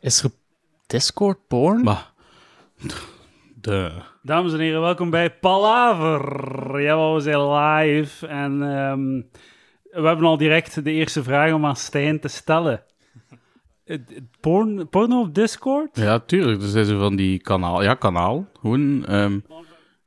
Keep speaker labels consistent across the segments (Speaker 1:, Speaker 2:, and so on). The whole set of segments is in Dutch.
Speaker 1: Is er Discord porn?
Speaker 2: Maar. De.
Speaker 3: Dames en heren, welkom bij Palaver. Jawel, we zijn live en ehm, we hebben al direct de eerste vraag om aan Stijn te stellen. Het- het Porn, porno op Discord?
Speaker 2: Ja, tuurlijk. Dus is er van die kanaal. Ja, kanaal. Gewoon. ehm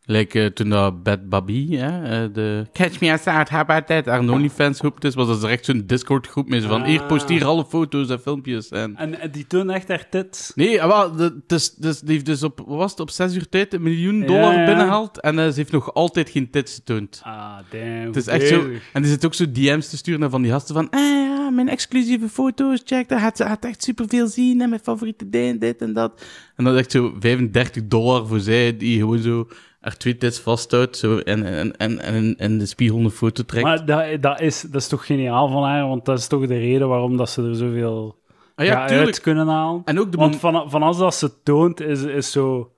Speaker 2: like, eh, toen dat Bad Babi, hè, eh, de Catch Me Outside, how about that? Haar OnlyFans groep is, was dat direct zo'n Discord groep mee. Zo van, hier, post hier alle foto's en filmpjes. En...
Speaker 3: En eh, die toont echt haar tits.
Speaker 2: Nee, ah, wel, de- het is- dus, die heeft dus op, wat was het, op zes uur tijd een miljoen dollar
Speaker 3: Ja, ja.
Speaker 2: binnengehaald. En eh, ze heeft nog altijd geen tits getoond.
Speaker 3: Ah, damn.
Speaker 2: Het is echt zo. En die zit ook zo DM's te sturen naar van die gasten van. Ah ja, mijn exclusieve foto's, check. Daar gaat ze gaat echt superveel zien. En mijn favoriete ding, dit en dat. En dan is echt zo 35 dollar voor zij, die gewoon zo haar twee tits vasthoudt. Zo, en, en, en, en, en de spiegel een foto trekt.
Speaker 3: Maar dat, dat, is, dat is toch geniaal van haar, want dat is toch de reden waarom dat ze er zoveel
Speaker 2: ah, ja,
Speaker 3: ja,
Speaker 2: tuurlijk.
Speaker 3: uit kunnen halen.
Speaker 2: En ook de
Speaker 3: Want
Speaker 2: mom-
Speaker 3: van, van als dat ze toont, is, is, zo,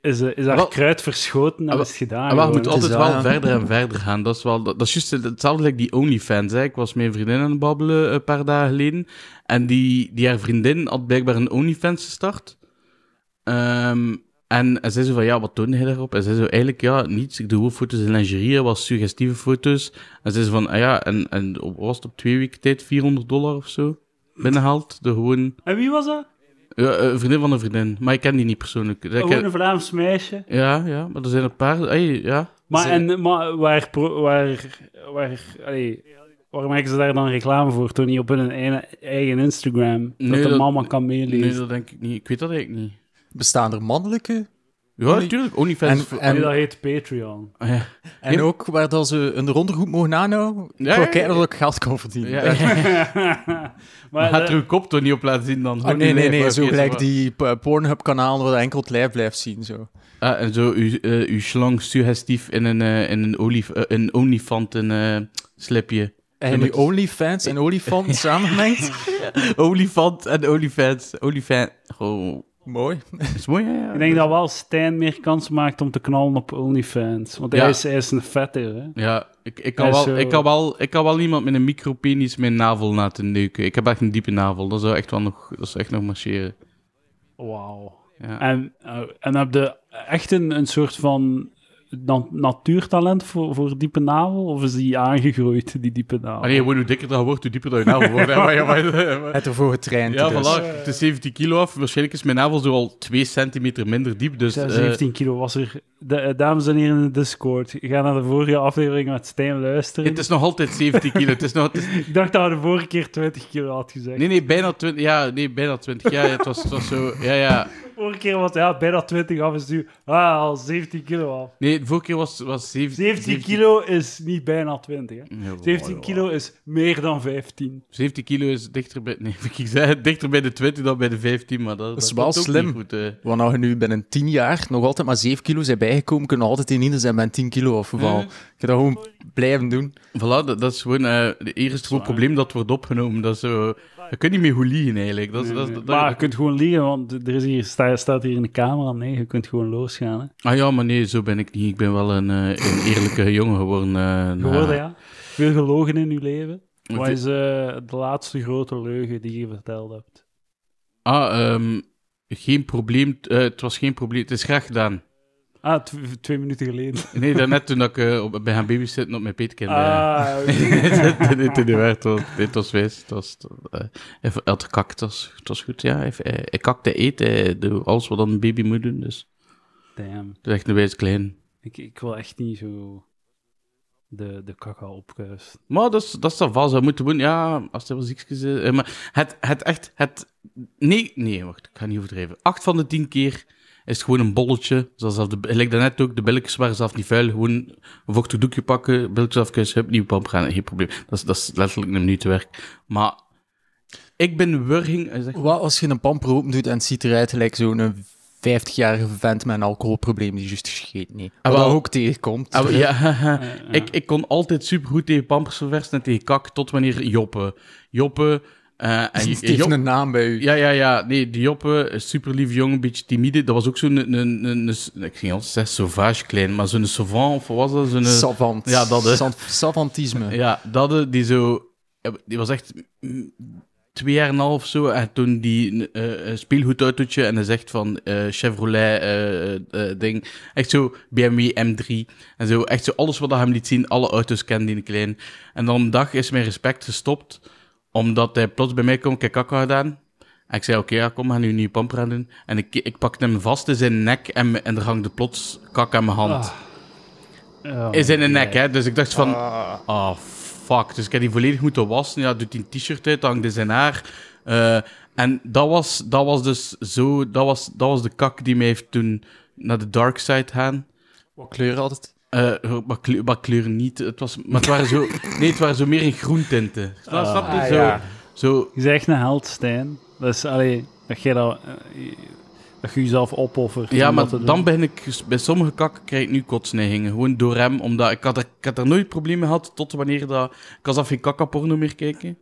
Speaker 3: is, is haar
Speaker 2: Wel-
Speaker 3: kruid verschoten en
Speaker 2: Ah,
Speaker 3: is het gedaan.
Speaker 2: Ah, maar je
Speaker 3: gewoon.
Speaker 2: moet altijd
Speaker 1: is
Speaker 2: wel
Speaker 1: dat, ja.
Speaker 2: verder en verder gaan. Dat is, wel, dat, dat is juist hetzelfde als die OnlyFans. Hè. Ik was met mijn vriendin aan het babbelen eh, een paar dagen geleden. En die, die haar vriendin had blijkbaar een OnlyFans gestart. Ehm, en, en zij zei van, ja, wat toonde hij daarop? En zij zo, eigenlijk, ja, niets. Ik doe gewoon foto's in lingerie, wat suggestieve foto's. En zij zei van, ah ja, en, en op, was het op twee weken tijd 400 dollar of zo? Binnenhaalt, de gewoon...
Speaker 3: En wie was dat?
Speaker 2: Ja, eh, een vriendin van een vriendin, maar ik ken die niet persoonlijk. Ik
Speaker 3: Oh, Gewoon
Speaker 2: ken-
Speaker 3: een Vlaams meisje.
Speaker 2: ja, ja, maar er zijn een paar... Hey, ja.
Speaker 3: Maar,
Speaker 2: Ze-
Speaker 3: en, maar waar, pro- waar, waar, allee, waar maken ze daar dan reclame voor? Toen niet op hun eigen, eigen Instagram. Dat
Speaker 2: Nee,
Speaker 3: de
Speaker 2: dat-
Speaker 3: mama kan
Speaker 2: Nee,
Speaker 3: meelezen.
Speaker 2: dat denk ik niet. Ik weet dat eigenlijk niet.
Speaker 1: Bestaan er mannelijke?
Speaker 2: Ja,
Speaker 1: Only-
Speaker 2: natuurlijk.
Speaker 1: En,
Speaker 2: OnlyFans.
Speaker 1: en,
Speaker 3: Nee, dat
Speaker 1: en,
Speaker 3: heet Patreon.
Speaker 2: ja.
Speaker 1: ook waar dat ze een rondergoed mogen aanhouden?
Speaker 2: Ja,
Speaker 1: ik wil
Speaker 2: ja,
Speaker 1: kijken of ik geld kan verdienen.
Speaker 2: Ja, ja.
Speaker 3: maar
Speaker 2: Gaat
Speaker 3: dat-
Speaker 2: er uw kop toch niet op laten zien dan?
Speaker 1: Ah, nee, nee, nee,
Speaker 2: oké,
Speaker 1: zo gelijk
Speaker 2: wat.
Speaker 1: die Pornhub-kanaal waar je enkel het lijf blijft zien. Zo.
Speaker 2: Ah, en zo uw, eh, uw slang suggestief in een, eh, in een, olie, eh, een olifanten eh, slipje.
Speaker 1: En nu OnlyFans en Olifant samenmengt.
Speaker 2: Olifant en olifants. Olifant. Oh,
Speaker 1: Mooi.
Speaker 2: is mooi, hè? ja.
Speaker 3: ik denk dat wel Stijn meer kans maakt om te knallen op OnlyFans. Want hij,
Speaker 2: Ja.
Speaker 3: is, hij is een vetter, hè?
Speaker 2: Ja, ik, ik, kan
Speaker 3: Ja,
Speaker 2: wel,
Speaker 3: zo.
Speaker 2: ik, kan wel, ik kan wel iemand met een micropenis mijn navel laten neuken. Ik heb echt een diepe navel. Dat zou echt wel nog, dat zou echt nog marcheren.
Speaker 3: Wauw.
Speaker 2: Ja.
Speaker 3: En, eh, en heb je echt een, een soort van na- natuurtalent voor, voor diepe navel? Of is die aangegroeid, die diepe navel?
Speaker 2: Maar nee, gewoon hoe dikker dat wordt, hoe dieper dat je navel wordt. hè. Maar ja, maar- maar-
Speaker 1: Het ervoor getraind.
Speaker 2: Ja,
Speaker 1: dus.
Speaker 2: voilà. Het is 17 kilo af. Waarschijnlijk is mijn navel zo al 2 centimeter minder diep. Dus,
Speaker 3: Ja,
Speaker 2: eh,
Speaker 3: 17 kilo was er. De, eh, dames en heren in de Discord, ga naar de vorige aflevering met Stijn luisteren.
Speaker 2: het is nog altijd 17 kilo. Het is nog, het is-
Speaker 3: Ik dacht dat we de vorige keer 20 kilo had gezegd.
Speaker 2: nee, nee, bijna 20. Ja, nee, bijna 20. Ja, ja, het was, het was zo. Ja, ja.
Speaker 3: De vorige keer was ja, bijna 20 af is nu ah, al 17 kilo af.
Speaker 2: Nee, de vorige keer was, was 17,
Speaker 3: 17 kilo is niet bijna 20. Hè.
Speaker 2: Ja,
Speaker 3: 17 kilo is meer dan 15.
Speaker 2: 17 kilo is dichter bij, nee, ik zei, het, dichter bij de 20 dan bij de 15, maar dat,
Speaker 1: Dat is
Speaker 2: dat
Speaker 1: wel
Speaker 2: klopt ook
Speaker 1: slim.
Speaker 2: niet goed, eh.
Speaker 1: Want als je nu binnen 10 jaar nog altijd maar 7 kilo zijn bijgekomen, kunnen we altijd in ieder zijn met 10 kilo afgevallen.
Speaker 2: Ja.
Speaker 1: Ik ga dat gewoon blijven doen.
Speaker 2: Voilà, dat, dat is gewoon eh eerst het gewoon probleem dat wordt opgenomen. Dat is zo, je kunt niet meer goed liegen eigenlijk. Dat, is- dat, is- dat,
Speaker 3: maar je kunt gewoon liggen, want er is hier, sta- staat hier een camera. Nee, je kunt gewoon losgaan. Hè.
Speaker 2: Ah ja, maar nee, zo ben ik niet. Ik ben wel een, eh, een eerlijke jongen geworden. eh, na-
Speaker 3: Geworden, ja. Veel gelogen in je leven. Wat
Speaker 2: Ve-
Speaker 3: is eh, de laatste grote leugen die je verteld hebt?
Speaker 2: Ah, ehm, geen probleem. t- eh, het was geen probleem. Het is graag gedaan.
Speaker 3: Ah, tw- twee minuten geleden.
Speaker 2: Nee, daarnet toen ik eh, op, ben gaan babysitten op mijn peetkind. eh.
Speaker 3: Ah, oké.
Speaker 2: dit, dit, dit, werd wel- dit was wijs. Het was, eh, hij had gekakt. Het was, het was goed, ja. Hij, hij, hij kakte eten. Hij doet alles wat een baby moet doen. Dus
Speaker 3: Damn.
Speaker 2: het is echt een wijs klein.
Speaker 3: Ik, ik wil echt niet zo de, de kaka opkuisen.
Speaker 2: Maar dat is, dat is dan vast. Hij moet doen, ja, als hij wel ziek is. eh, maar het, het echt, het... Nee, nee, wacht. Ik ga niet overdrijven. Acht van de tien keer is het gewoon een bolletje. Zoals dat de, gelijk daarnet ook, de billetjes waren zelf niet vuil. Gewoon een vochtig doekje pakken, billetjes afkuisen, hup, nieuwe pamp gaan. Geen probleem. Dat is, dat is letterlijk een minuut werk. Maar ik ben wurging... hij zegt-
Speaker 1: Wat als je een pamper open doet en het ziet eruit gelijk zo'n 50-jarige vent met een alcoholprobleem die juist gescheten heeft. Wat
Speaker 2: Ah, wel.
Speaker 1: dat ook tegenkomt.
Speaker 2: Ah, ja, haha. ik, ik kon altijd supergoed tegen pampers verversen en tegen kak, tot wanneer Joppe. Joppe... eh, en
Speaker 1: Die
Speaker 2: Joppe-
Speaker 1: heeft een naam bij u.
Speaker 2: Ja, ja, ja. Nee, die Joppe, een superlief jongen, een beetje timide. Dat was ook zo'n... Een, een, een, een- ik ging al zes sauvage klein, maar zo'n savant, of wat was dat? Zo'n... eh,
Speaker 1: Savant.
Speaker 2: Ja, dat, hè.
Speaker 1: Sav- Savantisme.
Speaker 2: Ja, dat, eh, die zo... Die was echt... twee jaar en een half zo. En toen die eh eh, speelgoedautootje en hij zegt van eh, Chevrolet eh, eh, ding. Echt zo BMW M3 en zo. Echt zo alles wat hij hem liet zien. Alle auto's kende die klein. En dan een dag is mijn respect gestopt. Omdat hij plots bij mij kwam, kijk, kakka gedaan. En ik zei, oké, ja, kom, we gaan nu een nieuwe pamper aan doen. En ik, ik pakte hem vast in zijn nek en, me- en er hangde plots kak aan mijn hand.
Speaker 3: Oh,
Speaker 2: Is in de nek, hè. Dus ik dacht van, ah, fuck. Dus ik heb die volledig moeten wassen. Ja, doet die een t-shirt uit, hangt dus in zijn haar. Eh, en dat was, dat was dus zo... Dat was, dat was de kak die mij heeft toen naar de dark side gaan.
Speaker 1: Wat kleur altijd?
Speaker 2: Eh maar, kleur, maar kleur niet. Het was, maar het waren zo... Nee, het waren zo meer in groentinten. Snap snap je?
Speaker 1: Ah,
Speaker 2: zo,
Speaker 1: ja.
Speaker 2: zo...
Speaker 3: Je bent echt een held, Stijn. Dus, allee, dat jij dat... eh, dat je jezelf opoffert.
Speaker 2: Ja,
Speaker 3: om
Speaker 2: maar
Speaker 3: dat te doen.
Speaker 2: dan ben ik... Bij sommige kakken krijg ik nu kotsneigingen. Gewoon door hem, omdat... Ik had er, ik had er nooit problemen gehad tot wanneer dat... Ik was af geen kakkaporno meer kijken.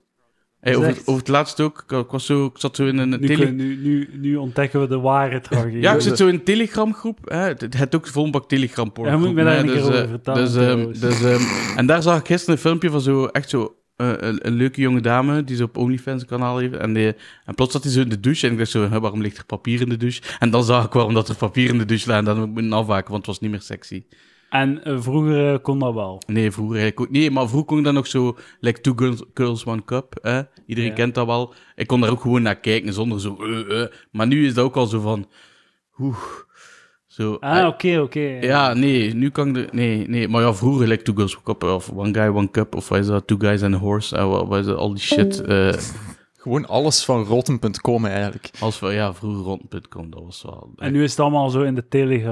Speaker 2: Hey,
Speaker 3: Is
Speaker 2: over,
Speaker 3: echt-
Speaker 2: over het laatst ook. Ik, ik was zo, ik zat zo in een
Speaker 3: Nu,
Speaker 2: tele-
Speaker 3: kun- nu, nu, nu ontdekken we de ware tragedie.
Speaker 2: Ja, ik zit zo in een telegramgroep. hè. Het het heeft ook vol bak telegram porno.
Speaker 3: Ja, moet je me daar een keer over vertellen,
Speaker 2: dus, ehm,
Speaker 3: trouwens.
Speaker 2: dus, ehm, En daar zag ik gisteren een filmpje van zo, echt zo, eh, een, een leuke jonge dame die ze op OnlyFans een kanaal heeft. En, die, en plots zat hij zo in de douche en ik dacht zo, hè, waarom ligt er papier in de douche? En dan zag ik waarom dat er papier in de douche lag en dan moet ik me afwaken, want het was niet meer sexy.
Speaker 3: En eh, vroeger eh, kon dat wel.
Speaker 2: Nee, vroeger eigenlijk ook. Nee, maar vroeger kon ik dan nog zo, like Two Girls, girls One Cup. Hè? Iedereen
Speaker 3: Ja.
Speaker 2: kent dat wel. Ik kon daar ook gewoon naar kijken zonder zo, eh, eh. Maar nu is dat ook al zo van, oeh. Zo,
Speaker 3: Ah,
Speaker 2: eh,
Speaker 3: oké, oké.
Speaker 2: ja, nee, nu kan ik er... Nee, nee, maar ja, vroeger, like Two Girls One Cup, of One Guy One Cup, of wat is dat, Two Guys and a Horse, en wat wat is dat, al die shit.
Speaker 3: Mm.
Speaker 2: eh,
Speaker 1: Gewoon alles van rotten.com eigenlijk.
Speaker 2: als we, ja, vroeger rond.com, dat was wel...
Speaker 3: En nu is het allemaal zo in de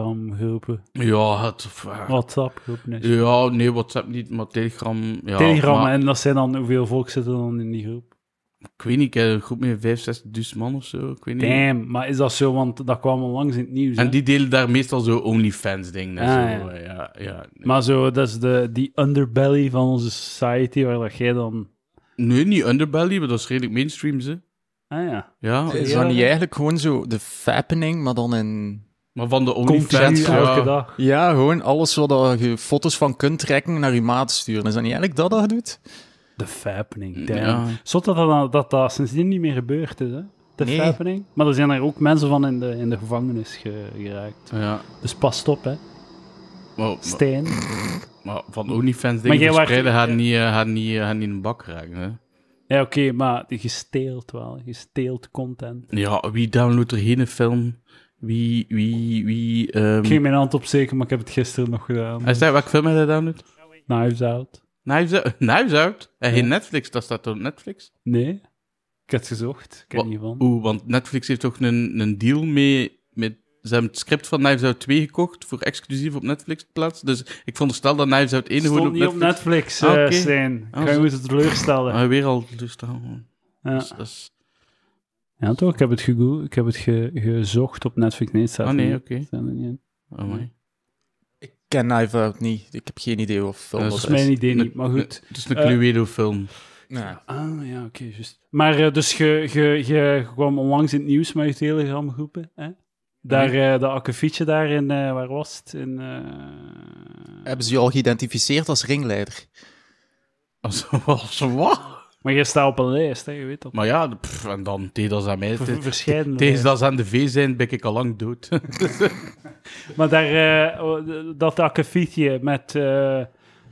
Speaker 3: Telegram-groepen.
Speaker 2: Ja, het... eh,
Speaker 3: Oh. WhatsApp-groepen. is-
Speaker 2: Ja, nee, WhatsApp niet, maar Telegram... Ja,
Speaker 3: Telegram,
Speaker 2: maar
Speaker 3: en dat zijn dan... Hoeveel volk zit er dan in die groep?
Speaker 2: Ik weet niet, ik heb een groep met vijf, zes duizend man of zo, ik weet niet.
Speaker 3: Damn, maar is dat zo? Want dat kwam onlangs in het nieuws. hè?
Speaker 2: En die delen daar meestal zo OnlyFans-ding. en
Speaker 3: Ah,
Speaker 2: zo,
Speaker 3: ja.
Speaker 2: eh, ja, ja.
Speaker 3: Maar zo, dat is de, die underbelly van onze society, waar dat jij dan...
Speaker 2: Nee, niet Underbelly, maar dat is redelijk mainstream, ze.
Speaker 3: Ah ja.
Speaker 2: Ja,
Speaker 1: Is
Speaker 3: Ja.
Speaker 1: dat niet eigenlijk gewoon zo de fappening, maar dan in...
Speaker 2: maar van de
Speaker 3: Continu
Speaker 2: OnlyFans... ja.
Speaker 3: elke dag.
Speaker 1: Ja, gewoon alles wat dat je foto's van kunt trekken naar je maat sturen. Is dat niet eigenlijk dat dat je doet?
Speaker 3: De fappening, damn.
Speaker 2: Ja.
Speaker 3: Zot dat dat, dat dat sindsdien niet meer gebeurd is, hè? De
Speaker 1: Nee.
Speaker 3: fappening. Maar er zijn er ook mensen van in de, in de gevangenis ge- geraakt.
Speaker 2: Ja,
Speaker 3: Dus pas op, hè.
Speaker 2: maar- maar-
Speaker 3: Stijn.
Speaker 2: Maar van OnlyFans
Speaker 3: Maar
Speaker 2: dingen
Speaker 3: jij waart-
Speaker 2: verspreiden gaat niet, eh, gaat niet, eh, gaat niet in de bak raken. Hè?
Speaker 3: Ja, oké, maar gesteeld wel. Gesteeld content.
Speaker 2: Ja, wie downloadt er geen film? Wie, wie, wie... ehm
Speaker 3: Ik ging mijn hand opsteken, maar ik heb het gisteren nog gedaan.
Speaker 2: Hij zei, welke film hij downloadt?
Speaker 3: Knives Out.
Speaker 2: Knives Out. Knives Out? En geen
Speaker 3: Ja.
Speaker 2: Netflix, dat staat toch op Netflix?
Speaker 3: Nee. Ik heb het gezocht. Ik ken
Speaker 2: Wat-
Speaker 3: niet van.
Speaker 2: Oeh, want Netflix heeft toch een, een deal mee... Met, ze hebben het script van Knives Out 2 gekocht voor exclusief op Netflix te plaatsen. Dus ik veronderstel dat Knives Out 1
Speaker 3: Het
Speaker 2: gewoon op
Speaker 3: stond niet
Speaker 2: Netflix...
Speaker 3: op Netflix, eh
Speaker 2: Ah, oké.
Speaker 3: Stijn. Ik
Speaker 2: Ah,
Speaker 3: ga je
Speaker 2: zo.
Speaker 3: moeten teleurstellen.
Speaker 2: Ah, weer al, dus dan... Dus
Speaker 3: Ja.
Speaker 2: dat is- dat is-
Speaker 3: ja, toch? Ik heb het, gegoo- ik heb het ge- gezocht op Netflix. Nee, het staat
Speaker 2: Ah
Speaker 3: er
Speaker 2: nee,
Speaker 3: niet.
Speaker 2: oké.
Speaker 3: Het staat er niet in.
Speaker 2: Oh, mooi.
Speaker 1: Ik ken Knife Out niet. Ik heb geen idee of film
Speaker 2: Dat
Speaker 1: dat
Speaker 2: is
Speaker 1: is.
Speaker 3: Dat is mijn idee
Speaker 2: Nee,
Speaker 3: niet, maar goed.
Speaker 2: Het is een
Speaker 3: Eh,
Speaker 2: Cluedo-film.
Speaker 1: Nou,
Speaker 3: Ah, ja, oké, juist. Maar eh, dus je, je, je, kwam onlangs in het nieuws met je telegramgroepen, hè? Daar, eh dat akkefietje daar in, eh, waar was het? In, eh,
Speaker 1: Hebben ze je al geïdentificeerd als ringleider?
Speaker 2: Als, als wat?
Speaker 3: Maar je staat op een lijst, hè, je weet dat.
Speaker 2: Maar ja, pff, en dan tegen aan mij.
Speaker 3: Ver- Verscheidene
Speaker 2: Tegen
Speaker 3: lijsten.
Speaker 2: dat ze aan de V zijn, ben ik al lang dood.
Speaker 3: Maar daar, eh, oh, dat akkefietje met eh,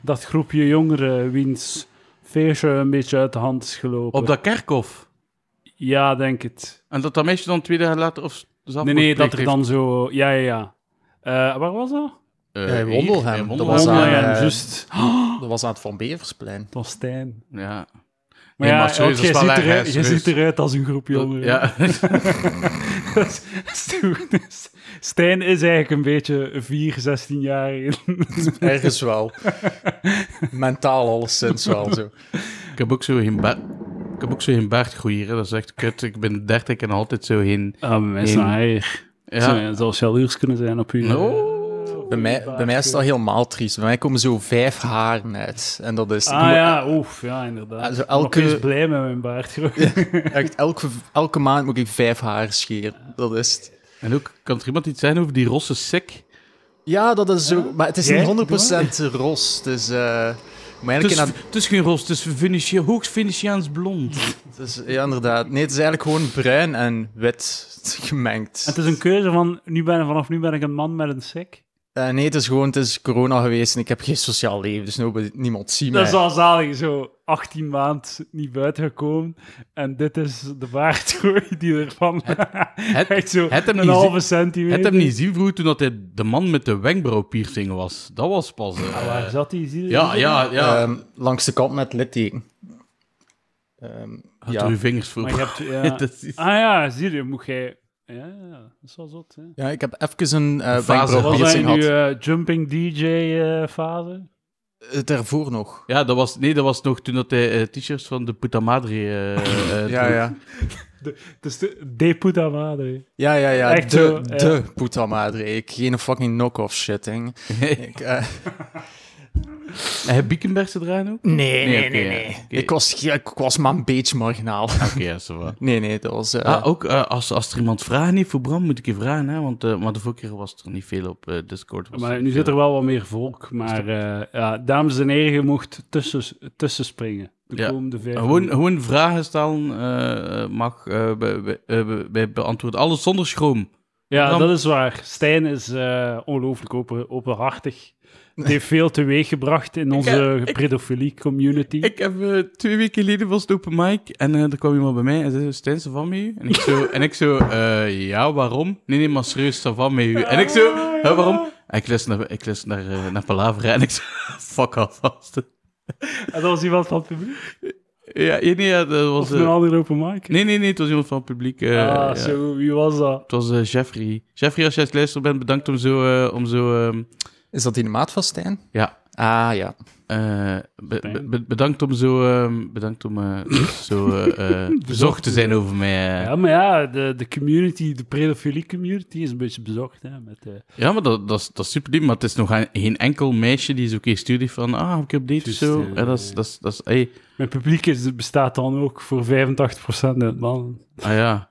Speaker 3: dat groepje jongeren, wiens feestje een beetje uit de hand is gelopen.
Speaker 2: Op dat kerkhof.
Speaker 3: Ja, denk het.
Speaker 2: En dat dat meisje dan twee dagen later of zelf
Speaker 3: Nee, nee, dat er dan zo... Ja, ja, ja. Eh, waar was dat?
Speaker 1: Ja,
Speaker 2: Eh,
Speaker 1: in Wondelgem. Dat was
Speaker 3: Oh,
Speaker 1: aan,
Speaker 3: ja,
Speaker 1: eh,
Speaker 3: juist.
Speaker 1: Dat was aan het Van Beversplein.
Speaker 3: Dat was Stijn.
Speaker 2: Ja.
Speaker 3: Maar
Speaker 2: Nee,
Speaker 3: ja,
Speaker 2: maar serieus,
Speaker 3: want jij
Speaker 2: dat is wel
Speaker 3: ziet,
Speaker 2: erg,
Speaker 3: eruit,
Speaker 2: hè,
Speaker 3: jij
Speaker 2: serieus.
Speaker 3: ziet eruit als een groep jongeren.
Speaker 2: Ja.
Speaker 3: Dat is- dat is goed. Dus Stijn is eigenlijk een beetje 4, 16 jaar. in.
Speaker 1: Ergens wel. Mentaal alleszins wel zo.
Speaker 2: ik heb ook zo geen baard. Ik heb ook zo geen baardgroeier. hè. Dat is echt kut. Ik ben dertig en altijd zo geen...
Speaker 3: Ah, bij mij is
Speaker 2: In-
Speaker 3: het nou erg. Zou-
Speaker 2: Ja.
Speaker 3: Het zou jaloers kunnen zijn op u.
Speaker 2: Oh.
Speaker 1: Bij mij, bij mij is dat helemaal triest. Bij mij komen zo vijf haren uit. En dat is...
Speaker 3: Ah ja, oef, ja, inderdaad.
Speaker 1: Also,
Speaker 3: Ik ben
Speaker 1: elke-
Speaker 3: opeens blij met mijn baard.
Speaker 1: Echt, elke, elke maand moet ik vijf haren scheren. Dat is het.
Speaker 2: En ook, kan er iemand iets zijn over die rosse sik?
Speaker 1: Ja, dat is zo. Maar het is
Speaker 3: Jij?
Speaker 1: niet 100% ros. Het is, eh, Maar
Speaker 3: Dus
Speaker 2: Het is,
Speaker 1: eigenlijk
Speaker 2: het is geen roze, het is Venetië, hoogst Venetiaans blond.
Speaker 1: in dat- het is, ja, inderdaad. Nee, het is eigenlijk gewoon bruin en wit gemengd.
Speaker 3: Het is een keuze van, nu ben, vanaf nu ben ik een man met een sik.
Speaker 1: Eh, nee, het is gewoon, het is corona geweest en ik heb geen sociaal leven, dus nobody, niemand ziet mij.
Speaker 3: Dat is al zalig, zo 18 maand niet buiten gekomen. En dit is de baardgroei die ervan...
Speaker 2: Het,
Speaker 3: Echt zo
Speaker 2: het hem
Speaker 3: een
Speaker 2: niet
Speaker 3: halve centimeter.
Speaker 2: het hem niet zien vroeger toen dat hij de man met de wenkbrauwpiercing was. Dat was pas. eh,
Speaker 3: Ah, waar zat die? Zie je
Speaker 2: ja, ja, ja.
Speaker 1: Ehm, langs de kant met litteken. Ehm,
Speaker 2: Had
Speaker 1: ja.
Speaker 2: er uw vingers voor.
Speaker 3: Maar je hebt... Ja.
Speaker 2: Dat is-
Speaker 3: Ah ja, zie je, moet jij... Ja, ja, dat is wel zot, hè.
Speaker 1: ja, ik heb even een eh
Speaker 2: Een fase.
Speaker 1: wenkbrauw
Speaker 3: Was dat in
Speaker 1: piercing
Speaker 3: uw
Speaker 1: gehad.
Speaker 3: eh, jumping DJ-fase?
Speaker 1: Eh, Daarvoor nog.
Speaker 2: Ja, dat was, nee, dat was nog toen dat hij eh, t-shirts van de Puta Madre eh, eh,
Speaker 1: Ja,
Speaker 2: droeg.
Speaker 1: ja.
Speaker 3: het is de de puta madre.
Speaker 1: Ja, ja, ja.
Speaker 3: Echt
Speaker 1: de
Speaker 3: zo, ja.
Speaker 1: de puta madre. Ik, geen fucking knock-off shit, hè. Ik, eh,
Speaker 2: En heb Biekenbergse eraan ook?
Speaker 1: nee,
Speaker 2: Nee,
Speaker 1: nee,
Speaker 2: oké,
Speaker 1: nee,
Speaker 2: ja.
Speaker 1: nee.
Speaker 2: Oké.
Speaker 1: Ik, was, ge- ik was maar een beetje marginaal.
Speaker 2: Oké, ja, zo wat.
Speaker 1: Nee, nee, dat was... eh,
Speaker 2: Ah, ook eh, als, als er iemand vragen heeft voor Bram, moet ik je vragen, hè? Want eh, maar de vorige keer was er niet veel op eh, Discord. Was
Speaker 3: Maar
Speaker 2: er
Speaker 3: nu
Speaker 2: veel.
Speaker 3: zit er wel wat meer volk. Maar eh, ja, dames en heren, je mocht tussen, tussen springen. De
Speaker 2: Ja.
Speaker 3: komende vijf
Speaker 2: Gewoon,
Speaker 3: minuten.
Speaker 2: gewoon vragen stellen eh, mag eh, be- be- eh, be- be- beantwoorden. Alles zonder schroom.
Speaker 3: Ja,
Speaker 2: Bram-
Speaker 3: dat is waar. Stijn is eh, ongelooflijk open, openhartig. Het heeft veel teweeggebracht in onze pedofilie-community.
Speaker 2: Ik heb eh, twee weken geleden was het open mic en eh, er kwam iemand bij mij en zei, Stijn, is er van met u? En ik zo, en ik zo eh, ja, waarom? Nee, nee, maar serieus, is er van met u? En ik zo,
Speaker 3: Ah,
Speaker 2: "Hè, waarom? En ik luister naar, ik luister naar, eh, naar Palavra en ik zo, fuck off. gast."
Speaker 3: En dat was iemand van het publiek?
Speaker 2: Ja, nee, nee, ja, dat
Speaker 3: Of
Speaker 2: was...
Speaker 3: een
Speaker 2: eh,
Speaker 3: andere open mic?
Speaker 2: nee, nee, nee, het was iemand van het publiek. eh,
Speaker 3: ah,
Speaker 2: ja.
Speaker 3: zo, wie was dat?
Speaker 2: Het was eh, Jeffrey. Jeffrey, als jij het luisteren bent, bedankt om zo... eh, om zo ehm,
Speaker 1: Is dat in de maat van Stijn?
Speaker 2: ja,
Speaker 1: Ah, ja.
Speaker 2: eh, be- be- be- bedankt om zo... ehm, bedankt om eh, zo eh, eh, bezorgd te zijn over mij. eh.
Speaker 3: Ja, maar ja, de, de community, de pedofilie-community is een beetje bezocht. Hè, met, eh,
Speaker 2: Ja, maar dat, dat, is, dat is super lief, maar het is nog geen- geen enkel meisje die zo'n keer stuurt die van, ah, heb ik op date of
Speaker 3: Juist,
Speaker 2: zo.
Speaker 3: ja,
Speaker 2: Ja, dat is, dat is, dat is, ey.
Speaker 3: Mijn publiek is, bestaat dan ook voor 85% uit mannen.
Speaker 2: ah ja.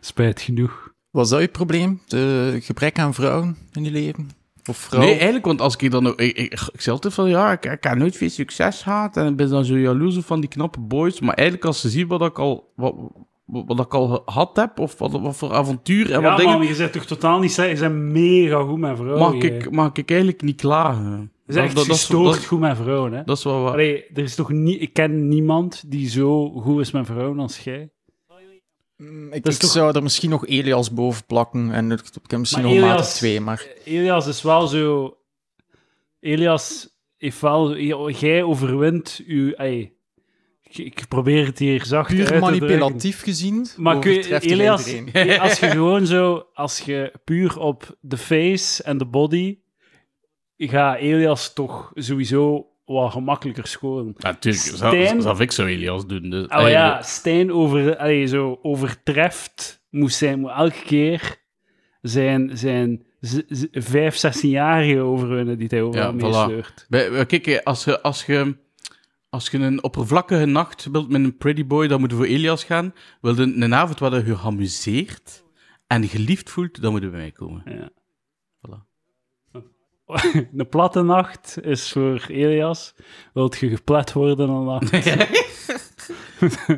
Speaker 3: Spijt genoeg.
Speaker 1: Was dat je probleem? De gebrek aan vrouwen in je leven? Of vrouwen?
Speaker 2: Nee, eigenlijk, want als ik dan ook, ik, ik, ik zei altijd van, ja, ik, ik heb nooit veel succes gehad en ik ben dan zo jaloers op van die knappe boys, maar eigenlijk als ze zien wat ik al, wat, wat, wat ik al gehad heb, of wat, wat voor avontuur en
Speaker 3: ja,
Speaker 2: wat dingen,
Speaker 3: man, je zegt toch totaal niet... Ze zijn mega goed met vrouwen.
Speaker 2: mag,
Speaker 3: jij.
Speaker 2: ik, mag ik eigenlijk niet klagen.
Speaker 3: Ze zijn echt gestoord
Speaker 2: Dat,
Speaker 3: goed met vrouwen, hè.
Speaker 2: dat is wel waar.
Speaker 3: Allee, er is toch niet... Ik ken niemand die zo goed is met vrouwen als jij.
Speaker 1: Mm, Ik,
Speaker 3: Dat is
Speaker 1: ik
Speaker 3: toch-
Speaker 1: zou er misschien nog Elias boven plakken en ik ik heb misschien
Speaker 3: Maar
Speaker 1: nog
Speaker 3: Elias-
Speaker 1: maat of twee, maar...
Speaker 3: Elias is wel zo... Elias heeft wel... Jij overwint uw... ey, ik- ik probeer het hier zacht uit
Speaker 1: Puur
Speaker 3: te drukken.
Speaker 1: manipulatief gezien,
Speaker 3: Maar kun je-
Speaker 1: overtreft hij
Speaker 3: Elias-
Speaker 1: iedereen.
Speaker 3: als je gewoon zo, als je puur op de face en de body, gaat Elias toch sowieso wat gemakkelijker scoren.
Speaker 2: Natuurlijk,
Speaker 3: Stijn-
Speaker 2: ik zo Elias doen. Dus,
Speaker 3: Oh ja, Stijn over, allee, zo overtreft, moest zijn, moet elke keer zijn, zijn z- z- vijf, zestienjarige overwinnen die hij overal
Speaker 2: Ja, voilà.
Speaker 3: meesleurt.
Speaker 2: Bij- eh, Kijk, eh, als je, als je, als je een oppervlakkige nacht wilt met een pretty boy, dan moeten we voor Elias gaan. Wil je een avond waar je je geamuseerd en geliefd voelt, dan moeten we bij mij komen.
Speaker 3: Ja.
Speaker 2: Voilà.
Speaker 3: Een platte nacht is voor Elias. Wilt je geplet worden dan nacht?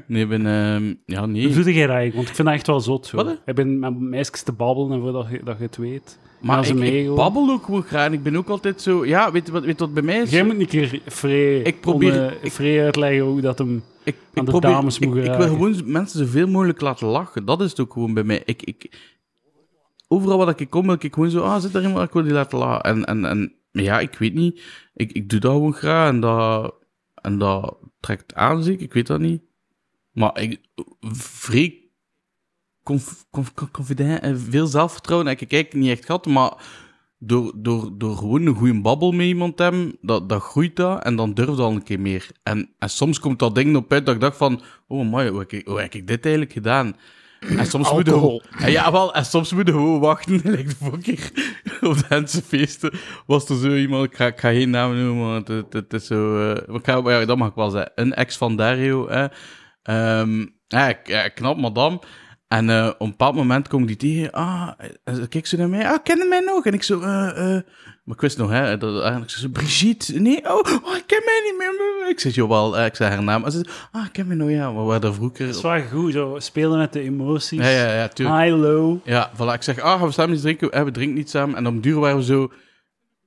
Speaker 2: Nee, ik ben... ehm, ja,
Speaker 3: Hoe
Speaker 2: nee.
Speaker 3: doe jij dat eigenlijk? Want ik vind dat echt wel zot. Zo.
Speaker 2: Wat, hè?
Speaker 3: Ik ben met meisjes te babbelen en voordat je, dat je het weet.
Speaker 2: Maar
Speaker 3: Als
Speaker 2: ik,
Speaker 3: een
Speaker 2: ik
Speaker 3: meegel.
Speaker 2: babbel ook gewoon graag. Ik ben ook altijd zo... Ja, weet je wat, weet je wat bij mij is?
Speaker 3: Jij moet een keer vrij,
Speaker 2: Ik probeer-
Speaker 3: om, eh,
Speaker 2: ik-
Speaker 3: vrij uitleggen hoe dat hem...
Speaker 2: Ik,
Speaker 3: Aan
Speaker 2: ik
Speaker 3: de
Speaker 2: probeer,
Speaker 3: dames
Speaker 2: ik,
Speaker 3: mogen
Speaker 2: ik wil
Speaker 3: raken.
Speaker 2: gewoon z- mensen zoveel mogelijk laten lachen. Dat is het ook gewoon bij mij. Ik, ik, overal waar ik kom, wil ik gewoon zo... Ah, zit er iemand? Ik wil die laten lachen. En, en, en maar ja, ik weet niet. Ik, ik doe dat gewoon graag. En dat, en dat trekt aan, zeker. Ik weet dat niet. Maar ik... Vrij... Conf, conf- conf- confident en veel zelfvertrouwen heb ik eigenlijk niet echt gehad. Maar door, door, door gewoon een goede babbel met iemand te hebben, dat, dat groeit dat en dan durf je al een keer meer. En, en soms komt dat ding op uit dat ik dacht van, oh man, hoe, heb ik- hoe heb ik dit eigenlijk gedaan? En soms moet je gewoon- en ja, wel, en soms moet je gewoon wachten. Like de vorige keer op de Hense feesten was er zo iemand, ik ga, ik ga geen naam noemen, want het, het is zo... eh, maar ik ga, maar ja, dat mag ik wel zeggen. Een ex van Dario, hè. Ehm, ja, k- ja, knap madame. En eh, op een bepaald moment kom ik die tegen. Ah, eh, eh, kijk ze naar mij. Ah, kennen mij nog? En ik zo, eh, eh, Maar ik wist nog, hè, dat, en ik zei, Brigitte, nee, oh, oh, ik ken mij niet meer. Ik zeg, jawel, eh, ik zei haar naam. En ze zei, ah, ik ken mij nog, ja, maar we waren daar vroeger...
Speaker 3: Dat is wel goed, zo. Spelen met de emoties.
Speaker 2: Ja, ja, ja, tuurlijk.
Speaker 3: High, low.
Speaker 2: Ja, voilà, ik zeg, ah, gaan we samen iets drinken? Eh, we drinken niet samen. En om duur waren we zo,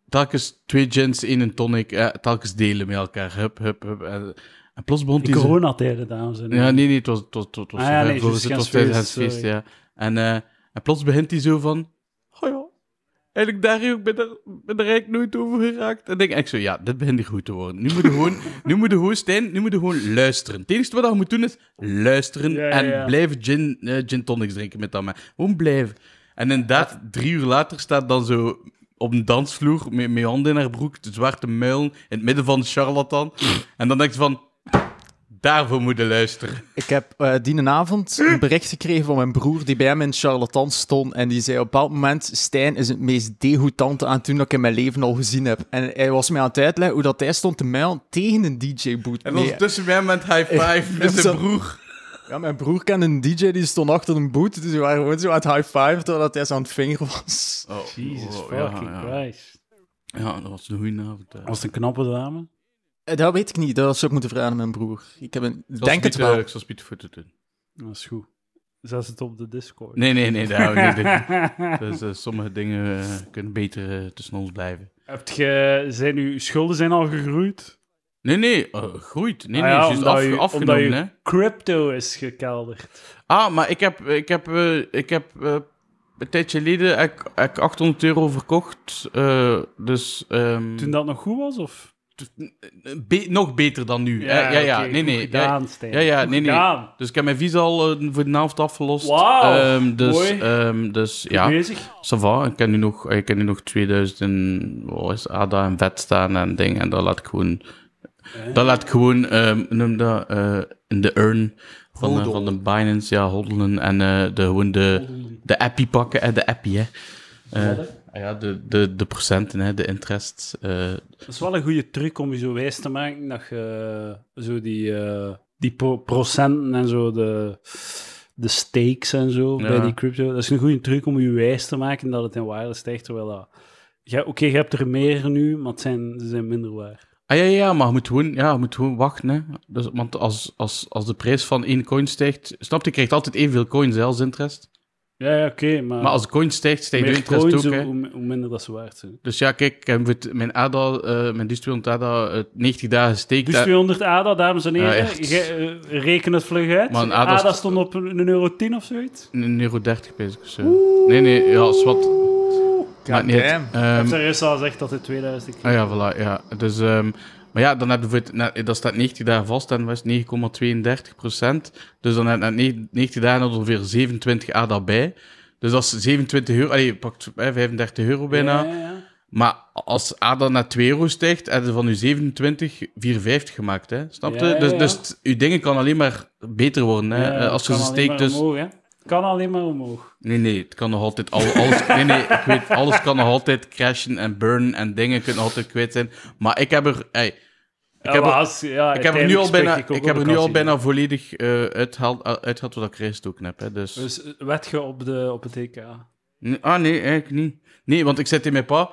Speaker 2: telkens twee gins, één en tonic, eh, telkens delen met elkaar. Hup, hup, hup. En, en plots begon
Speaker 3: Die
Speaker 2: die zo-
Speaker 3: coronatijden, dames en heren.
Speaker 2: Ja, nee, nee, het was, het was, het was, het was
Speaker 3: Ah ja,
Speaker 2: zover,
Speaker 3: nee,
Speaker 2: geloof
Speaker 3: juist,
Speaker 2: ik. het was
Speaker 3: het was
Speaker 2: tijdens het
Speaker 3: feest,
Speaker 2: feest, ja. En, eh, en plots begint hij zo van, oh ja, eigenlijk daar ook ben er, ben er eigenlijk nooit over geraakt. En denk ik zo, ja, dit begint hier goed te worden. Nu moet je gewoon, nu moet je gewoon, Stijn, nu moet je gewoon luisteren. Het enige wat je moet doen is luisteren
Speaker 3: Ja, ja,
Speaker 2: en
Speaker 3: ja.
Speaker 2: blijven gin, eh, gin tonics drinken met dat man. Gewoon blijven. En inderdaad, drie uur later staat dan zo op een dansvloer met, met handen in haar broek, de zwarte muil, in het midden van de charlatan. en dan denk je van, daarvoor moet je luisteren.
Speaker 1: Ik heb eh die avond een bericht gekregen van mijn broer die bij hem in charlatan stond. En die zei op een bepaald moment: Stijn is het meest degoutante aan het doen dat ik in mijn leven al gezien heb. En hij was mij aan het uitleggen hoe dat hij stond te mijlen tegen een DJ-boot.
Speaker 2: En ondertussen bij hem aan het high five met zijn
Speaker 1: Zo-
Speaker 2: broer.
Speaker 1: Ja, mijn broer kende een DJ die stond achter een boot. Dus we waren gewoon zo aan het high-five terwijl dat hij zo aan het vinger was.
Speaker 2: Oh,
Speaker 3: Jesus
Speaker 2: oh, ja,
Speaker 3: fucking
Speaker 2: ja.
Speaker 3: Christ.
Speaker 2: Ja, dat was een goede avond. hè.
Speaker 3: Was het een knappe dame?
Speaker 1: Eh, Dat weet ik niet, dat zou ik moeten vragen aan mijn broer. Ik heb een...
Speaker 2: Zoals
Speaker 1: denk het
Speaker 2: Piet,
Speaker 1: wel.
Speaker 2: eh, Zoals Piet Voet het doen.
Speaker 3: Dat is goed. Zet het op de Discord.
Speaker 2: Nee, nee, nee, daar hou ik niet in. Dus eh, sommige dingen eh, kunnen beter eh, tussen ons blijven.
Speaker 3: Hebt ge, zijn uw schulden zijn al gegroeid?
Speaker 2: Nee, nee, eh, groeit. Nee,
Speaker 3: Ah
Speaker 2: nee,
Speaker 3: ja,
Speaker 2: juist
Speaker 3: omdat
Speaker 2: af-
Speaker 3: je-
Speaker 2: afgenomen,
Speaker 3: omdat je-
Speaker 2: hè.
Speaker 3: Crypto is gekelderd.
Speaker 2: Ah, maar ik heb, ik heb, eh, ik heb eh, een tijdje geleden heb ik, heb ik 800 euro verkocht. eh, dus... ehm,
Speaker 3: Toen dat nog goed was, of? Ah,
Speaker 2: be- nog beter dan nu. hè. Ja, ja,
Speaker 3: oké,
Speaker 2: nee,
Speaker 3: goed
Speaker 2: nee. ja,
Speaker 3: Gedaan, Stijn.
Speaker 2: ja, ja,
Speaker 3: Goed
Speaker 2: nee, nee.
Speaker 3: gedaan.
Speaker 2: Dus ik heb mijn visa al eh, voor de helft afgelost.
Speaker 3: Wauw,
Speaker 2: Ehm, dus,
Speaker 3: mooi.
Speaker 2: ehm, dus
Speaker 3: Ja.
Speaker 2: ja,
Speaker 3: Bezig.
Speaker 2: ça va. Ik ken nu nog, ik ken nu nog 2000 en- wat is het, ADA en vet staan en dingen. En dat laat ik gewoon, dat laat ik gewoon ehm, noem dat, eh, in de urn van, de- van de Binance, ja, hoddelen. En eh, de, gewoon de, de appie pakken. en de appie, hè. Eh, ah ja, de, de, de procenten, hè, de interest. eh,
Speaker 3: Dat is wel een goede truc om je zo wijs te maken dat je eh, zo die, eh, die pro- procenten en zo de, de stakes en zo
Speaker 2: Ja.
Speaker 3: bij die crypto. Dat is een goede truc om je wijs te maken dat het in waarde stijgt. Terwijl dat. Ja, Oké, je hebt er meer nu, maar het zijn, ze zijn minder waar.
Speaker 2: Ah ja, ja, ja, maar je moet gewoon, ja, je moet gewoon wachten. Hè. Dus, want als, als, als de prijs van één coin stijgt, snap je, je krijgt altijd evenveel coins hè, als interest.
Speaker 3: Ja, ja, oké, maar,
Speaker 2: Maar als de coin stijgt, stijgt de
Speaker 3: meer
Speaker 2: interest
Speaker 3: coins,
Speaker 2: ook.
Speaker 3: hoe,
Speaker 2: Hè.
Speaker 3: hoe hoe minder dat ze waard zijn.
Speaker 2: Dus ja, kijk, ik heb het- mijn ADA, eh mijn distribuent ADA, eh, 90 dagen steekt.
Speaker 3: Dus 200 ADA, dames en heren.
Speaker 2: Ja, echt.
Speaker 3: Ge- eh, reken het vlug uit.
Speaker 2: Maar een ADA
Speaker 3: ADA,
Speaker 2: st-
Speaker 3: stond op een, een euro 10 of zoiets.
Speaker 2: Een euro 30 bezig of zo. dus, eh. Nee, nee, ja, zwart. Maakt niet uit.
Speaker 1: damn.
Speaker 2: Ehm,
Speaker 3: Heb er eerst al gezegd dat het 2000 keer.
Speaker 2: ah ja, voilà, ja. Dus, ehm, maar ja, dan heb je voor het, na- dat staat 90 dagen vast en was 9,32 procent. Dus dan heb je na ne- 90 dagen nog ongeveer 27 ADA bij. Dus dat is 27 euro, allee, je pakt eh, 35 euro bijna.
Speaker 3: Ja, ja, ja.
Speaker 2: Maar als ADA naar 2 euro stijgt, hebben ze van uw 27 4,50 gemaakt, hè? Snap je?
Speaker 3: Ja, ja,
Speaker 2: dus,
Speaker 3: ja.
Speaker 2: dus t- uw dingen kan alleen maar beter worden, hè?
Speaker 3: Ja,
Speaker 2: Eh, als je
Speaker 3: kan
Speaker 2: ze
Speaker 3: alleen
Speaker 2: steekt,
Speaker 3: maar
Speaker 2: dus...
Speaker 3: Omhoog, hè. Kan alleen maar omhoog.
Speaker 2: Nee, nee, het kan nog altijd... Al, alles, nee, nee, ik weet, alles kan nog altijd crashen en burnen en dingen kunnen nog altijd kwijt zijn. Maar ik heb er... ey,
Speaker 3: Ik
Speaker 2: heb er-
Speaker 3: ja,
Speaker 2: ik heb er nu al
Speaker 3: uiteindelijk
Speaker 2: bijna,
Speaker 3: spreek ook
Speaker 2: ik heb er
Speaker 3: op
Speaker 2: nu
Speaker 3: de
Speaker 2: al
Speaker 3: kassie.
Speaker 2: bijna volledig eh uitgehaald eh, uitgehaald wat ik rest ook heb, hè? Dus...
Speaker 3: Dus eh, wed je op, de, op het EK.
Speaker 2: Nee, Ah, nee, eigenlijk niet. Nee, want ik zei tegen mijn pa...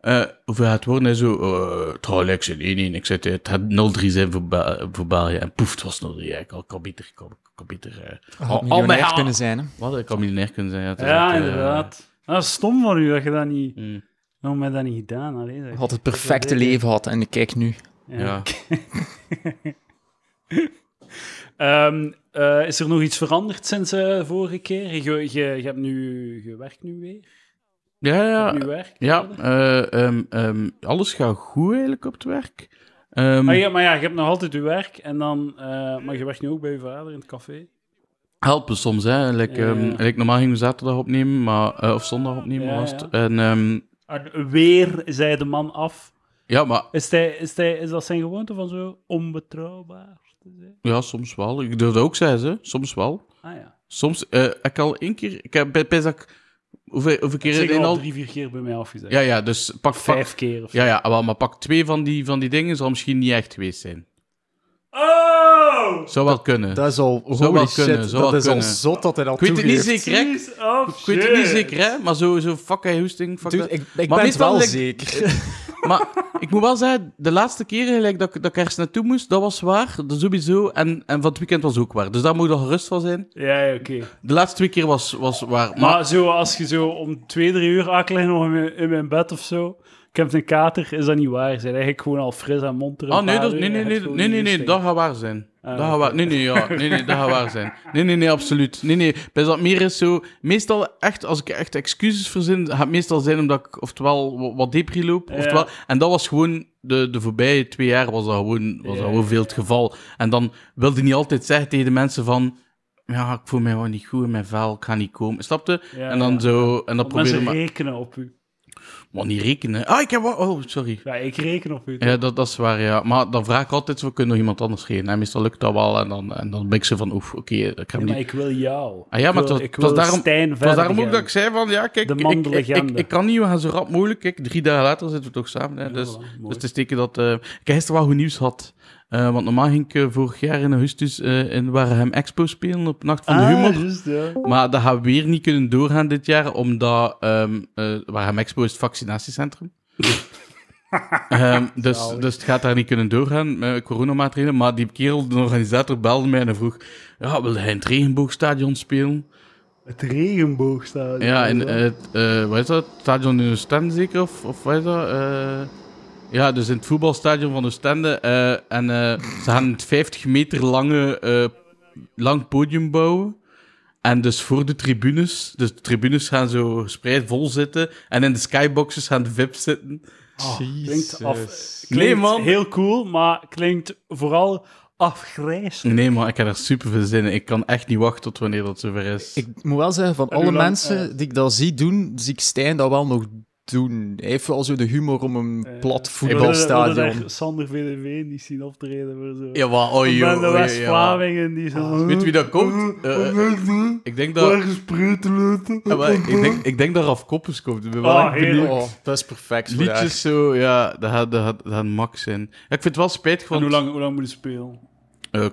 Speaker 2: eh hoeveel gaat het worden? Hij zo... eh het gaat Alex en 1-1. Ik zei, tegen- het gaat 0-3 zijn voor, Ba- voor België. En poef, het was 0-3. Ja, Ik kan, kan beter... Kan, kan beter eh,
Speaker 1: Had
Speaker 2: al- al
Speaker 1: miljonair
Speaker 2: mijn- ah,
Speaker 1: kunnen zijn, hè.
Speaker 2: Wat? Ik kan miljonair kunnen zijn. Ja, het is echt,
Speaker 3: Ja,
Speaker 2: eh,
Speaker 3: inderdaad. Dat is stom van u dat je dat niet...
Speaker 2: mm,
Speaker 3: Waarom heb je dat niet gedaan? Allee, zeg.
Speaker 1: Had het perfecte leven gehad en ik kijk nu.
Speaker 2: ja.
Speaker 3: Ehm, eh, is er nog iets veranderd sinds eh vorige keer? Je, je, je, hebt nu, je werkt nu weer.
Speaker 2: Ja,
Speaker 3: Je
Speaker 2: ja.
Speaker 3: hebt nu werk.
Speaker 2: Ja,
Speaker 3: verder.
Speaker 2: eh, ehm, ehm, alles gaat goed eigenlijk op het werk. Ehm,
Speaker 3: Maar Ah, ja, maar ja, je hebt nog altijd je werk. En dan, eh, maar je werkt nu ook bij je vader in het café.
Speaker 2: helpen soms, hè. Like,
Speaker 3: Ja, ja.
Speaker 2: ehm, like, normaal gingen we zaterdag opnemen, maar, eh, of zondag opnemen
Speaker 3: Ja,
Speaker 2: was het.
Speaker 3: ja.
Speaker 2: En, ehm,
Speaker 3: En weer zei de man af.
Speaker 2: ja, maar
Speaker 3: Is, hij, is, hij, is dat zijn gewoonte van zo onbetrouwbaar te zijn?
Speaker 2: ja, soms wel. Ik durfde ook zeggen, ze. Soms wel.
Speaker 3: Ah ja.
Speaker 2: Soms, eh ik al één keer... Ik heb bij, bij dat ik... Hoeveel, hoeveel
Speaker 3: Ik
Speaker 2: keer
Speaker 3: heb
Speaker 2: in
Speaker 3: al
Speaker 2: al...
Speaker 3: drie, vier keer bij mij afgezegd.
Speaker 2: Ja, ja, dus pak... pak
Speaker 3: Vijf keer of zo.
Speaker 2: ja, ja, wel, maar pak twee van die, van die dingen zal misschien niet echt geweest zijn.
Speaker 3: Oh!
Speaker 2: Zou wel kunnen.
Speaker 1: Dat is al...
Speaker 2: Zou
Speaker 1: holy
Speaker 2: wel
Speaker 1: shit,
Speaker 2: kunnen, zou
Speaker 1: dat
Speaker 2: wel
Speaker 1: is al
Speaker 2: kunnen.
Speaker 1: zot dat hij dat
Speaker 2: Ik weet het niet
Speaker 1: toegeeft.
Speaker 2: zeker, hè?
Speaker 3: Piece of
Speaker 2: Ik weet het niet
Speaker 3: Oh, shit.
Speaker 2: zeker, hè? Maar zo, zo fuck hij hoesting, fuck
Speaker 1: Dude,
Speaker 2: dat.
Speaker 1: ik, ik
Speaker 2: Maar
Speaker 1: ben het
Speaker 2: meestal
Speaker 1: wel
Speaker 2: lijkt-
Speaker 1: zeker.
Speaker 2: Maar ik moet wel zeggen, de laatste keren gelijk dat, ik- dat ik ergens naartoe moest, dat was waar. Dat sowieso. En, en van het weekend was ook waar. Dus daar moet je al gerust van zijn.
Speaker 3: Ja, ja, oké.
Speaker 2: De laatste twee keer was, was waar. Maar
Speaker 3: Maar zo, als je zo om twee, drie uur akelig nog in mijn, in mijn bed of zo. Ik heb een kater, is dat niet waar. Ze zijn eigenlijk gewoon al fris en monter. een
Speaker 2: Ah, nee,
Speaker 3: paar
Speaker 2: dat,
Speaker 3: uur
Speaker 2: nee,
Speaker 3: en
Speaker 2: nee,
Speaker 3: je
Speaker 2: nee,
Speaker 3: hebt
Speaker 2: nee,
Speaker 3: gewoon
Speaker 2: nee, nee,
Speaker 3: die
Speaker 2: dat
Speaker 3: hoesting.
Speaker 2: gaat waar zijn.
Speaker 3: Ah,
Speaker 2: dat gaat waar, nee, nee, ja, nee, nee, dat gaat waar zijn. Nee, nee, nee, absoluut. Nee, nee, bij dat meer is zo, meestal echt, als ik echt excuses verzin, gaat het meestal zijn omdat ik oftewel wa- wat depri loop,
Speaker 3: Ja.
Speaker 2: oftewel, en dat was gewoon, de, de voorbije twee jaar was dat gewoon, was
Speaker 3: Ja.
Speaker 2: dat gewoon veel het geval. En dan wilde je niet altijd zeggen tegen de mensen van, ja, ik voel mij wel niet goed in mijn vel, ik ga niet komen, snapte?
Speaker 3: Ja,
Speaker 2: en dan
Speaker 3: ja.
Speaker 2: zo, en dan
Speaker 3: Want mensen
Speaker 2: probeerde maar,
Speaker 3: rekenen op u.
Speaker 2: maar niet rekenen. Ah, ik heb wat, oh, sorry.
Speaker 3: Ja, ik reken op u.
Speaker 2: Ja, dat, dat is waar, ja. Maar dan vraag ik altijd, we kunnen nog iemand anders geven. En meestal lukt dat wel. En dan, en dan ben ik zo van, oef, oké, ik heb
Speaker 3: Ja, maar
Speaker 2: niet...
Speaker 3: ik wil jou.
Speaker 2: Ah ja,
Speaker 3: Ik
Speaker 2: maar
Speaker 3: wil-
Speaker 2: het was-
Speaker 3: ik
Speaker 2: het was
Speaker 3: wil
Speaker 2: daarom-
Speaker 3: Stijn
Speaker 2: Het was
Speaker 3: verder
Speaker 2: daarom ook dat ik zei van, ja, kijk,
Speaker 3: De
Speaker 2: ik,
Speaker 3: man, de
Speaker 2: ik, ik,
Speaker 3: legende.
Speaker 2: ik kan niet, we gaan zo rap mogelijk. Kijk, drie dagen later zitten we toch samen. Hè,
Speaker 3: Ja,
Speaker 2: dus,
Speaker 3: voilà, mooi.
Speaker 2: dus te steken dat... eh, ik gisteren wel goed nieuws had. Eh, want normaal ging ik eh, vorig jaar in augustus eh, in Wareham Expo spelen op Nacht van de
Speaker 3: Ah,
Speaker 2: Humor.
Speaker 3: juist, ja.
Speaker 2: Maar dat gaan we weer niet kunnen doorgaan dit jaar, omdat ehm eh, Warham Expo is het vaccinatiecentrum. Ehm, dus,
Speaker 3: Zalig.
Speaker 2: dus het gaat daar niet kunnen doorgaan met coronamaatregelen. Maar die kerel, de organisator, belde mij en vroeg: ja, wil hij in het regenboogstadion spelen?
Speaker 3: Het regenboog staat.
Speaker 2: Ja, in het, eh, wat is dat? Stadion in Oostende zeker? Of, of wat is dat? Eh, ja, dus in het voetbalstadion van Oostende. eh en eh, ze gaan het 50 meter lange, eh, lang podium bouwen. En dus voor de tribunes. Dus de tribunes gaan zo gespreid vol zitten. En in de skyboxes gaan de VIP's zitten.
Speaker 3: Ah, klinkt af. Klinkt
Speaker 2: Nee, man.
Speaker 3: heel cool, maar klinkt vooral afgrijs.
Speaker 2: Nee, maar ik heb er super veel zin in. Ik kan echt niet wachten tot wanneer dat zover is.
Speaker 1: Ik moet wel zeggen, van
Speaker 3: En
Speaker 1: alle
Speaker 3: hoe lang,
Speaker 1: mensen die ik dat zie doen, zie ik Stijn dat wel nog doen. Hij heeft wel zo de humor om een
Speaker 3: Eh,
Speaker 1: plat
Speaker 3: We willen- we willen
Speaker 1: voetbalstadion.
Speaker 3: daar Sander VDV niet zien optreden. Maar zo.
Speaker 2: Ja, maar, oh, joh, oh,
Speaker 3: Van de
Speaker 2: joh, ja. Ah,
Speaker 3: West-Vlamingen die zo...
Speaker 2: Weet wie dat komt? Eh, eh, ik denk dat... Ja, maar ik, denk, ik denk dat Raf Koppers komt. Ik ben wel
Speaker 3: Oh,
Speaker 2: echt benieuwd.
Speaker 3: heerlijk.
Speaker 1: Oh, dat is perfect. voor haar.
Speaker 2: Liedjes zo, ja, dat gaat, dat gaat, dat gaat max zijn. Ja, ik vind het wel spijtig
Speaker 3: Van
Speaker 2: van...
Speaker 3: hoe lang, hoe lang moet je spelen?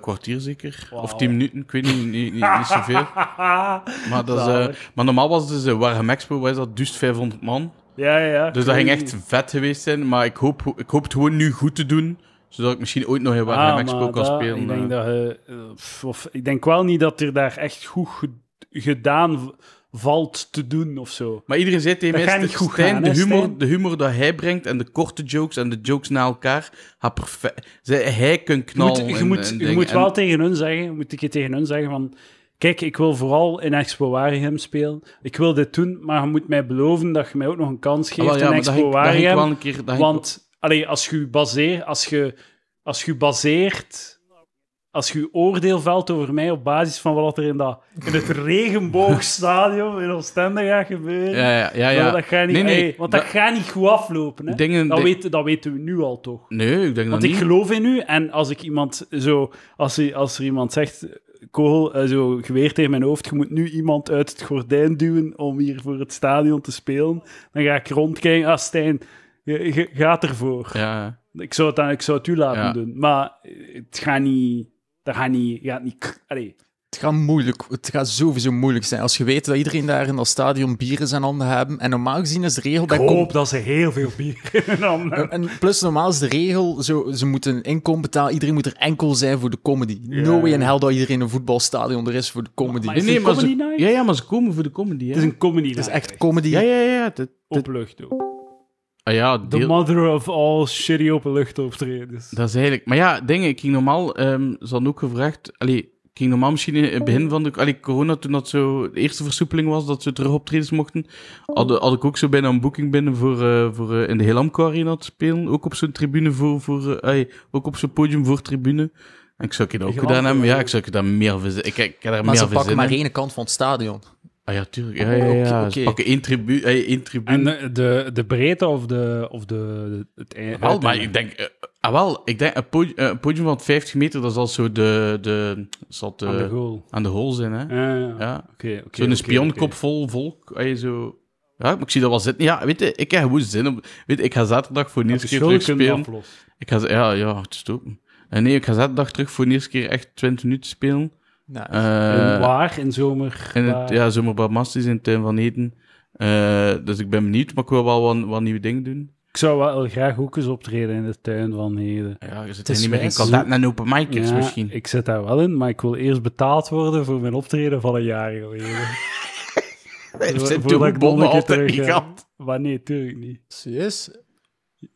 Speaker 2: kwartier zeker.
Speaker 3: Wauw.
Speaker 2: Of tien minuten, ik weet niet, niet, niet, niet zoveel.
Speaker 3: Haha.
Speaker 2: Maar, dat is, eh,
Speaker 3: Zalig.
Speaker 2: maar normaal was het dus eh, Warham Expo, wat is dat, duist 500 man.
Speaker 3: ja, ja, ja.
Speaker 2: Dus dat ging echt vet geweest zijn, maar ik hoop, ik hoop het gewoon nu goed te doen, zodat ik misschien ooit nog in Warham
Speaker 3: Ah,
Speaker 2: Expo
Speaker 3: maar
Speaker 2: kan
Speaker 3: dat-
Speaker 2: spelen.
Speaker 3: Ik
Speaker 2: eh.
Speaker 3: denk, dat, je, eh, pff, of, ik denk wel niet dat er daar echt goed ge- gedaan v- valt te doen of zo.
Speaker 2: Maar iedereen zei tegen
Speaker 3: Dat
Speaker 2: mij,
Speaker 3: gaat niet
Speaker 2: Stijn,
Speaker 3: goed gaan,
Speaker 2: de,
Speaker 3: hè,
Speaker 2: humor,
Speaker 3: Stijn?
Speaker 2: de humor dat hij brengt en de korte jokes en de jokes na elkaar, gaat perfect. Zij- Hij kan
Speaker 3: Je moet,
Speaker 2: knallen.
Speaker 3: je
Speaker 2: Nou, en-
Speaker 3: moet,
Speaker 2: en
Speaker 3: je
Speaker 2: dingen.
Speaker 3: moet
Speaker 2: En- Ah,
Speaker 3: wel tegen hun zeggen, moet ik je tegen hun zeggen van... Kijk, ik wil vooral in Expo Waregem spelen. Ik wil dit doen, maar je moet mij beloven dat je mij ook nog een kans
Speaker 2: Ah,
Speaker 3: geeft
Speaker 2: wel, ja,
Speaker 3: in
Speaker 2: maar dat ging-
Speaker 3: Expo
Speaker 2: dat ging ik wel
Speaker 3: Waregem.
Speaker 2: een keer... dat ging ik-
Speaker 3: Want allee, als je baseert, als je, als je baseert, als je oordeel velt over mij op basis van wat er in, dat, in het regenboogstadion in Oostende gaat gebeuren,
Speaker 2: Ja, ja, ja. ja.
Speaker 3: Nou, dat gaat niet,
Speaker 2: nee, nee,
Speaker 3: allee, want dat,
Speaker 2: dat-
Speaker 3: gaat niet goed aflopen. Hè?
Speaker 2: Dingen-
Speaker 3: dat,
Speaker 2: di-
Speaker 3: weten, dat weten we nu al toch.
Speaker 2: Nee, ik denk dat
Speaker 3: Want ik
Speaker 2: niet.
Speaker 3: geloof in u en als ik iemand zo, als er, als er iemand zegt, kogel, eh, zo geweer tegen mijn hoofd, je moet nu iemand uit het gordijn duwen om hier voor het stadion te spelen, dan ga ik rondkijken, ah Stijn, je, je gaat ervoor.
Speaker 2: Ja.
Speaker 3: Ik, zou het aan, ik zou het u laten
Speaker 2: Ja.
Speaker 3: doen, maar het gaat niet, dat gaat niet, gaat niet, k- allee.
Speaker 1: Het gaat moeilijk. Het gaat sowieso moeilijk zijn. Als je weet dat iedereen daar in dat stadion bieren zijn handen hebben. En normaal gezien is de regel bij
Speaker 3: Ik
Speaker 1: kom-
Speaker 3: hoop dat ze heel veel bier in hun handen hebben.
Speaker 1: En plus, normaal is de regel, zo, ze moeten een inkomen betalen. Iedereen moet er enkel zijn voor de comedy.
Speaker 3: Ja.
Speaker 1: No way in hell dat iedereen een voetbalstadion er is voor de comedy.
Speaker 3: Maar
Speaker 2: Nee,
Speaker 1: het
Speaker 3: is het
Speaker 2: nee,
Speaker 3: een
Speaker 2: maar ze,
Speaker 3: comedy night?
Speaker 2: ja, ja, maar ze komen voor de comedy, hè.
Speaker 3: Het is een comedy
Speaker 1: is
Speaker 3: night,
Speaker 1: echt comedy.
Speaker 2: Ja, ja, ja. ja, dit- dit-
Speaker 3: Openlucht ook.
Speaker 2: ah, ja,
Speaker 3: The
Speaker 2: deel...
Speaker 3: mother of all shitty openluchtoptredens.
Speaker 2: Dat is eigenlijk... Maar ja, dingen, ik ging normaal... ehm ze hadden ook gevraagd... Allee, ik ging normaal misschien in het begin van de... Allee, corona, toen dat zo... De eerste versoepeling was, dat ze terug optredens mochten,
Speaker 3: Oh.
Speaker 2: had, had ik ook zo bijna een boeking binnen voor, eh, voor eh, in de Helamco Arena te spelen. Ook op zo'n tribune voor... voor eh, allee, ook op zo'n podium voor tribune. En ik zou ik dat ook
Speaker 3: Helamco
Speaker 2: gedaan hebben. Ja,
Speaker 3: Arena.
Speaker 2: ik zou ik daar meer van zin- Ik, ik heb daar
Speaker 1: Maar
Speaker 2: meer
Speaker 1: ze
Speaker 2: van
Speaker 1: pakken
Speaker 2: zin
Speaker 1: maar
Speaker 2: in.
Speaker 1: één kant van het stadion.
Speaker 2: Ah ja, tuurlijk. Ja, ja, ja.
Speaker 1: Oké,
Speaker 2: Ze
Speaker 1: oké.
Speaker 2: pakken één, tribu eh, één
Speaker 3: En
Speaker 2: tribune.
Speaker 3: de, de, de breedte of de... Of de het, ei-
Speaker 2: wel,
Speaker 3: het-
Speaker 2: maar ik denk... eh, ah, wel, ik denk een podium, een podium van 50 meter, dat zal zo de... de zal de,
Speaker 3: aan de goal.
Speaker 2: aan de hol zijn, hè. Ja.
Speaker 3: Ja, ja. Oké, oké,
Speaker 2: Zo'n
Speaker 3: oké,
Speaker 2: spionkop
Speaker 3: oké.
Speaker 2: vol volk. Ah, je zo... Ja, maar ik zie dat wel zitten. Ja, weet je, ik heb goed zin om... Weet je, ik ga zaterdag voor de
Speaker 3: Dat
Speaker 2: eerste
Speaker 3: de
Speaker 2: keer
Speaker 3: schulden
Speaker 2: terug
Speaker 3: kunnen
Speaker 2: spelen.
Speaker 3: aflossen.
Speaker 2: Ik ga... z- Ja, ja, het stoppen. Eh, nee, ik ga zaterdag terug voor de eerste keer echt 20 minuten spelen.
Speaker 1: Nou,
Speaker 2: Eh,
Speaker 3: in waar in zomer?
Speaker 2: in het,
Speaker 3: waar?
Speaker 2: ja, zomerbadmasters in de tuin van Eden. Eh, dus ik ben benieuwd, maar ik wil wel wat, wat nieuwe dingen doen.
Speaker 3: Ik zou wel graag ook eens optreden in de tuin van Heden.
Speaker 2: Ja, je zit
Speaker 1: is
Speaker 2: niet meer in
Speaker 1: wijs.
Speaker 2: contact met open micers
Speaker 3: Ja,
Speaker 2: misschien.
Speaker 3: Ik zit daar wel in, maar ik wil eerst betaald worden voor mijn optreden van een jaar geleden.
Speaker 2: Er zijn
Speaker 3: Voordat ik nog
Speaker 2: toerbommen
Speaker 3: een keer
Speaker 2: altijd
Speaker 3: terug,
Speaker 2: niet
Speaker 3: eh,
Speaker 2: gehad.
Speaker 3: Maar nee, natuurlijk niet.
Speaker 1: serieus?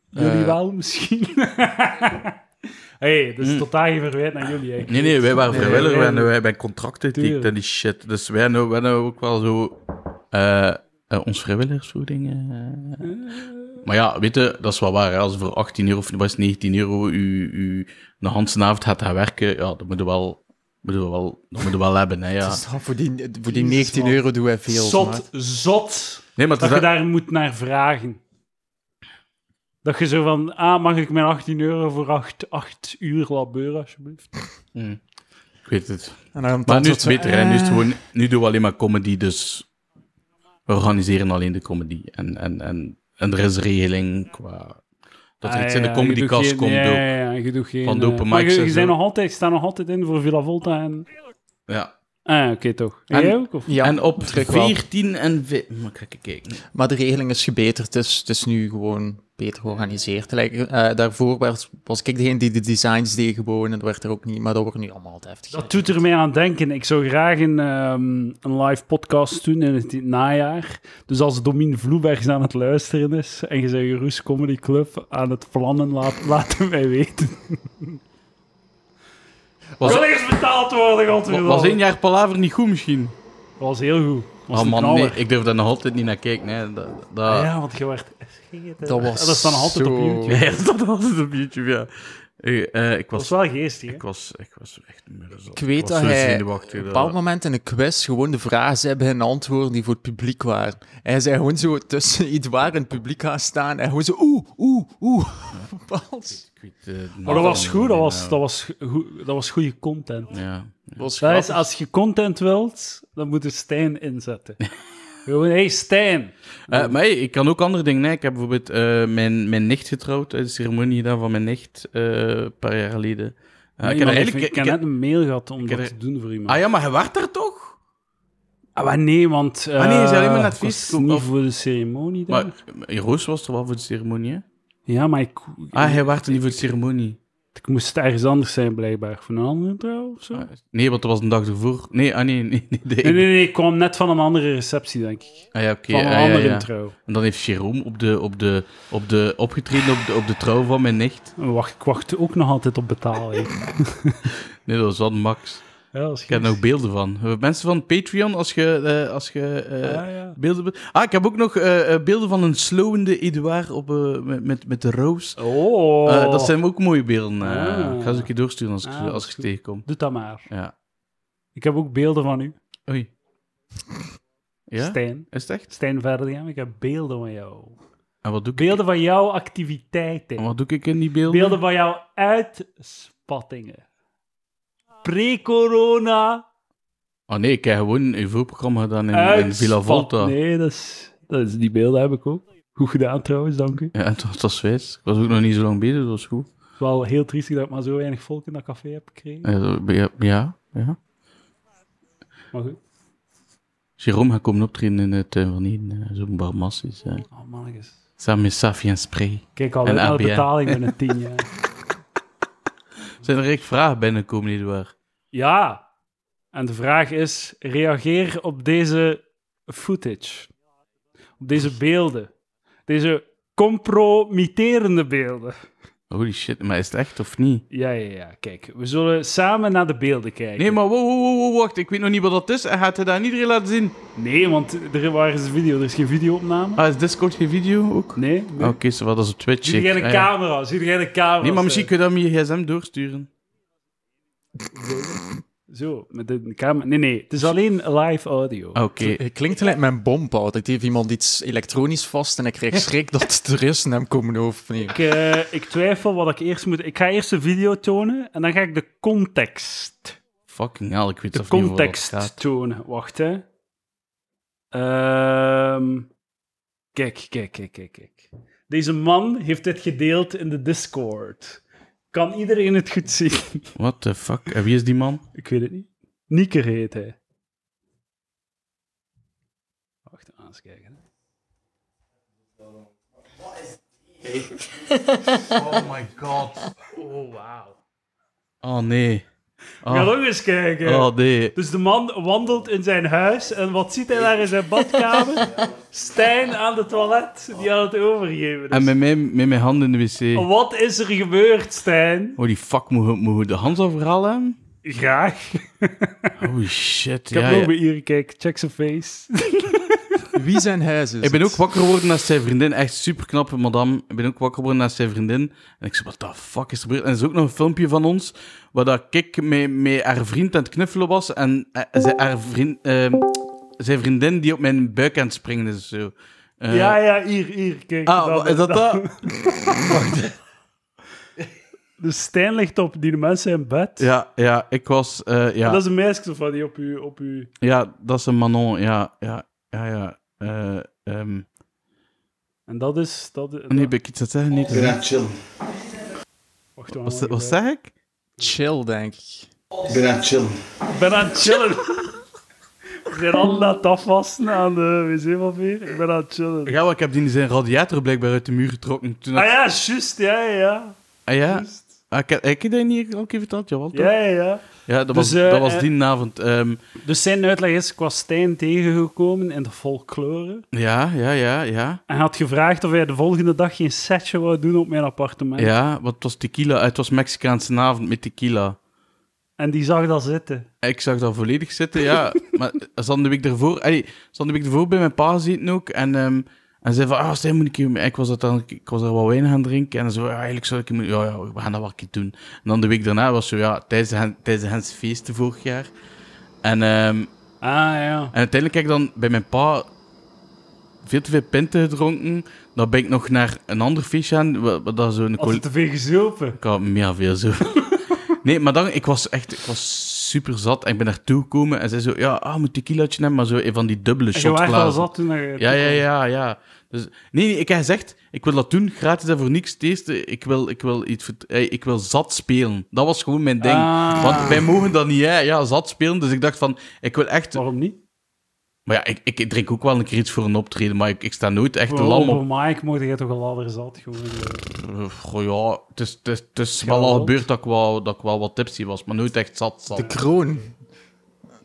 Speaker 3: Jullie
Speaker 2: Eh.
Speaker 3: wel misschien. hey, dat is
Speaker 2: Hmm.
Speaker 3: totaal geen verwijt naar jullie. hè. Ik
Speaker 2: Nee, nee, wij waren
Speaker 1: Nee,
Speaker 2: vrijwilliger,
Speaker 3: nee,
Speaker 2: en eh,
Speaker 3: nee.
Speaker 2: wij hebben contracten getekend
Speaker 3: Tuurlijk.
Speaker 2: en die shit. Dus wij hebben wij hebben ook wel zo eh, eh, ons vrijwilligersvoeding. eh. Maar ja, weet je, dat is wel waar. hè. Als je voor 18 euro of was 19 euro u, u de Hansenavond gaat gaan werken, ja, dat moeten we wel, moeten we wel, dat moeten we wel hebben. Hè, ja.
Speaker 1: Het is- voor die, voor die
Speaker 3: Jezus,
Speaker 1: 19
Speaker 3: man.
Speaker 1: euro doen wij veel. maar-
Speaker 3: Zot, zot.
Speaker 2: Nee, maar het
Speaker 3: Dat
Speaker 2: is
Speaker 3: je
Speaker 2: echt-
Speaker 3: daar moet naar vragen. Dat je zo van, ah, mag ik mijn 18 euro voor 8, 8 uur labeuren, alsjeblieft?
Speaker 2: Hm. Ik weet het.
Speaker 1: En dan
Speaker 2: Maar nu is
Speaker 1: antwoordt
Speaker 2: het
Speaker 1: ze,
Speaker 2: beter. hè. Nu, is het
Speaker 1: eh,
Speaker 2: gewoon, nu doen we alleen maar comedy, dus we organiseren alleen de comedy. En, en, en, en er is regeling qua... Dat er
Speaker 3: Ah,
Speaker 2: iets
Speaker 3: ja,
Speaker 2: in de
Speaker 3: ja, je doet
Speaker 2: comedycast
Speaker 3: geen-
Speaker 2: komt
Speaker 3: ja,
Speaker 2: ook.
Speaker 3: Ja, ja, je doet geen...
Speaker 2: Van de
Speaker 3: eh,
Speaker 2: open
Speaker 3: maar
Speaker 2: mics
Speaker 3: je,
Speaker 2: en
Speaker 3: je zijn
Speaker 2: zo.
Speaker 3: nog altijd, staan nog altijd in voor Villa Volta en...
Speaker 2: Ja.
Speaker 3: Ah, ja, oké, toch. En,
Speaker 2: En-
Speaker 3: jij ook? Of?
Speaker 1: Ja,
Speaker 2: en op
Speaker 1: terug wel.
Speaker 2: 14 en... vi- Maar kijk, kijk, kijk.
Speaker 1: Maar de regeling is gebeterd, dus het is nu gewoon beter georganiseerd. Like, eh, daarvoor werd, was ik degene die de designs deed gewoon, en dat werd er ook niet, maar dat wordt nu allemaal wat heftig.
Speaker 3: Dat doet er mij aan denken. Ik zou graag een, ehm, een live podcast doen in het najaar. Dus als Domien Vloebergs aan het luisteren is en je zei Roes Comedy Club aan het plannen, laat, laat het mij weten.
Speaker 2: Was-
Speaker 3: ik wil eerst betaald worden,
Speaker 2: Wa-
Speaker 3: godverdomme.
Speaker 2: Was één jaar palaver niet goed misschien?
Speaker 3: was heel goed. Was
Speaker 2: oh
Speaker 3: een
Speaker 2: man, nee, Eh,
Speaker 3: knaller.
Speaker 2: ik durf daar nog altijd niet naar kijken. Hè. Dat, dat...
Speaker 3: Ja, want je werd...
Speaker 1: Dat was
Speaker 3: Dat staat nog altijd op
Speaker 1: zo-
Speaker 3: YouTube.
Speaker 2: Ja, dat staat altijd op YouTube, ja. Ik, eh, ik,
Speaker 3: Dat was
Speaker 2: was,
Speaker 3: wel geestig, hè?
Speaker 2: ik, was, ik was echt murzot.
Speaker 1: Ik weet
Speaker 2: was
Speaker 1: dat
Speaker 2: zo
Speaker 1: hij
Speaker 2: zenuwachtig
Speaker 1: op een
Speaker 2: dat-
Speaker 1: bepaald moment in een quiz gewoon de vragen zei bij een antwoorden die voor het publiek waren. En hij zei gewoon zo tussen iets waar in het publiek gaan staan en gewoon zo oeh, oeh, oeh. Bepaald.
Speaker 2: Ik weet, eh,
Speaker 3: Maar dat was
Speaker 2: naam
Speaker 3: goed, dat
Speaker 2: niet,
Speaker 3: was,
Speaker 2: nou.
Speaker 3: dat was, goed, dat was goede content.
Speaker 2: Ja.
Speaker 1: Was
Speaker 3: Dat is,
Speaker 1: grappig.
Speaker 3: als je content wilt, dan moet je Stijn inzetten. Gewoon, hey Stijn.
Speaker 2: Eh, maar hey, ik kan ook andere dingen. Hè. Ik heb bijvoorbeeld eh, mijn, mijn nicht getrouwd. eh, De ceremonie gedaan van mijn nicht eh, een paar jaar geleden. Eh, ik
Speaker 3: Iemand
Speaker 2: heb er
Speaker 3: heeft-
Speaker 2: eigenlijk...
Speaker 3: ik heb net een mail gehad om
Speaker 2: ik heb
Speaker 3: dat
Speaker 2: er-
Speaker 3: te doen voor iemand.
Speaker 2: Ah ja, maar hij werd er toch?
Speaker 3: Ah, maar nee, want... eh
Speaker 2: Ah, nee, is alleen maar naar het
Speaker 3: ik was
Speaker 2: feest.
Speaker 3: niet
Speaker 2: Of-
Speaker 3: voor de ceremonie daar.
Speaker 2: Maar eh, Roos was er wel voor de ceremonie, hè?
Speaker 3: ja, maar ik,
Speaker 2: Ah, hij werd er niet voor de ceremonie.
Speaker 3: ik moest ergens anders zijn blijkbaar. Van een andere trouw of zo?
Speaker 2: Ah, nee, want dat was een dag ervoor. Nee, ah nee, nee. nee, nee.
Speaker 3: nee, nee, nee, ik kwam net van een andere receptie, denk ik.
Speaker 2: Ah ja, oké.
Speaker 3: Van een
Speaker 2: ah, ja,
Speaker 3: andere
Speaker 2: ja.
Speaker 3: trouw.
Speaker 2: En dan heeft Jerome op de, op de, op de, opgetreden op de, op de trouw van mijn nicht.
Speaker 3: Wacht, ik wacht ook nog altijd op betaling.
Speaker 2: Nee, dat was wat Max.
Speaker 3: ja, dat is
Speaker 2: Ik heb er
Speaker 3: goed.
Speaker 2: nog beelden van. Eh, Mensen van Patreon, als je... eh, als je eh,
Speaker 3: Ja, ja.
Speaker 2: Beelden. Ah, ik heb ook nog eh, eh, beelden van een slowende Edouard op, eh, met, met, met de roos.
Speaker 3: Oh.
Speaker 2: Eh, dat zijn ook mooie beelden. eh.
Speaker 3: Ah.
Speaker 2: Ik ga ze een keer doorsturen als ik,
Speaker 3: Ah, dat
Speaker 2: als
Speaker 3: is
Speaker 2: ik ze
Speaker 3: goed.
Speaker 2: tegenkom.
Speaker 3: Doe dat maar.
Speaker 2: Ja.
Speaker 3: Ik heb ook beelden van u,
Speaker 2: Oei. Ja?
Speaker 3: Stijn.
Speaker 2: Is het echt?
Speaker 3: Stijn Verdiam, ik heb beelden van jou.
Speaker 2: En wat doe ik,
Speaker 3: Beelden van jouw
Speaker 2: en
Speaker 3: activiteiten.
Speaker 2: wat doe ik in die beelden?
Speaker 3: Beelden van jouw uitspattingen. Pre-corona
Speaker 2: Oh nee, ik heb gewoon een voorprogramma gedaan in, in Villa Volta.
Speaker 3: uitspattingen. Nee, dat is, dat is, die beelden heb ik ook. Goed gedaan trouwens, dank u.
Speaker 2: Ja, het was, het was wijs. Ik was ook nog niet zo lang bezig, dat was goed.
Speaker 3: Het is wel heel triestig dat ik maar zo weinig volk in dat café heb gekregen.
Speaker 2: Eh, dat- Ja, ja. ja.
Speaker 3: Maar goed.
Speaker 2: Jérôme gaat komen optreden in de tuin van Eden. eh, Zo'n barmassis. eh.
Speaker 3: Oh mannetjes.
Speaker 2: Samen met Safi en Spray.
Speaker 3: Kijk al
Speaker 2: En
Speaker 3: uit naar de
Speaker 2: ABN.
Speaker 3: betaling binnen tien jaar.
Speaker 2: Zijn er echt vragen binnenkomen, Edouard?
Speaker 3: Ja. En de vraag is, reageer op deze footage. Op deze beelden. Deze compromitterende beelden.
Speaker 2: Holy shit, maar is het echt of niet?
Speaker 3: Ja, ja, ja. Kijk, we zullen samen naar de beelden kijken.
Speaker 2: Nee, maar wow, wow, wow, wow, wacht, ik weet nog niet wat dat is. En gaat hij dat aan iedereen laten zien?
Speaker 3: Nee, want er waar is de video? Er is geen videoopname.
Speaker 2: Ah, is Discord geen video ook?
Speaker 3: Nee.
Speaker 2: Ah,
Speaker 3: nee.
Speaker 2: Oké, zo wat dat is op Twitch.
Speaker 3: Zie
Speaker 2: ik-
Speaker 3: jij de
Speaker 2: ah, ja.
Speaker 3: camera? Zie jij de camera?
Speaker 2: Nee, maar misschien kun je dat met je gsm doorsturen.
Speaker 3: Zo, met de camera. Nee, nee. Het is alleen live audio.
Speaker 2: Ah, Oké.
Speaker 1: Het klinkt gelijk mijn bompout. Ik geef iemand iets elektronisch vast en ik krijg schrik dat het er is en hem komen overnemen.
Speaker 3: Ik, eh, ik twijfel wat ik eerst moet... Ik ga eerst de video tonen en dan ga ik de context...
Speaker 2: Fucking hell, ik weet
Speaker 3: De
Speaker 2: zelf niet over wat dat gaat.
Speaker 3: context tonen. Wacht, hè. Ehm, kijk, kijk, kijk, kijk, kijk. Deze man heeft dit gedeeld in de Discord. Kan iedereen het goed zien?
Speaker 2: What the fuck? En wie is die man?
Speaker 3: Ik weet het niet. Nieker heet hij. Wacht, eens kijken. hè.
Speaker 2: Oh my god.
Speaker 3: Oh, wauw.
Speaker 2: Oh nee.
Speaker 3: Ga
Speaker 2: Oh,
Speaker 3: nog eens kijken.
Speaker 2: oh nee.
Speaker 3: Dus de man wandelt in zijn huis en wat ziet hij daar in zijn badkamer? Stijn aan de toilet, die aan het overgeven is.
Speaker 2: En met mijn, met mijn handen in de wc.
Speaker 3: Wat is er gebeurd, Stijn?
Speaker 2: Holy fuck, moet moet ik de Hans overhalen hebben?
Speaker 3: Graag.
Speaker 2: Holy shit,
Speaker 3: Ik heb
Speaker 2: ja,
Speaker 3: nog
Speaker 2: ja.
Speaker 3: bij hier gekeken. Check zijn face.
Speaker 1: Wie zijn huizen?
Speaker 2: Ik ben ook wakker geworden naast zijn vriendin. Echt super knappe madame. Ik ben ook wakker geworden naast zijn vriendin. En ik zei, wat de fuck is er gebeurd? En er is ook nog een filmpje van ons, waar dat ik met, met haar vriend aan het knuffelen was. En eh, zij- haar vriend, eh, zijn vriendin die op mijn buik aan het springen is. Zo. Eh,
Speaker 3: ja, ja, hier, hier. Kijk.
Speaker 2: Ah, wa- is dat dat?
Speaker 3: Dus Stijn ligt op die mensen in bed.
Speaker 2: Ja, ja, ik was... eh, ja.
Speaker 3: En Dat is een meisje of wat, die op u... Op u...
Speaker 2: ja, dat is een Manon. Ja, ja, ja, ja. Eh, ehm,
Speaker 3: En dat is... Dat, dat...
Speaker 2: nee, ben ik iets aan het zeggen? Nee, het is niet.
Speaker 4: chill.
Speaker 3: Wacht, we gaan
Speaker 2: Wat,
Speaker 3: nog
Speaker 2: wat
Speaker 3: even-
Speaker 2: zeg ik?
Speaker 1: Chill, denk ik.
Speaker 4: Ben aan het chillen.
Speaker 3: Ik ben aan het chillen. We zijn al aan het afwassen aan de wc-papier. Ik ben aan het chillen.
Speaker 2: Ja, maar ik heb die zijn radiator blijkbaar uit de muur getrokken. Toen
Speaker 3: Ah
Speaker 2: ik-
Speaker 3: ja, juist, ja, ja, ja.
Speaker 2: Ah, ja?
Speaker 3: Juist.
Speaker 2: Ah, ik heb, heb ik dat niet al een keer verteld? Jawel, toch?
Speaker 3: Ja, ja, ja.
Speaker 2: Ja, dat,
Speaker 3: Dus,
Speaker 2: was,
Speaker 3: eh,
Speaker 2: dat was
Speaker 3: eh,
Speaker 2: die avond. ehm,
Speaker 3: Dus zijn uitleg is, ik was Stijn tegengekomen in de folklore.
Speaker 2: ja, ja, ja, ja.
Speaker 3: En had gevraagd of hij de volgende dag geen setje wou doen op mijn appartement.
Speaker 2: Ja, want het was tequila. Het was Mexicaanse avond met tequila.
Speaker 3: En die zag dat zitten.
Speaker 2: Ik zag dat volledig zitten, ja. maar ze hadden de week ervoor... Allee, ze hadden de week ervoor bij mijn pa gezeten ook. En, ehm, en ze zei van, ah, Stijn, moet ik hier... mee?" Ik was, dat dan, ik was er wat wijn gaan drinken. En ze zei, ah, eigenlijk zou ik... hier moeten- Ja, ja, we gaan dat wel een keer doen. En dan de week daarna was zo, ja, tijdens de, Hen- tijdens de Hens feesten vorig jaar. En... ehm,
Speaker 3: Ah, ja.
Speaker 2: En uiteindelijk heb ik dan bij mijn pa veel te veel pinten gedronken. Dan ben ik nog naar een ander feestje aan. wa- wa- Dat zo'n
Speaker 3: Had
Speaker 2: collega...
Speaker 3: het te veel gezopen.
Speaker 2: Ik had meer veel zo. nee, maar dan, ik was echt ik was super zat. En ik ben naartoe gekomen en zei zo, ja, ah, moet tequilaatje nemen. Maar zo een van die dubbele
Speaker 3: En je
Speaker 2: shots
Speaker 3: werd al
Speaker 2: glazen.
Speaker 3: zat toen je...
Speaker 2: Ja, ja, ja, ja. Dus, nee, nee, ik heb gezegd, ik wil dat doen, gratis en voor niks. Het eerste, ik wil, ik wil, iets, vert- eh, ik wil zat spelen. Dat was gewoon mijn ding.
Speaker 3: Ah.
Speaker 2: Want wij mogen dat niet, hè. Ja, zat spelen. Dus ik dacht van, ik wil echt
Speaker 3: Waarom niet?
Speaker 2: maar ja, ik, ik drink ook wel een keer iets voor een optreden, maar ik, ik sta nooit echt
Speaker 1: Oh.
Speaker 3: Voor
Speaker 2: lam op.
Speaker 3: open mic mocht je toch een ladder zat gewoon. eh.
Speaker 2: Goh, ja, het is, het is, het is
Speaker 3: Ja,
Speaker 2: wel al
Speaker 3: wel.
Speaker 2: gebeurd dat ik wel, dat ik wel wat tipsy was, maar nooit echt zat. zat.
Speaker 1: De kroon.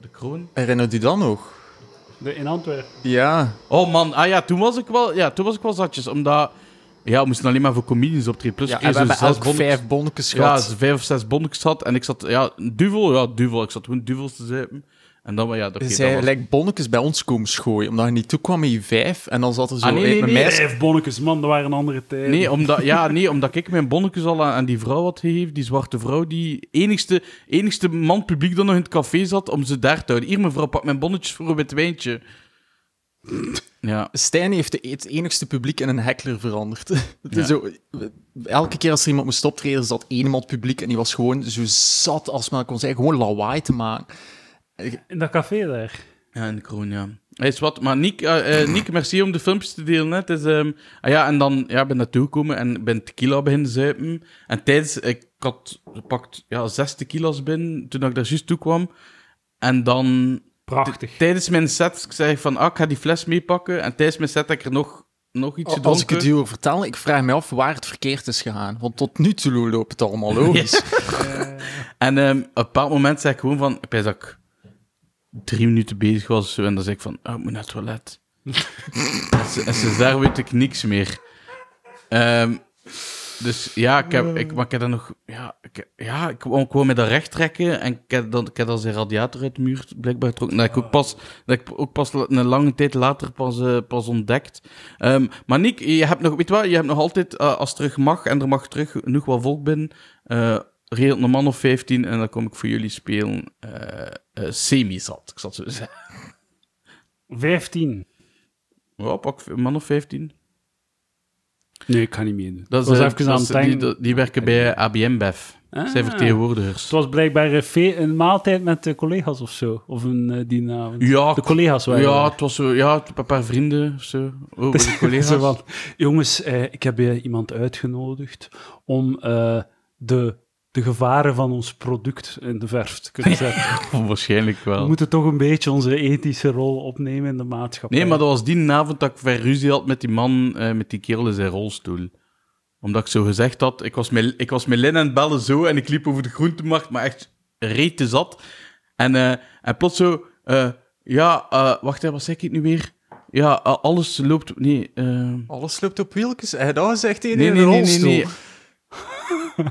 Speaker 2: De kroon?
Speaker 1: Herinnert u dan nog?
Speaker 3: De- In Antwerpen.
Speaker 1: Ja.
Speaker 2: Oh man, ah ja, toen was ik wel, ja, toen was ik wel zatjes, omdat... Ja, we moesten alleen maar voor comedians optreden. Plus
Speaker 1: ja
Speaker 2: ik
Speaker 1: en
Speaker 2: kreeg
Speaker 1: we hebben
Speaker 2: zo'n zes
Speaker 1: elk
Speaker 2: bonnetjes.
Speaker 1: vijf bonnetjes
Speaker 2: Ja,
Speaker 1: gehad.
Speaker 2: ze vijf of zes bonnetjes had en ik zat... Ja, duvel, ja, duvel. Ik zat gewoon duvels te zuipen. En dan, maar ja, oké, dat
Speaker 1: Zij
Speaker 2: was-
Speaker 1: lijkt bonnetjes bij ons komen schooien, omdat je niet toe kwam met je vijf. En dan zat er zo
Speaker 2: Ah, nee, nee,
Speaker 1: een
Speaker 2: nee.
Speaker 1: meisje...
Speaker 3: Vijf bonnetjes, man, dat waren andere tijden.
Speaker 2: Nee, omdat, ja, nee, omdat ik mijn bonnetjes al aan, aan die vrouw had gegeven, die zwarte vrouw, die enigste, enigste man publiek dat nog in het café zat, om ze daar te houden. Hier, mevrouw, pak mijn bonnetjes voor een wit wijntje. Ja.
Speaker 1: Stijn heeft de- het enigste publiek in een heckler veranderd. Het
Speaker 2: Ja.
Speaker 1: is zo, elke keer als er iemand moest optreden, zat één iemand publiek en die was gewoon zo zat als men kon zeggen, gewoon lawaai te maken.
Speaker 3: In dat café daar.
Speaker 2: Ja, en de kroon, ja. Hij is wat, maar Nick, eh, eh, Nick, merci om de filmpjes te delen. Hè. Het is, ehm, ah ja, en dan ja, ben ik naartoe gekomen en ben tequila beginnen zuipen. En tijdens, ik had gepakt ja, zes tequila's binnen, toen ik daar juist toe kwam. En dan
Speaker 3: Prachtig.
Speaker 2: Tijdens mijn set ik zei ik van, ah, ik ga die fles meepakken. En tijdens mijn set heb ik er nog, nog iets gedronken.
Speaker 1: Oh, Als ik het duur vertel, ik vraag me af waar het verkeerd is gegaan. Want tot nu toe loopt het allemaal logisch.
Speaker 2: En ehm, op een bepaald moment zei ik gewoon van, ik weet dat ik drie minuten bezig was of zo, En dan zei ik van, ah, ik moet naar het toilet. en ze- en sinds daar weet ik niks meer. Ehm, dus ja, ik heb, ik, maar ik heb dan nog... Ja, ik, ja, ik wou ik wou me dat recht trekken. En ik heb dan, ik heb dan zijn radiator uit de muur blijkbaar getrokken. Dat ik ook pas, dat ik ook pas la- een lange tijd later pas, eh, pas ontdekt. Ehm, maar Nick, je hebt nog, weet je wat, je hebt nog altijd, eh, als het terug mag, en er mag terug genoeg wat volk binnen, eh regelt een man of 15 en dan kom ik voor jullie spelen eh, eh, semi-zat. Ik zat zo te zeggen.
Speaker 3: Vijftien.
Speaker 2: Ja, pak een man of 15.
Speaker 3: Nee, ik ga niet meedoen.
Speaker 2: Dat is,
Speaker 3: was
Speaker 2: eh,
Speaker 3: even
Speaker 2: dat
Speaker 3: aan
Speaker 2: is-
Speaker 3: het denken. Ah.
Speaker 2: die, dat- die werken bij ABM Bef. Zijn vertegenwoordigers.
Speaker 3: Het was blijkbaar een, fe- een maaltijd met eh, collega's of zo. Of een eh, dienavond.
Speaker 2: Ja,
Speaker 3: De collega's waren
Speaker 2: Ja,
Speaker 3: er.
Speaker 2: het was zo, ja, een paar vrienden of zo. Oh, de collega's.
Speaker 3: Zo van, jongens, eh, ik heb eh, iemand uitgenodigd om eh, de, de gevaren van ons product in de verf te kunnen zetten.
Speaker 2: Waarschijnlijk
Speaker 3: We
Speaker 2: wel.
Speaker 3: moeten toch een beetje onze ethische rol opnemen in de maatschappij.
Speaker 2: Nee, maar dat was die avond dat ik ver ruzie had met die man, eh, met die kerel in zijn rolstoel. Omdat ik zo gezegd had, ik was met, ik was met Lin aan het bellen zo en ik liep over de groentemarkt, maar echt reet te zat. En, eh, en plots zo, eh, ja, eh, wacht, hè, wat zeg ik het nu weer? Ja, eh, alles loopt, nee, eh,
Speaker 1: Alles loopt op wieltjes. Hij dat zegt één
Speaker 2: nee,
Speaker 1: in
Speaker 2: nee,
Speaker 1: de
Speaker 2: nee, nee,
Speaker 1: rolstoel.
Speaker 2: nee.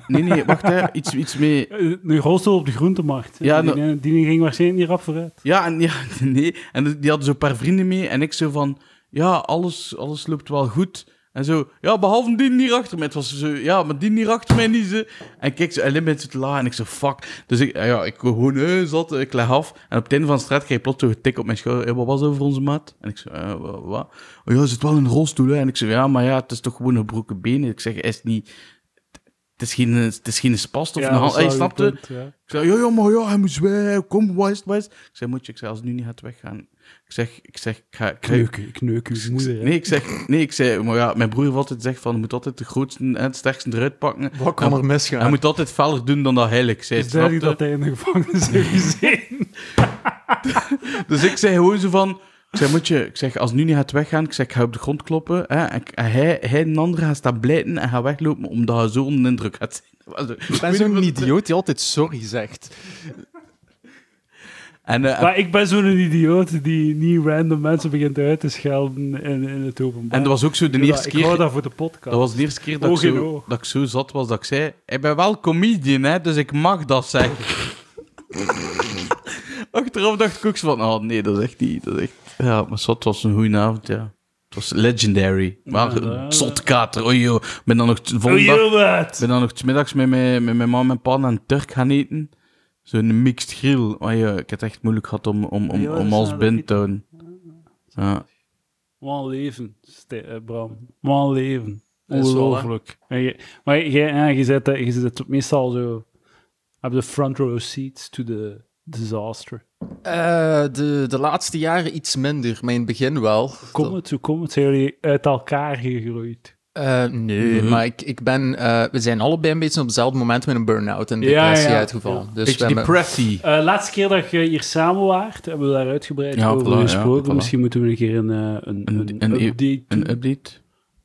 Speaker 2: Nee, nee, wacht, hè, iets, iets mee.
Speaker 3: Eh, Een rolstoel op de groentemarkt.
Speaker 2: Ja,
Speaker 3: die,
Speaker 2: nou-
Speaker 3: eh, die ging waarschijnlijk niet rap vooruit.
Speaker 2: Ja, en, ja, nee. En die hadden zo'n paar vrienden mee. En ik zo van, ja, alles, alles loopt wel goed. En zo, ja, behalve die hier achter mij. Het was zo, ja, maar die hier achter mij niet. Ze. En ik kijk zo, en Lim met zit la. En ik zo, fuck. Dus ik, ja, ik gewoon eh, zat, ik leg af. En op het einde van de straat kreeg ik plots zo'n tik op mijn schouder. Hey, wat was over onze maat? En ik zo, eh, wa- wat? Oh ja, hij zit wel in een rolstoel, hè. En ik zo, ja, maar ja, het is toch gewoon een gebroken been. Ik zeg, hij is niet... Het is geen, het is geen spast of
Speaker 3: Ja,
Speaker 2: een hand.
Speaker 3: dat is
Speaker 2: Hey,
Speaker 3: wel een
Speaker 2: snapte?
Speaker 3: punt, ja.
Speaker 2: Ik zei, ja, ja, maar ja, hij moet zwijgen, kom, wat is het, wat is het? Ik zei, moet je, ik zei, als het nu niet gaat weggaan. Ik zeg, ik zeg, ik ga... Ik,
Speaker 3: Kneuk, u, ik neuk uw moeder. hè.
Speaker 2: Nee, ik zeg, nee, ik zei, maar ja, mijn broer heeft altijd gezegd van, je moet altijd de grootste en het sterkste eruit pakken.
Speaker 1: Wat kan
Speaker 2: Ja.
Speaker 1: er misgaan?
Speaker 2: Hij moet altijd feller doen dan dat heilig zei.
Speaker 3: Het is duidelijk dat
Speaker 2: snapte?
Speaker 3: hij in de gevangenis heeft gezeten.
Speaker 2: Dus ik zei gewoon zo van, ik zei, moet je, ik zeg, als het nu niet gaat weggaan, ik zeg, ik ga op de grond kloppen. Hè, en, ik- en hij, hij en de andere gaan staan blijten en gaan weglopen, omdat hij zo onder de indruk gaat zijn.
Speaker 1: Ik ben zo'n idioot die altijd sorry zegt.
Speaker 2: En, eh,
Speaker 3: Maar ik ben zo'n idioot die niet random mensen begint uit te schelden in, in het openbaar.
Speaker 2: en dat was ook zo de
Speaker 3: Ik doe dat-
Speaker 2: eerste
Speaker 3: Ik
Speaker 2: keer...
Speaker 3: hou dat voor de podcast.
Speaker 2: Dat was de eerste keer dat,
Speaker 3: Oog
Speaker 2: ik
Speaker 3: in
Speaker 2: zo,
Speaker 3: oog.
Speaker 2: dat ik zo zat was dat ik zei: Ik ben wel comedian, hè, dus ik mag dat zeggen. Achteraf dacht ik ook zo van: Oh nee, dat is echt niet. Dat is echt... Ja, maar zat, het was een goede avond, ja. Het was legendary. Maar
Speaker 3: Ja, dat-
Speaker 2: zotkater, oei joh. Ik ben dan nog t-
Speaker 3: Oh,
Speaker 2: volgende dag-
Speaker 3: joh, wat?
Speaker 2: ik ben dan nog 's middags met mijn, met mijn man en pa een Turk gaan eten. Zo'n mixed grill. Oh, ja, ik heb het echt moeilijk gehad om, om, om,
Speaker 3: Ja, dat
Speaker 2: om
Speaker 3: is
Speaker 2: alles
Speaker 3: wel
Speaker 2: binnen te
Speaker 3: pittig.
Speaker 2: houden. Ja. dus
Speaker 3: Wat een leven, Ste- eh, Bram. Wat een leven.
Speaker 1: Dat is wel, hè.
Speaker 3: Ongelooflijk. En je- Maar jij ja, je zit, eh, je zit meestal zo... Heb de front row seats to the disaster.
Speaker 1: Eh, de, de laatste jaren iets minder, maar in het begin wel.
Speaker 3: Kom het, hoe komt het? Zijn jullie uit elkaar gegroeid?
Speaker 1: Eh, nee,
Speaker 2: Mhm.
Speaker 1: maar ik, ik ben, eh, we zijn allebei een beetje op hetzelfde moment met een burn-out en
Speaker 3: Ja,
Speaker 1: depressie
Speaker 3: ja, ja.
Speaker 1: uitgevallen. Dus we
Speaker 2: Beetje
Speaker 1: hebben-
Speaker 2: depressie.
Speaker 3: Eh, laatste keer dat je hier samen waart, hebben we daar uitgebreid
Speaker 2: Ja,
Speaker 3: over
Speaker 2: voilà, ja,
Speaker 3: gesproken.
Speaker 2: voilà.
Speaker 3: Misschien moeten we een keer een, eh, een,
Speaker 2: Een-
Speaker 3: een,
Speaker 2: een- e-
Speaker 3: update doen.
Speaker 2: Een update?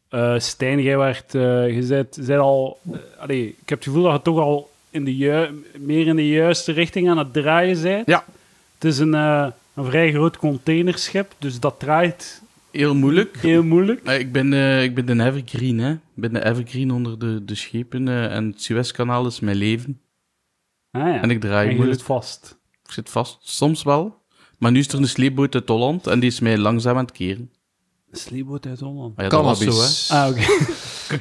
Speaker 3: Eh, Stijn, jij werd, eh, je bent, je bent al... eh, allee, ik heb het gevoel dat je toch al in de ju- meer in de juiste richting aan het draaien bent.
Speaker 2: Ja.
Speaker 3: Het is een, eh, een vrij groot containerschip, dus dat draait
Speaker 2: Heel moeilijk.
Speaker 3: heel moeilijk.
Speaker 2: Eh, Ik ben, eh, ik ben de evergreen, hè. Ik ben de evergreen onder de, de schepen. eh, en het Suezkanaal is mijn leven.
Speaker 3: Ah, ja.
Speaker 2: En ik draai
Speaker 3: en je
Speaker 2: moeilijk.
Speaker 3: zit vast.
Speaker 2: Ik zit vast. Soms wel. Maar nu is er een sleepboot uit Holland en die is mij langzaam aan het keren.
Speaker 3: Een sleepboot uit Holland.
Speaker 2: Ah ja, dat was
Speaker 1: cannabis.
Speaker 3: Ah, oké.
Speaker 2: zo, hè.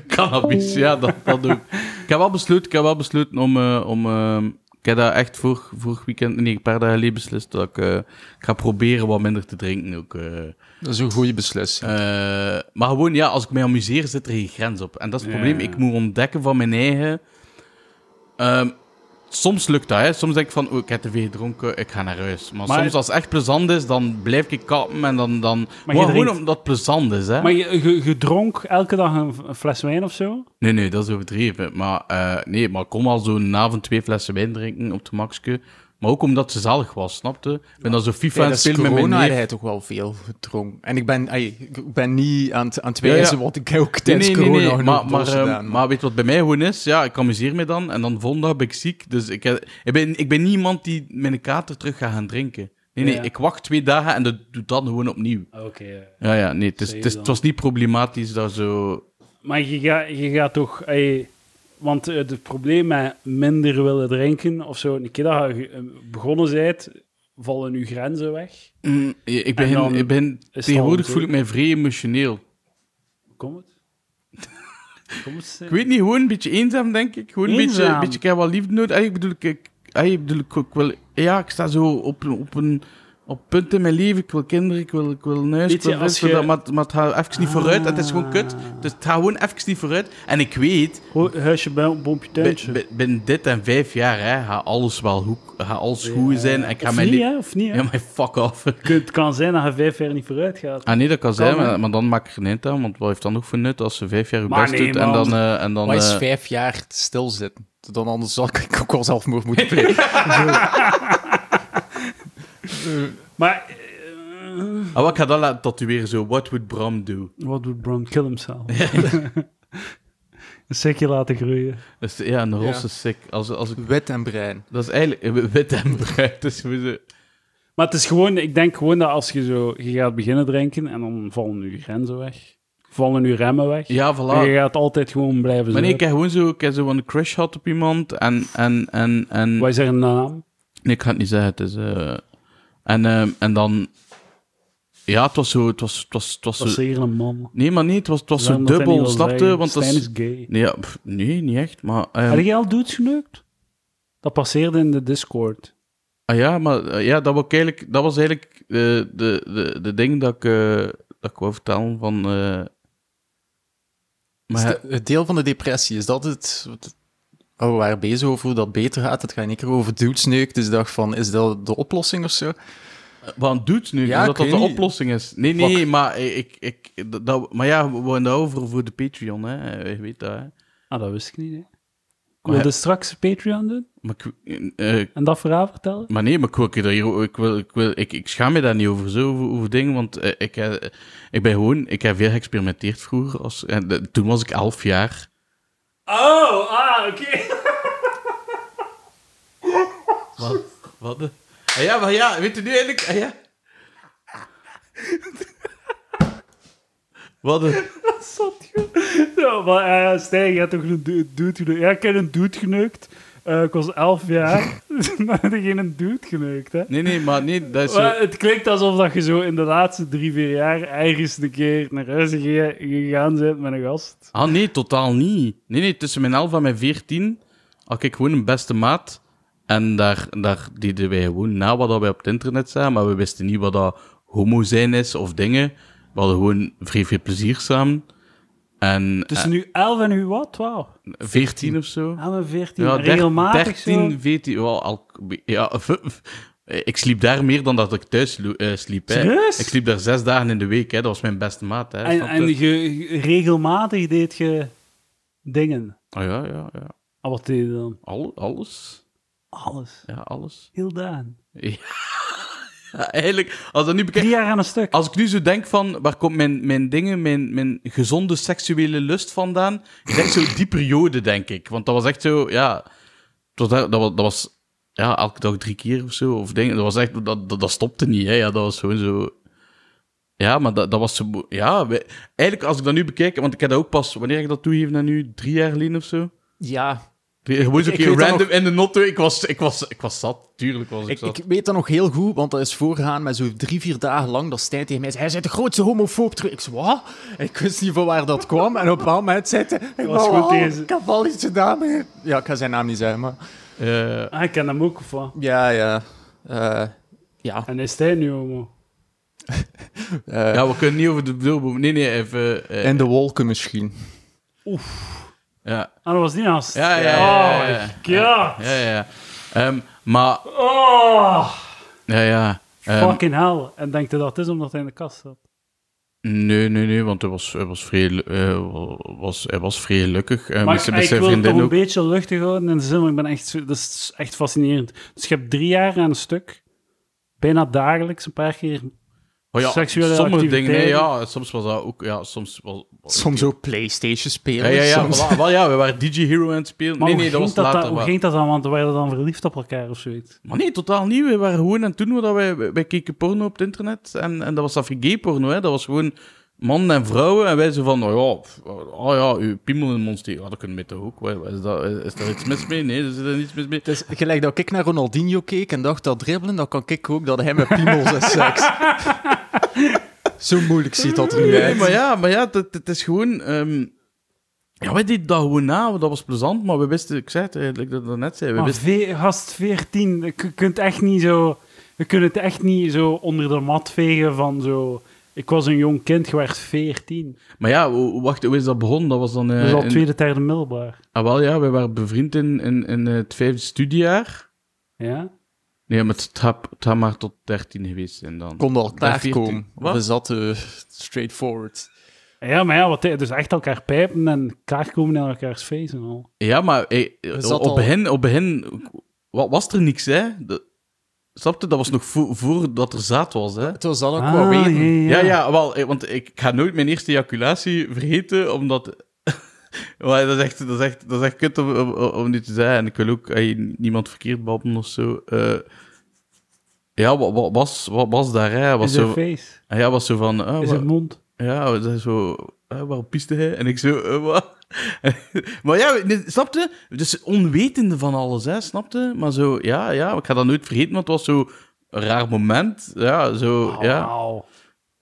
Speaker 2: Cannabis, ja, dat, dat ook. Ik heb wel besloten, ik heb wel besloten om... eh, om eh, ik heb dat echt vorig, vorig weekend, nee, een paar dagen geleden beslist dat ik, eh, ik ga proberen wat minder te drinken ook. eh.
Speaker 1: Dat is een goede beslissing.
Speaker 2: Eh, maar gewoon, ja, als ik mij amuseer, zit er geen grens op. En dat is het
Speaker 3: Ja.
Speaker 2: probleem. Ik moet ontdekken van mijn eigen... Ehm, soms lukt dat, hè. Soms denk ik van, oh, ik heb te veel gedronken, ik ga naar huis. Maar,
Speaker 3: Maar-
Speaker 2: soms, als het echt plezant is, dan blijf ik kappen en dan... dan...
Speaker 3: Maar
Speaker 2: Maar,
Speaker 3: je
Speaker 2: gewoon
Speaker 3: drinkt.
Speaker 2: omdat het plezant is, hè.
Speaker 3: Maar je, je, je dronk elke dag een, een fles wijn of zo?
Speaker 2: Nee, nee, dat is overdreven. Maar, eh, nee, maar ik kon al zo'n avond twee flessen wijn drinken op de maxke. Maar ook omdat ze zalig was, snapte? Ik ben dan zo FIFA aan
Speaker 1: Tijdens
Speaker 2: het spelen met mijn
Speaker 1: corona
Speaker 2: neef.
Speaker 1: had hij toch wel veel gedronken. En ik ben, ai, ik ben niet aan het, aan het
Speaker 2: Ja, ja.
Speaker 1: wijzen wat ik ook
Speaker 2: Nee,
Speaker 1: tijdens
Speaker 2: nee, nee,
Speaker 1: corona
Speaker 2: nee,
Speaker 1: genoeg
Speaker 2: Maar, maar,
Speaker 1: doos gedaan,
Speaker 2: eh,
Speaker 1: maar-
Speaker 2: maar weet wat bij mij gewoon is? Ja, ik amuseer me dan en dan volgende dag ben ik ziek. Dus ik, heb- ik, ben, ik ben niet iemand die mijn kater terug gaat gaan drinken. Nee, nee,
Speaker 3: Ja.
Speaker 2: ik wacht twee dagen en dat doe dan gewoon opnieuw.
Speaker 3: Ah, Oké.
Speaker 2: Ja, ja, nee, het, is,
Speaker 3: Zeg
Speaker 2: het, is-
Speaker 3: dan.
Speaker 2: het was niet problematisch dat zo...
Speaker 3: Maar je, ga, je gaat toch... ey, want eh, het probleem met minder willen drinken of zo, een keer dat je eh, begonnen bent, vallen je grenzen weg.
Speaker 2: Mm, ik ben,
Speaker 3: En dan
Speaker 2: ik ben,
Speaker 3: het
Speaker 2: tegenwoordig
Speaker 3: al
Speaker 2: voel ik mij vrij emotioneel.
Speaker 3: Kom het? Kom het?
Speaker 2: Ik weet niet, gewoon een beetje eenzaam, denk ik. Gewoon een beetje,
Speaker 3: Eenzaam?
Speaker 2: een beetje, ik heb wel liefde nodig. Allee, ik bedoel, ik, ik, allee, ik bedoel, ik, ik wil, ja, ik sta zo op, een- op een op punten in mijn leven. Ik wil kinderen, ik wil, ik wil een huis, ik
Speaker 3: Weet je,
Speaker 2: wil dit,
Speaker 3: als
Speaker 2: ik wil
Speaker 3: je-
Speaker 2: dat, maar, het- maar het gaat even niet vooruit. Het is gewoon kut. Dus het gaat gewoon even niet vooruit. En ik weet,
Speaker 3: Ho- Huisje, bel- bompje,
Speaker 2: bi-
Speaker 3: tuintje.
Speaker 2: bi- binnen dit en vijf jaar hè, gaat alles wel goed, gaat alles goed zijn. En ik ga
Speaker 3: Of
Speaker 2: mijn
Speaker 3: niet,
Speaker 2: le-
Speaker 3: hè? Of niet, hè?
Speaker 2: Ja, maar fuck off.
Speaker 3: Het kan zijn dat je vijf jaar niet vooruit gaat.
Speaker 2: Ah nee, dat kan zijn,
Speaker 3: Kan, hè?
Speaker 2: maar, maar dan maak ik er niet aan. Want wat heeft dan ook voor nut als ze vijf jaar uw
Speaker 3: Maar
Speaker 2: best
Speaker 3: nee,
Speaker 2: doet en
Speaker 3: man.
Speaker 2: dan... eh, en dan
Speaker 1: Maar is
Speaker 2: eh,
Speaker 1: vijf jaar stilzitten? Dan anders zal ik ook wel zelfmoord moeten plegen.
Speaker 3: Maar... eh,
Speaker 2: Ah, wat, ik ga dat laten tatoeëren, zo. What would Bram do?
Speaker 3: Wat doet Brown? Kill himself. een sikje laten groeien.
Speaker 2: Dus, ja, een
Speaker 1: Ja.
Speaker 2: rosse sick. Als, als ik,
Speaker 1: Wit en brein.
Speaker 2: dat is eigenlijk eh, wit en bruin. Dus we zo-
Speaker 3: Maar het is gewoon... Ik denk gewoon dat als je zo... Je gaat beginnen drinken en dan vallen je grenzen weg. Vallen je remmen weg.
Speaker 2: ja,
Speaker 3: En je
Speaker 2: voilà.
Speaker 3: gaat altijd gewoon blijven
Speaker 2: Maar nee, ik
Speaker 3: zuipen.
Speaker 2: heb gewoon zo, ik heb zo een crush gehad op iemand en... en, en, en
Speaker 3: Wij zeggen "Nou, een naam.
Speaker 2: nee, ik ga het niet zeggen. Het is, eh, en, ehm, en dan... Ja, het was zo... Het was, het was, het was,
Speaker 3: Dat is
Speaker 2: zo,
Speaker 3: zeker een man.
Speaker 2: nee, maar nee, het was, het was zo
Speaker 3: Waarom dat hij
Speaker 2: dubbel,
Speaker 3: niet wil
Speaker 2: snapte?
Speaker 3: zeggen?
Speaker 2: Want dat
Speaker 3: Stijn is
Speaker 2: is...
Speaker 3: gay.
Speaker 2: Nee, ja, pff, nee, niet echt, maar... ehm,
Speaker 3: Heb je al dudes geneukt? Dat passeerde in de Discord.
Speaker 2: Ah ja, maar eh, ja, dat, wou ik eigenlijk, dat was eigenlijk eh, de, de, de ding dat ik, eh, dat ik wou vertellen van... eh,
Speaker 1: Is
Speaker 2: maar,
Speaker 1: de- het deel van de depressie, is dat het... wat- Oh, we waren bezig over hoe dat beter gaat. Het gaat in één keer over duwtsneuk. Dus ik dacht van, is dat de oplossing of zo?
Speaker 2: wat doet nu?
Speaker 1: Ja,
Speaker 2: dat
Speaker 1: ik
Speaker 2: dat de
Speaker 1: weet niet.
Speaker 2: oplossing is. Nee, nee, maar ik... ik dat- dat, maar ja, we wonen daarover voor de Patreon, hè. Je weet dat, hè.
Speaker 3: Ah, dat wist ik niet, hè. Ik
Speaker 2: Maar-
Speaker 3: wilde straks Patreon doen
Speaker 2: Maar, ik, eh,
Speaker 3: en dat verhaal vertellen.
Speaker 2: maar nee, maar ik, wil, ik, wil hier- ik, wil, ik, wil, ik, ik schaam me daar niet over, zo, over, over dingen, want eh, ik, eh, ik ben gewoon... Ik heb veel geëxperimenteerd vroeger. Als, en, de- toen was ik elf jaar.
Speaker 3: Oh, ah, oké.
Speaker 2: Wat? Wat? de- Ah ja, maar ja, weet je nu eigenlijk... Ah ja. Wat? de-
Speaker 3: Zot, joh. Ja, maar eh, Stijn, je hebt toch een du- dude geneukt? Ja, ik heb een dude geneukt. Eh, ik was 11 jaar. maar ik heb geen dude geneukt, hè.
Speaker 2: Nee, nee, maar nee, dat is zo...
Speaker 3: Maar het klinkt alsof dat je zo in de laatste drie, vier jaar ergens een keer naar huis gege- gegaan bent met een gast.
Speaker 2: Ah nee, totaal niet. Nee, nee, tussen mijn 11 en mijn 14 had ik gewoon een beste maat. En daar, daar deden wij gewoon na wat dat wij op het internet zagen, maar we wisten niet wat dat homo zijn is of dingen. We hadden gewoon vrij veel plezier samen. En
Speaker 3: Tussen Dus nu 11 en nu wat? 12?
Speaker 2: eh, 14 of zo.
Speaker 3: 11 en 14.
Speaker 2: Ja, der-
Speaker 3: regelmatig
Speaker 2: 13,
Speaker 3: zo.
Speaker 2: 14. wel, al- ja, ik sliep daar meer dan dat ik thuis lo- eh, sliep. Hè.
Speaker 3: Serieus?
Speaker 2: Ik sliep daar zes dagen in de week. Hè. Dat was mijn beste maat. Hè.
Speaker 3: En,
Speaker 2: Snap je?
Speaker 3: en je, je- regelmatig deed je dingen.
Speaker 2: Ah, ja, ja, ja.
Speaker 3: Ah, wat deed je dan?
Speaker 2: Al, alles.
Speaker 3: Alles.
Speaker 2: Ja, alles.
Speaker 3: Heel daan.
Speaker 2: Ja. Eigenlijk, als, dat nu bekijk,
Speaker 3: Drie jaar aan een stuk.
Speaker 2: als ik nu zo denk van, waar komt mijn, mijn dingen, mijn, mijn gezonde seksuele lust vandaan? Ik denk zo die periode, denk ik. Want dat was echt zo, ja... Tot daar, dat, was, dat was, ja, elke dag drie keer of zo. Of dingen. Dat, was echt, dat, dat, dat stopte niet, hè. Ja, dat was gewoon zo... Ja, maar dat, dat was zo... mo- Ja, wij- eigenlijk als ik dat nu bekijk... Want ik heb dat ook pas... Wanneer heb ik dat toegeven aan nu? Drie jaar geleden of zo?
Speaker 1: Ja,
Speaker 2: Drie- Gewoon zo'n
Speaker 1: Ik
Speaker 2: keer
Speaker 1: weet dat
Speaker 2: random in de notto. Ik was, ik, was, ik was zat. Tuurlijk was ik,
Speaker 1: ik,
Speaker 2: zat.
Speaker 1: ik weet dat nog heel goed, want dat is voorgegaan met zo'n drie, vier dagen lang dat Stijn tegen mij zei, hij zei de grootste homofoob terug. Ik zei, wat? Ik wist niet van waar dat kwam. En op een bepaald moment zei hij, ik,
Speaker 3: was
Speaker 1: was
Speaker 3: goed
Speaker 1: goed
Speaker 3: deze."
Speaker 1: ik heb al iets gedaan. meneer." Ja, ik ga zijn naam niet zeggen, maar...
Speaker 2: Eh,
Speaker 3: Ah, ik ken hem ook of wat?
Speaker 1: Ja, ja. Eh, ja.
Speaker 3: En is hij nu homo?
Speaker 1: Eh,
Speaker 2: Ja, we kunnen niet over de bedoelboom. Nee, nee, even. eh,
Speaker 1: In de wolken misschien.
Speaker 2: ja.
Speaker 3: Ah, dat was die naast.
Speaker 2: Ja, ja, ja, ja, ja.
Speaker 3: Oh, my god.
Speaker 2: ja, ja. ja. Ehm, maar,
Speaker 3: Oh,
Speaker 2: ja, ja. Ehm,
Speaker 3: fucking hell. En denk je dat het is omdat hij in de kast zat?
Speaker 2: nee, nee, nee, want hij was, hij was, vrij, eh, was, hij was vrij gelukkig. Eh,
Speaker 3: Maar
Speaker 2: met
Speaker 3: ik,
Speaker 2: zijn- met
Speaker 3: ik
Speaker 2: zijn
Speaker 3: wil het toch
Speaker 2: vriendin
Speaker 3: een
Speaker 2: ook.
Speaker 3: beetje luchtig houden in de zin, want ik ben echt, zo- dat is echt fascinerend. Dus je hebt drie jaar aan een stuk, bijna dagelijks, een paar keer.
Speaker 2: Oh, ja,
Speaker 3: seksuele
Speaker 2: sommige dingen, nee,
Speaker 3: activiteiten.
Speaker 2: ja. Soms was dat ook, ja, soms was...
Speaker 1: Soms ook Playstation spelen.
Speaker 2: Ja, ja, ja,
Speaker 1: soms-
Speaker 2: voilà, wel, ja, we waren DJ Hero aan het spelen.
Speaker 3: Maar
Speaker 2: nee,
Speaker 3: hoe,
Speaker 2: nee, dat was
Speaker 3: ging dat,
Speaker 2: later.
Speaker 3: dan, hoe
Speaker 2: maar-
Speaker 3: ging dat dan? Want we werden dan verliefd op elkaar of zoiets.
Speaker 2: Maar nee, totaal niet. We waren gewoon aan het doen wat wij, wij keken porno op het internet. En, en dat was dat gay porno, hè. Dat was gewoon mannen en vrouwen. En wij zo van, oh ja, pff, oh ja, uw piemel in ons tegen. Ja, dat kunnen we toch ook. Wat- wat Is, dat, is daar iets mis mee? Nee, er zit er niets mis mee.
Speaker 1: Het is gelijk dat ik naar Ronaldinho keek en dacht dat dribbelen, dan kan ik ook dat hij met piemels en seks. Zo moeilijk ziet dat er niet
Speaker 2: Nee,
Speaker 1: uit.
Speaker 2: maar ja, maar ja, het, het is gewoon... ehm, ja, wij deden dat gewoon na, want dat was plezant,
Speaker 3: Ah.
Speaker 2: maar we wisten, ik zei het eigenlijk dat ik dat net zei, we
Speaker 3: Maar
Speaker 2: wisten...
Speaker 3: ve- gast 14, je kunt echt niet zo... We kunnen het echt niet zo onder de mat vegen van zo... Ik was een jong kind, je werd 14.
Speaker 2: Maar ja, hoe- wacht, hoe is dat begonnen? Dat was dan... eh,
Speaker 3: Dat is al
Speaker 2: in-
Speaker 3: tweede, derde middelbaar.
Speaker 2: Ah, wel ja, wij waren bevriend in, in, in het vijfde studiejaar.
Speaker 3: Ja?
Speaker 2: Nee, maar het gaat- het gaat maar tot 13 geweest zijn dan.
Speaker 1: Kon al
Speaker 2: veertien.
Speaker 1: klaarkomen.
Speaker 2: Wat?
Speaker 1: Of is dat eh, straightforward?
Speaker 3: Ja, maar ja, wat, dus echt elkaar pijpen en klaarkomen naar elkaars feest en al.
Speaker 2: Ja, maar hey,
Speaker 1: zat
Speaker 2: op,
Speaker 1: al-
Speaker 2: hen, op hen wa- was er niks, hè? Dat, snap je? Dat was nog vo- voordat er zaad was, hè?
Speaker 1: Het was dan ook
Speaker 3: Ah,
Speaker 1: wel weten.
Speaker 2: Ja, ja, wel, eh, want ik ga nooit mijn eerste ejaculatie vergeten, omdat... Maar dat, is echt, dat, is echt, dat is echt kut om, om, om nu te zeggen. En ik wil ook eh, niemand verkeerd babbelen of zo. Eh, ja, wat, wat, was, wat was daar, hè? Was
Speaker 3: Is er
Speaker 2: zo,
Speaker 3: feest?
Speaker 2: ja, was zo van... ah,
Speaker 3: Is
Speaker 2: wa-
Speaker 3: er mond?
Speaker 2: ja, we zijn zo, eh, waarom piste hij? En ik zo, eh, wat? maar ja, dit- snapte? Dus onwetende van alles, hè, snapte? Maar zo, ja, ja, ik ga dat nooit vergeten, want het was zo een raar moment. Ja, zo,
Speaker 3: Ah,
Speaker 2: ja.
Speaker 3: Wauw.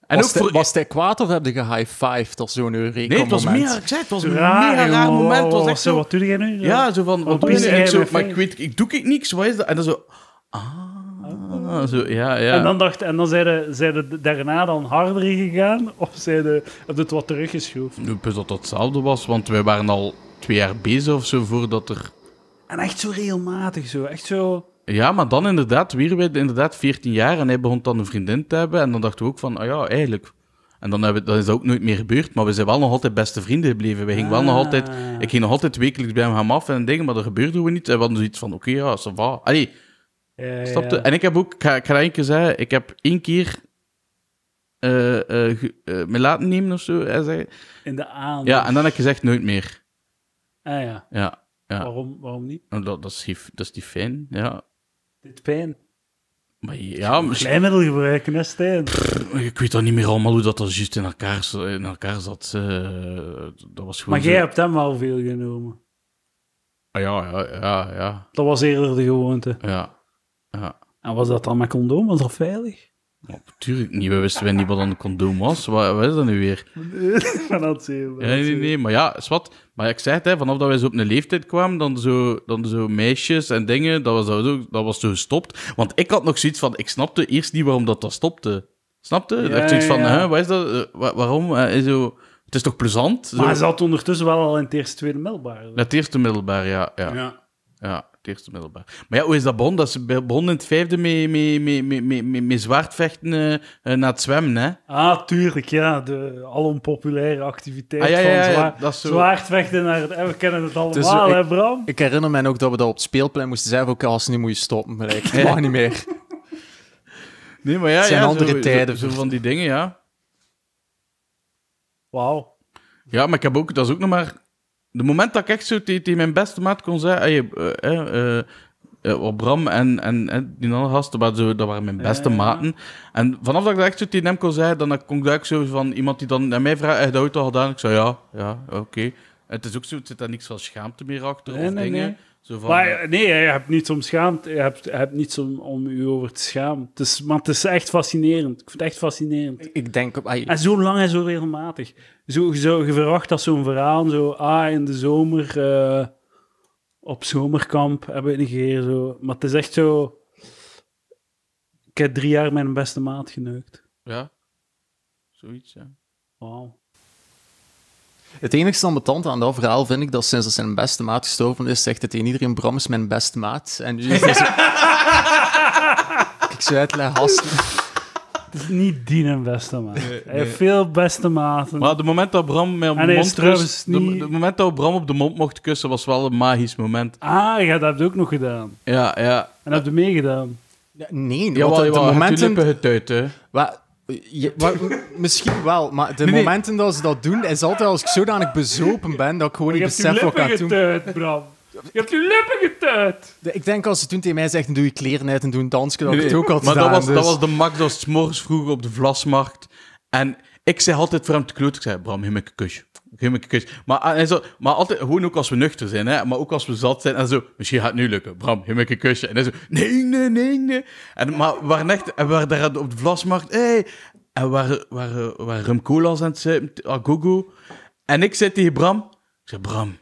Speaker 2: En
Speaker 1: was, hij,
Speaker 2: voor-
Speaker 1: was hij kwaad of heb je gehighfived of zo'n eureka
Speaker 2: Nee, het was
Speaker 1: moment?
Speaker 2: meer, ik zei, het was een
Speaker 3: Raar,
Speaker 2: mega raar
Speaker 3: jongen.
Speaker 2: moment. Het was
Speaker 3: Wauw,
Speaker 2: echt zo,
Speaker 3: Wat doe jij nu?
Speaker 2: ja, zo van,
Speaker 3: Wat
Speaker 2: wat doe je?
Speaker 3: piste
Speaker 2: En ik
Speaker 3: jij
Speaker 2: zo,
Speaker 3: met
Speaker 2: maar
Speaker 3: mij?
Speaker 2: ik weet, ik doe ik niks, wat is dat? En dan zo, ah, zo, ja, ja.
Speaker 3: En dan, dacht, en dan zijn ze zijn ze daarna dan harder gegaan? Of zijn ze, hebben ze het wat teruggeschoven?
Speaker 2: Ik wist dat dat hetzelfde was, want wij waren al twee jaar bezig of zo, voordat er...
Speaker 3: En echt zo regelmatig zo. Echt zo...
Speaker 2: Ja, maar dan inderdaad, weer werd inderdaad 14 jaar en hij begon dan een vriendin te hebben. En dan dachten we ook van, ah ja, eigenlijk. En dan, hebben, dan is dat ook nooit meer gebeurd, maar we zijn wel nog altijd beste vrienden gebleven. We gingen wel nog
Speaker 3: Ah.
Speaker 2: altijd, ik ging nog altijd wekelijks bij hem af en dingen, maar dat gebeurde we niet. En we hadden zoiets van, oké, ja, ça va. Allee,
Speaker 3: Ja,
Speaker 2: snap je?
Speaker 3: ja.
Speaker 2: En ik heb ook, ik ga, ik ga dat één keer zeggen, ik heb één keer eh, eh, ge- eh, me laten nemen of zo. hè, zeg.
Speaker 3: In de aan.
Speaker 2: Ja, en dan heb ik gezegd, nooit meer.
Speaker 3: Ah ja,
Speaker 2: Ja, Ja.
Speaker 3: Waarom, waarom niet?
Speaker 2: en dat, dat, is, geen- dat is niet fijn, ja.
Speaker 3: Dit pijn.
Speaker 2: Maar ja, misschien-
Speaker 3: Kleinmiddel gebruiken, hè, Stijn?
Speaker 2: Ik weet dat niet meer allemaal hoe dat, dat juist in elkaar, z- in elkaar zat. eh, dat was gewoon.
Speaker 3: Maar jij
Speaker 2: zo-
Speaker 3: hebt hem wel veel genomen.
Speaker 2: Ah, ja, ja, ja, ja,
Speaker 3: Dat was eerder de gewoonte.
Speaker 2: ja. Ja.
Speaker 3: En was dat dan met condoom? Was dat veilig?
Speaker 2: Maar natuurlijk niet. We wisten wij niet wat een condoom was. Wat, wat is dat nu weer?
Speaker 3: Van dat zeer.
Speaker 2: Ja, nee, nee, maar ja, is wat. Maar ik zei het, hè, vanaf dat wij zo op een leeftijd kwamen, dan zo, dan zo meisjes en dingen, dat was, dat, was ook- dat was zo gestopt. Want ik had nog zoiets van, ik snapte eerst niet waarom dat, dat stopte. Snapte?
Speaker 3: Ja,
Speaker 2: ik had zoiets van,
Speaker 3: ja.
Speaker 2: hè, wat is dat? Eh, wa- waarom? Eh, zo, het is toch plezant? Zo,
Speaker 3: Maar hij zat ondertussen wel al in het eerste, tweede middelbaar.
Speaker 2: Het eerste middelbaar, ja. ja. Ja, het eerste middelbaar. Maar ja, hoe is dat begonnen? Dat is be- begonnen in het vijfde met mee, mee, mee, mee, mee, mee zwaardvechten eh, eh, na het zwemmen, hè?
Speaker 3: Ah, tuurlijk, ja. De alonpopulaire activiteit
Speaker 2: Ah, ja, ja, ja, ja,
Speaker 3: van zwaar,
Speaker 2: dat is zo.
Speaker 3: zwaardvechten naar het... en We kennen het
Speaker 1: is
Speaker 3: allemaal,
Speaker 1: zo-
Speaker 3: hè, Bram?
Speaker 1: Ik herinner me ook dat we dat op het speelplein moesten zeggen van, als nu moet je stoppen, maar ik mag niet meer.
Speaker 2: Nee, maar ja,
Speaker 1: Het zijn
Speaker 2: ja,
Speaker 1: andere
Speaker 2: zo,
Speaker 1: tijden.
Speaker 2: Zo, zo van die dingen, ja.
Speaker 3: Wauw.
Speaker 2: Ja, maar ik heb ook, dat is ook nog maar. De moment dat ik echt zo te- tegen mijn beste maat kon zeggen, hey, eh, eh, eh, eh, op Bram en, en, en die andere gasten, maar zo, dat waren mijn beste
Speaker 3: Ja, ja, ja.
Speaker 2: maten. En vanaf dat ik dat echt zo tegen hem kon zeggen, dan kon ik dat ook zo van iemand die dan naar mij vraagt, heb je dat ooit al gedaan? Ik zei, ja, ja, oké. Het is ook zo, het zit daar niks van schaamte meer achter
Speaker 3: Nee,
Speaker 2: of
Speaker 3: nee,
Speaker 2: dingen.
Speaker 3: nee.
Speaker 2: Zo van,
Speaker 3: Maar eh, nee, je hebt niets om schaamte. Je hebt, je hebt niets om, om u over te schamen. Het is, maar het is echt fascinerend. Ik vind het echt fascinerend.
Speaker 1: Ik denk, op, ai,
Speaker 3: En zo lang en zo regelmatig. Zo, zo, je verwacht dat zo'n verhaal, zo, ah, in de zomer, eh, op zomerkamp, hebben we een keer zo. Maar het is echt zo... Ik heb drie jaar mijn beste maat geneukt.
Speaker 2: ja, zoiets, ja.
Speaker 3: Wauw.
Speaker 1: het enigste ambetant aan dat verhaal vind ik dat sinds dat zijn beste maat gestorven is, zegt het tegen iedereen, Bram is mijn beste maat. En nu is dat zo... ik zou uitleggen, gast.
Speaker 3: Het is niet die een beste maat. Hij heeft veel beste maten.
Speaker 2: Maar het moment dat Bram mij op
Speaker 3: En
Speaker 2: de
Speaker 3: hij
Speaker 2: mond
Speaker 3: is trouwens
Speaker 2: kust, de,
Speaker 3: niet-
Speaker 2: de moment dat Bram op de mond mocht kussen, was wel een magisch moment.
Speaker 3: Ah, ja, dat heb je ook nog gedaan.
Speaker 2: Ja, ja.
Speaker 3: En heb je meegedaan.
Speaker 1: Ja, Nee,
Speaker 2: Ja,
Speaker 1: want de, de momenten...
Speaker 2: getuit, hè.
Speaker 1: Wa- je- wa- m- misschien wel, maar de
Speaker 2: Nee, nee.
Speaker 1: momenten dat ze dat doen, is altijd als ik zodanig bezopen ben dat ik gewoon niet besef wat ik aan het doen
Speaker 3: getuit, Bram. Je hebt je lippen getuit.
Speaker 1: De- Ik denk als ze toen tegen mij zegt, doe je kleren uit en doe een dansje, dat ik het ook al
Speaker 2: maar dat was,
Speaker 1: dus.
Speaker 2: dat was de max, dat was 's morgens vroeg op de Vlasmarkt. En ik zei altijd voor hem te kloot, ik zei, Bram, geef me een kusje. Geef me een kusje. Maar, hij zo, maar altijd, gewoon ook als we nuchter zijn, hè, maar ook als we zat zijn. En zo, misschien gaat het nu lukken. Bram, geef me een kusje. En hij zo, nee, nee, nee, nee. En, maar we waren echt, en we waren daar op de Vlasmarkt, hé. Hey. En we waren, waren, waren rum cola's aan het zuipen, ah, gogo. En ik zei tegen Bram, ik zei, Bram,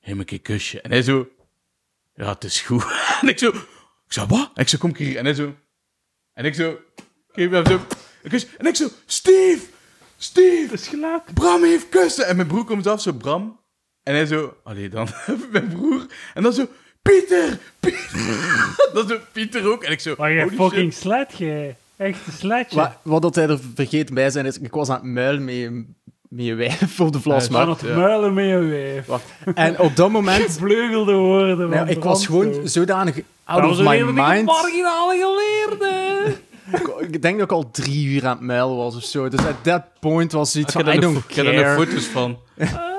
Speaker 2: geef me een kusje. En hij zo, ja, het is goed. En ik zo, ik zei, wat? En ik zei, kom ik hier. En hij zo, En ik zo... Geef hem zo... Een kus. En ik zo... Steve! Steve!
Speaker 3: Het is gelijk.
Speaker 2: Bram heeft kussen! En mijn broer komt af, zo... Bram? En hij zo... Allee, dan... mijn broer. En dan zo... Pieter! Pieter! dan zo... Pieter ook. En ik zo...
Speaker 3: Maar jij
Speaker 2: holy
Speaker 3: fucking slet, jij. Echt een sletje.
Speaker 1: Wa- Wat dat hij er vergeten bij zijn is, ik was aan het muilen met, met je wijf op de
Speaker 3: Aan
Speaker 1: vlasmarkt.
Speaker 3: het
Speaker 2: ja.
Speaker 3: muilen met je wijf.
Speaker 1: En op dat moment,
Speaker 3: Gevleugelde woorden.
Speaker 1: nou,
Speaker 3: van
Speaker 1: ik was
Speaker 3: Brandstoot.
Speaker 2: eh.
Speaker 1: gewoon zodanig out
Speaker 3: Dat
Speaker 1: of
Speaker 3: was een
Speaker 1: my
Speaker 3: hele dikke
Speaker 1: mind.
Speaker 3: marginale geleerde.
Speaker 1: Ik denk dat ik al drie uur aan het muilen was of zo. Dus at that point was
Speaker 2: shit.
Speaker 1: iets van, I
Speaker 2: Ah, Ik heb er nog-
Speaker 1: don't
Speaker 2: ik heb er nog
Speaker 1: care.
Speaker 2: foto's van.
Speaker 3: Ah,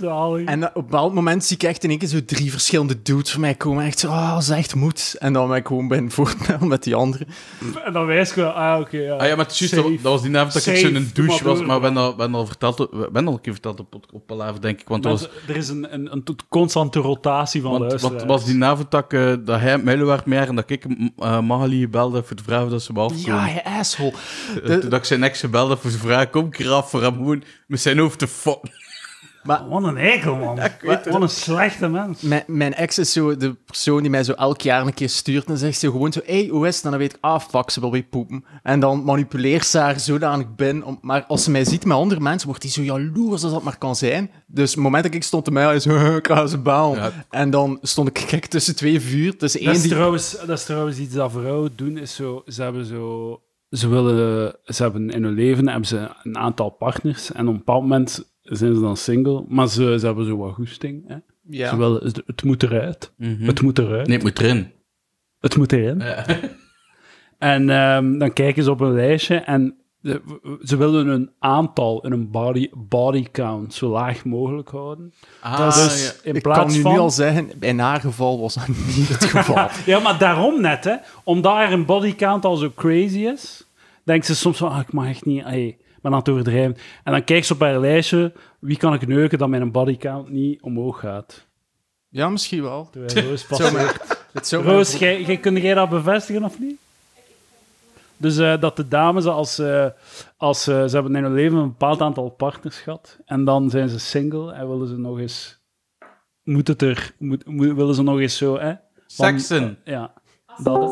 Speaker 3: zalig.
Speaker 1: En eh, op een bepaald moment zie ik echt in één keer zo drie verschillende dudes voor mij komen. Echt zo, oh, ze echt moet. En dan ben ik gewoon bij een voortmel met die anderen.
Speaker 3: En dan wijs ik wel, ah, oké, ja.
Speaker 2: Ah ja, maar het is juist, dat,
Speaker 3: Safe.
Speaker 2: dat was die avond dat ik
Speaker 3: Safe.
Speaker 2: zo'n een
Speaker 3: Doe
Speaker 2: douche
Speaker 3: maar
Speaker 2: was.
Speaker 3: door.
Speaker 2: Maar we hebben al- we hebben al verteld, we hebben al een keer verteld op, op Palaver, denk ik. Want dat was,
Speaker 3: Mensen, er is een, een, een tot- constante rotatie van
Speaker 2: want, want
Speaker 3: luisteraars.
Speaker 2: het was die avond dat, ik, eh, dat hij Muilen werd meer en dat ik eh Magali belde voor te vragen dat ze me afkwam.
Speaker 1: Ja, je asshole.
Speaker 2: Eh,
Speaker 1: de-
Speaker 2: Toen dat ik zijn ex belde voor te vragen, kom ik eraf voor hem gewoon met zijn hoofd te fokken.
Speaker 3: Wat een eikel, man. Wat een slechte mens.
Speaker 1: Mijn, mijn ex is zo de persoon die mij zo elk jaar een keer stuurt. En zegt ze gewoon zo, hey, hoe is het? En dan weet ik, ah, fuck, ze wil weer poepen. En dan manipuleert ze haar zodanig binnen. Om, maar als ze mij ziet met andere mensen, wordt die zo jaloers als dat maar kan zijn. Dus het moment dat ik stond te mij, is, ik ga ze baan.
Speaker 2: Ja.
Speaker 1: En dan stond ik gek tussen twee vuur. Tussen
Speaker 3: Dat
Speaker 1: één
Speaker 3: is,
Speaker 1: die...
Speaker 3: trouwens, dat is trouwens iets dat vrouwen doen, is zo, ze hebben zo... Ze willen... Ze hebben in hun leven hebben ze een aantal partners en op een bepaald moment zijn ze dan single, maar ze, ze hebben zo wat goesting. Hè? Ze
Speaker 1: Ja.
Speaker 3: willen, het- het moet eruit.
Speaker 1: Mhm.
Speaker 3: Het moet eruit.
Speaker 2: Mhm. Nee, het moet erin.
Speaker 3: Het moet erin. En ehm, dan kijken ze op een lijstje en de- ze willen een aantal in een body, body count zo laag mogelijk houden.
Speaker 2: Ah,
Speaker 3: dus
Speaker 2: ja.
Speaker 3: in
Speaker 1: Ik
Speaker 3: plaats
Speaker 1: kan nu,
Speaker 3: van...
Speaker 1: nu al zeggen, in haar geval was dat niet het geval.
Speaker 3: Ja, maar daarom net, hè. Omdat er een bodycount al zo crazy is, denkt ze soms van, ah, ik mag echt niet, hey, ik ben aan het overdrijven. En dan kijkt ze op haar lijstje, wie kan ik neuken dat mijn bodycount niet omhoog gaat.
Speaker 1: Ja, misschien wel.
Speaker 3: Terwijl Roos
Speaker 1: Het
Speaker 3: pas
Speaker 1: zou mij- het zou mij-
Speaker 3: Roos, jij, jij, kun jij dat bevestigen of niet? Dus eh, dat de dames, als, eh, als eh, ze hebben in hun leven een bepaald aantal partners gehad, en dan zijn ze single en willen ze nog eens... Moet het er... Moet, moet- willen ze nog eens zo, hè? Want-
Speaker 2: Seksen.
Speaker 3: ja. Dat, hè.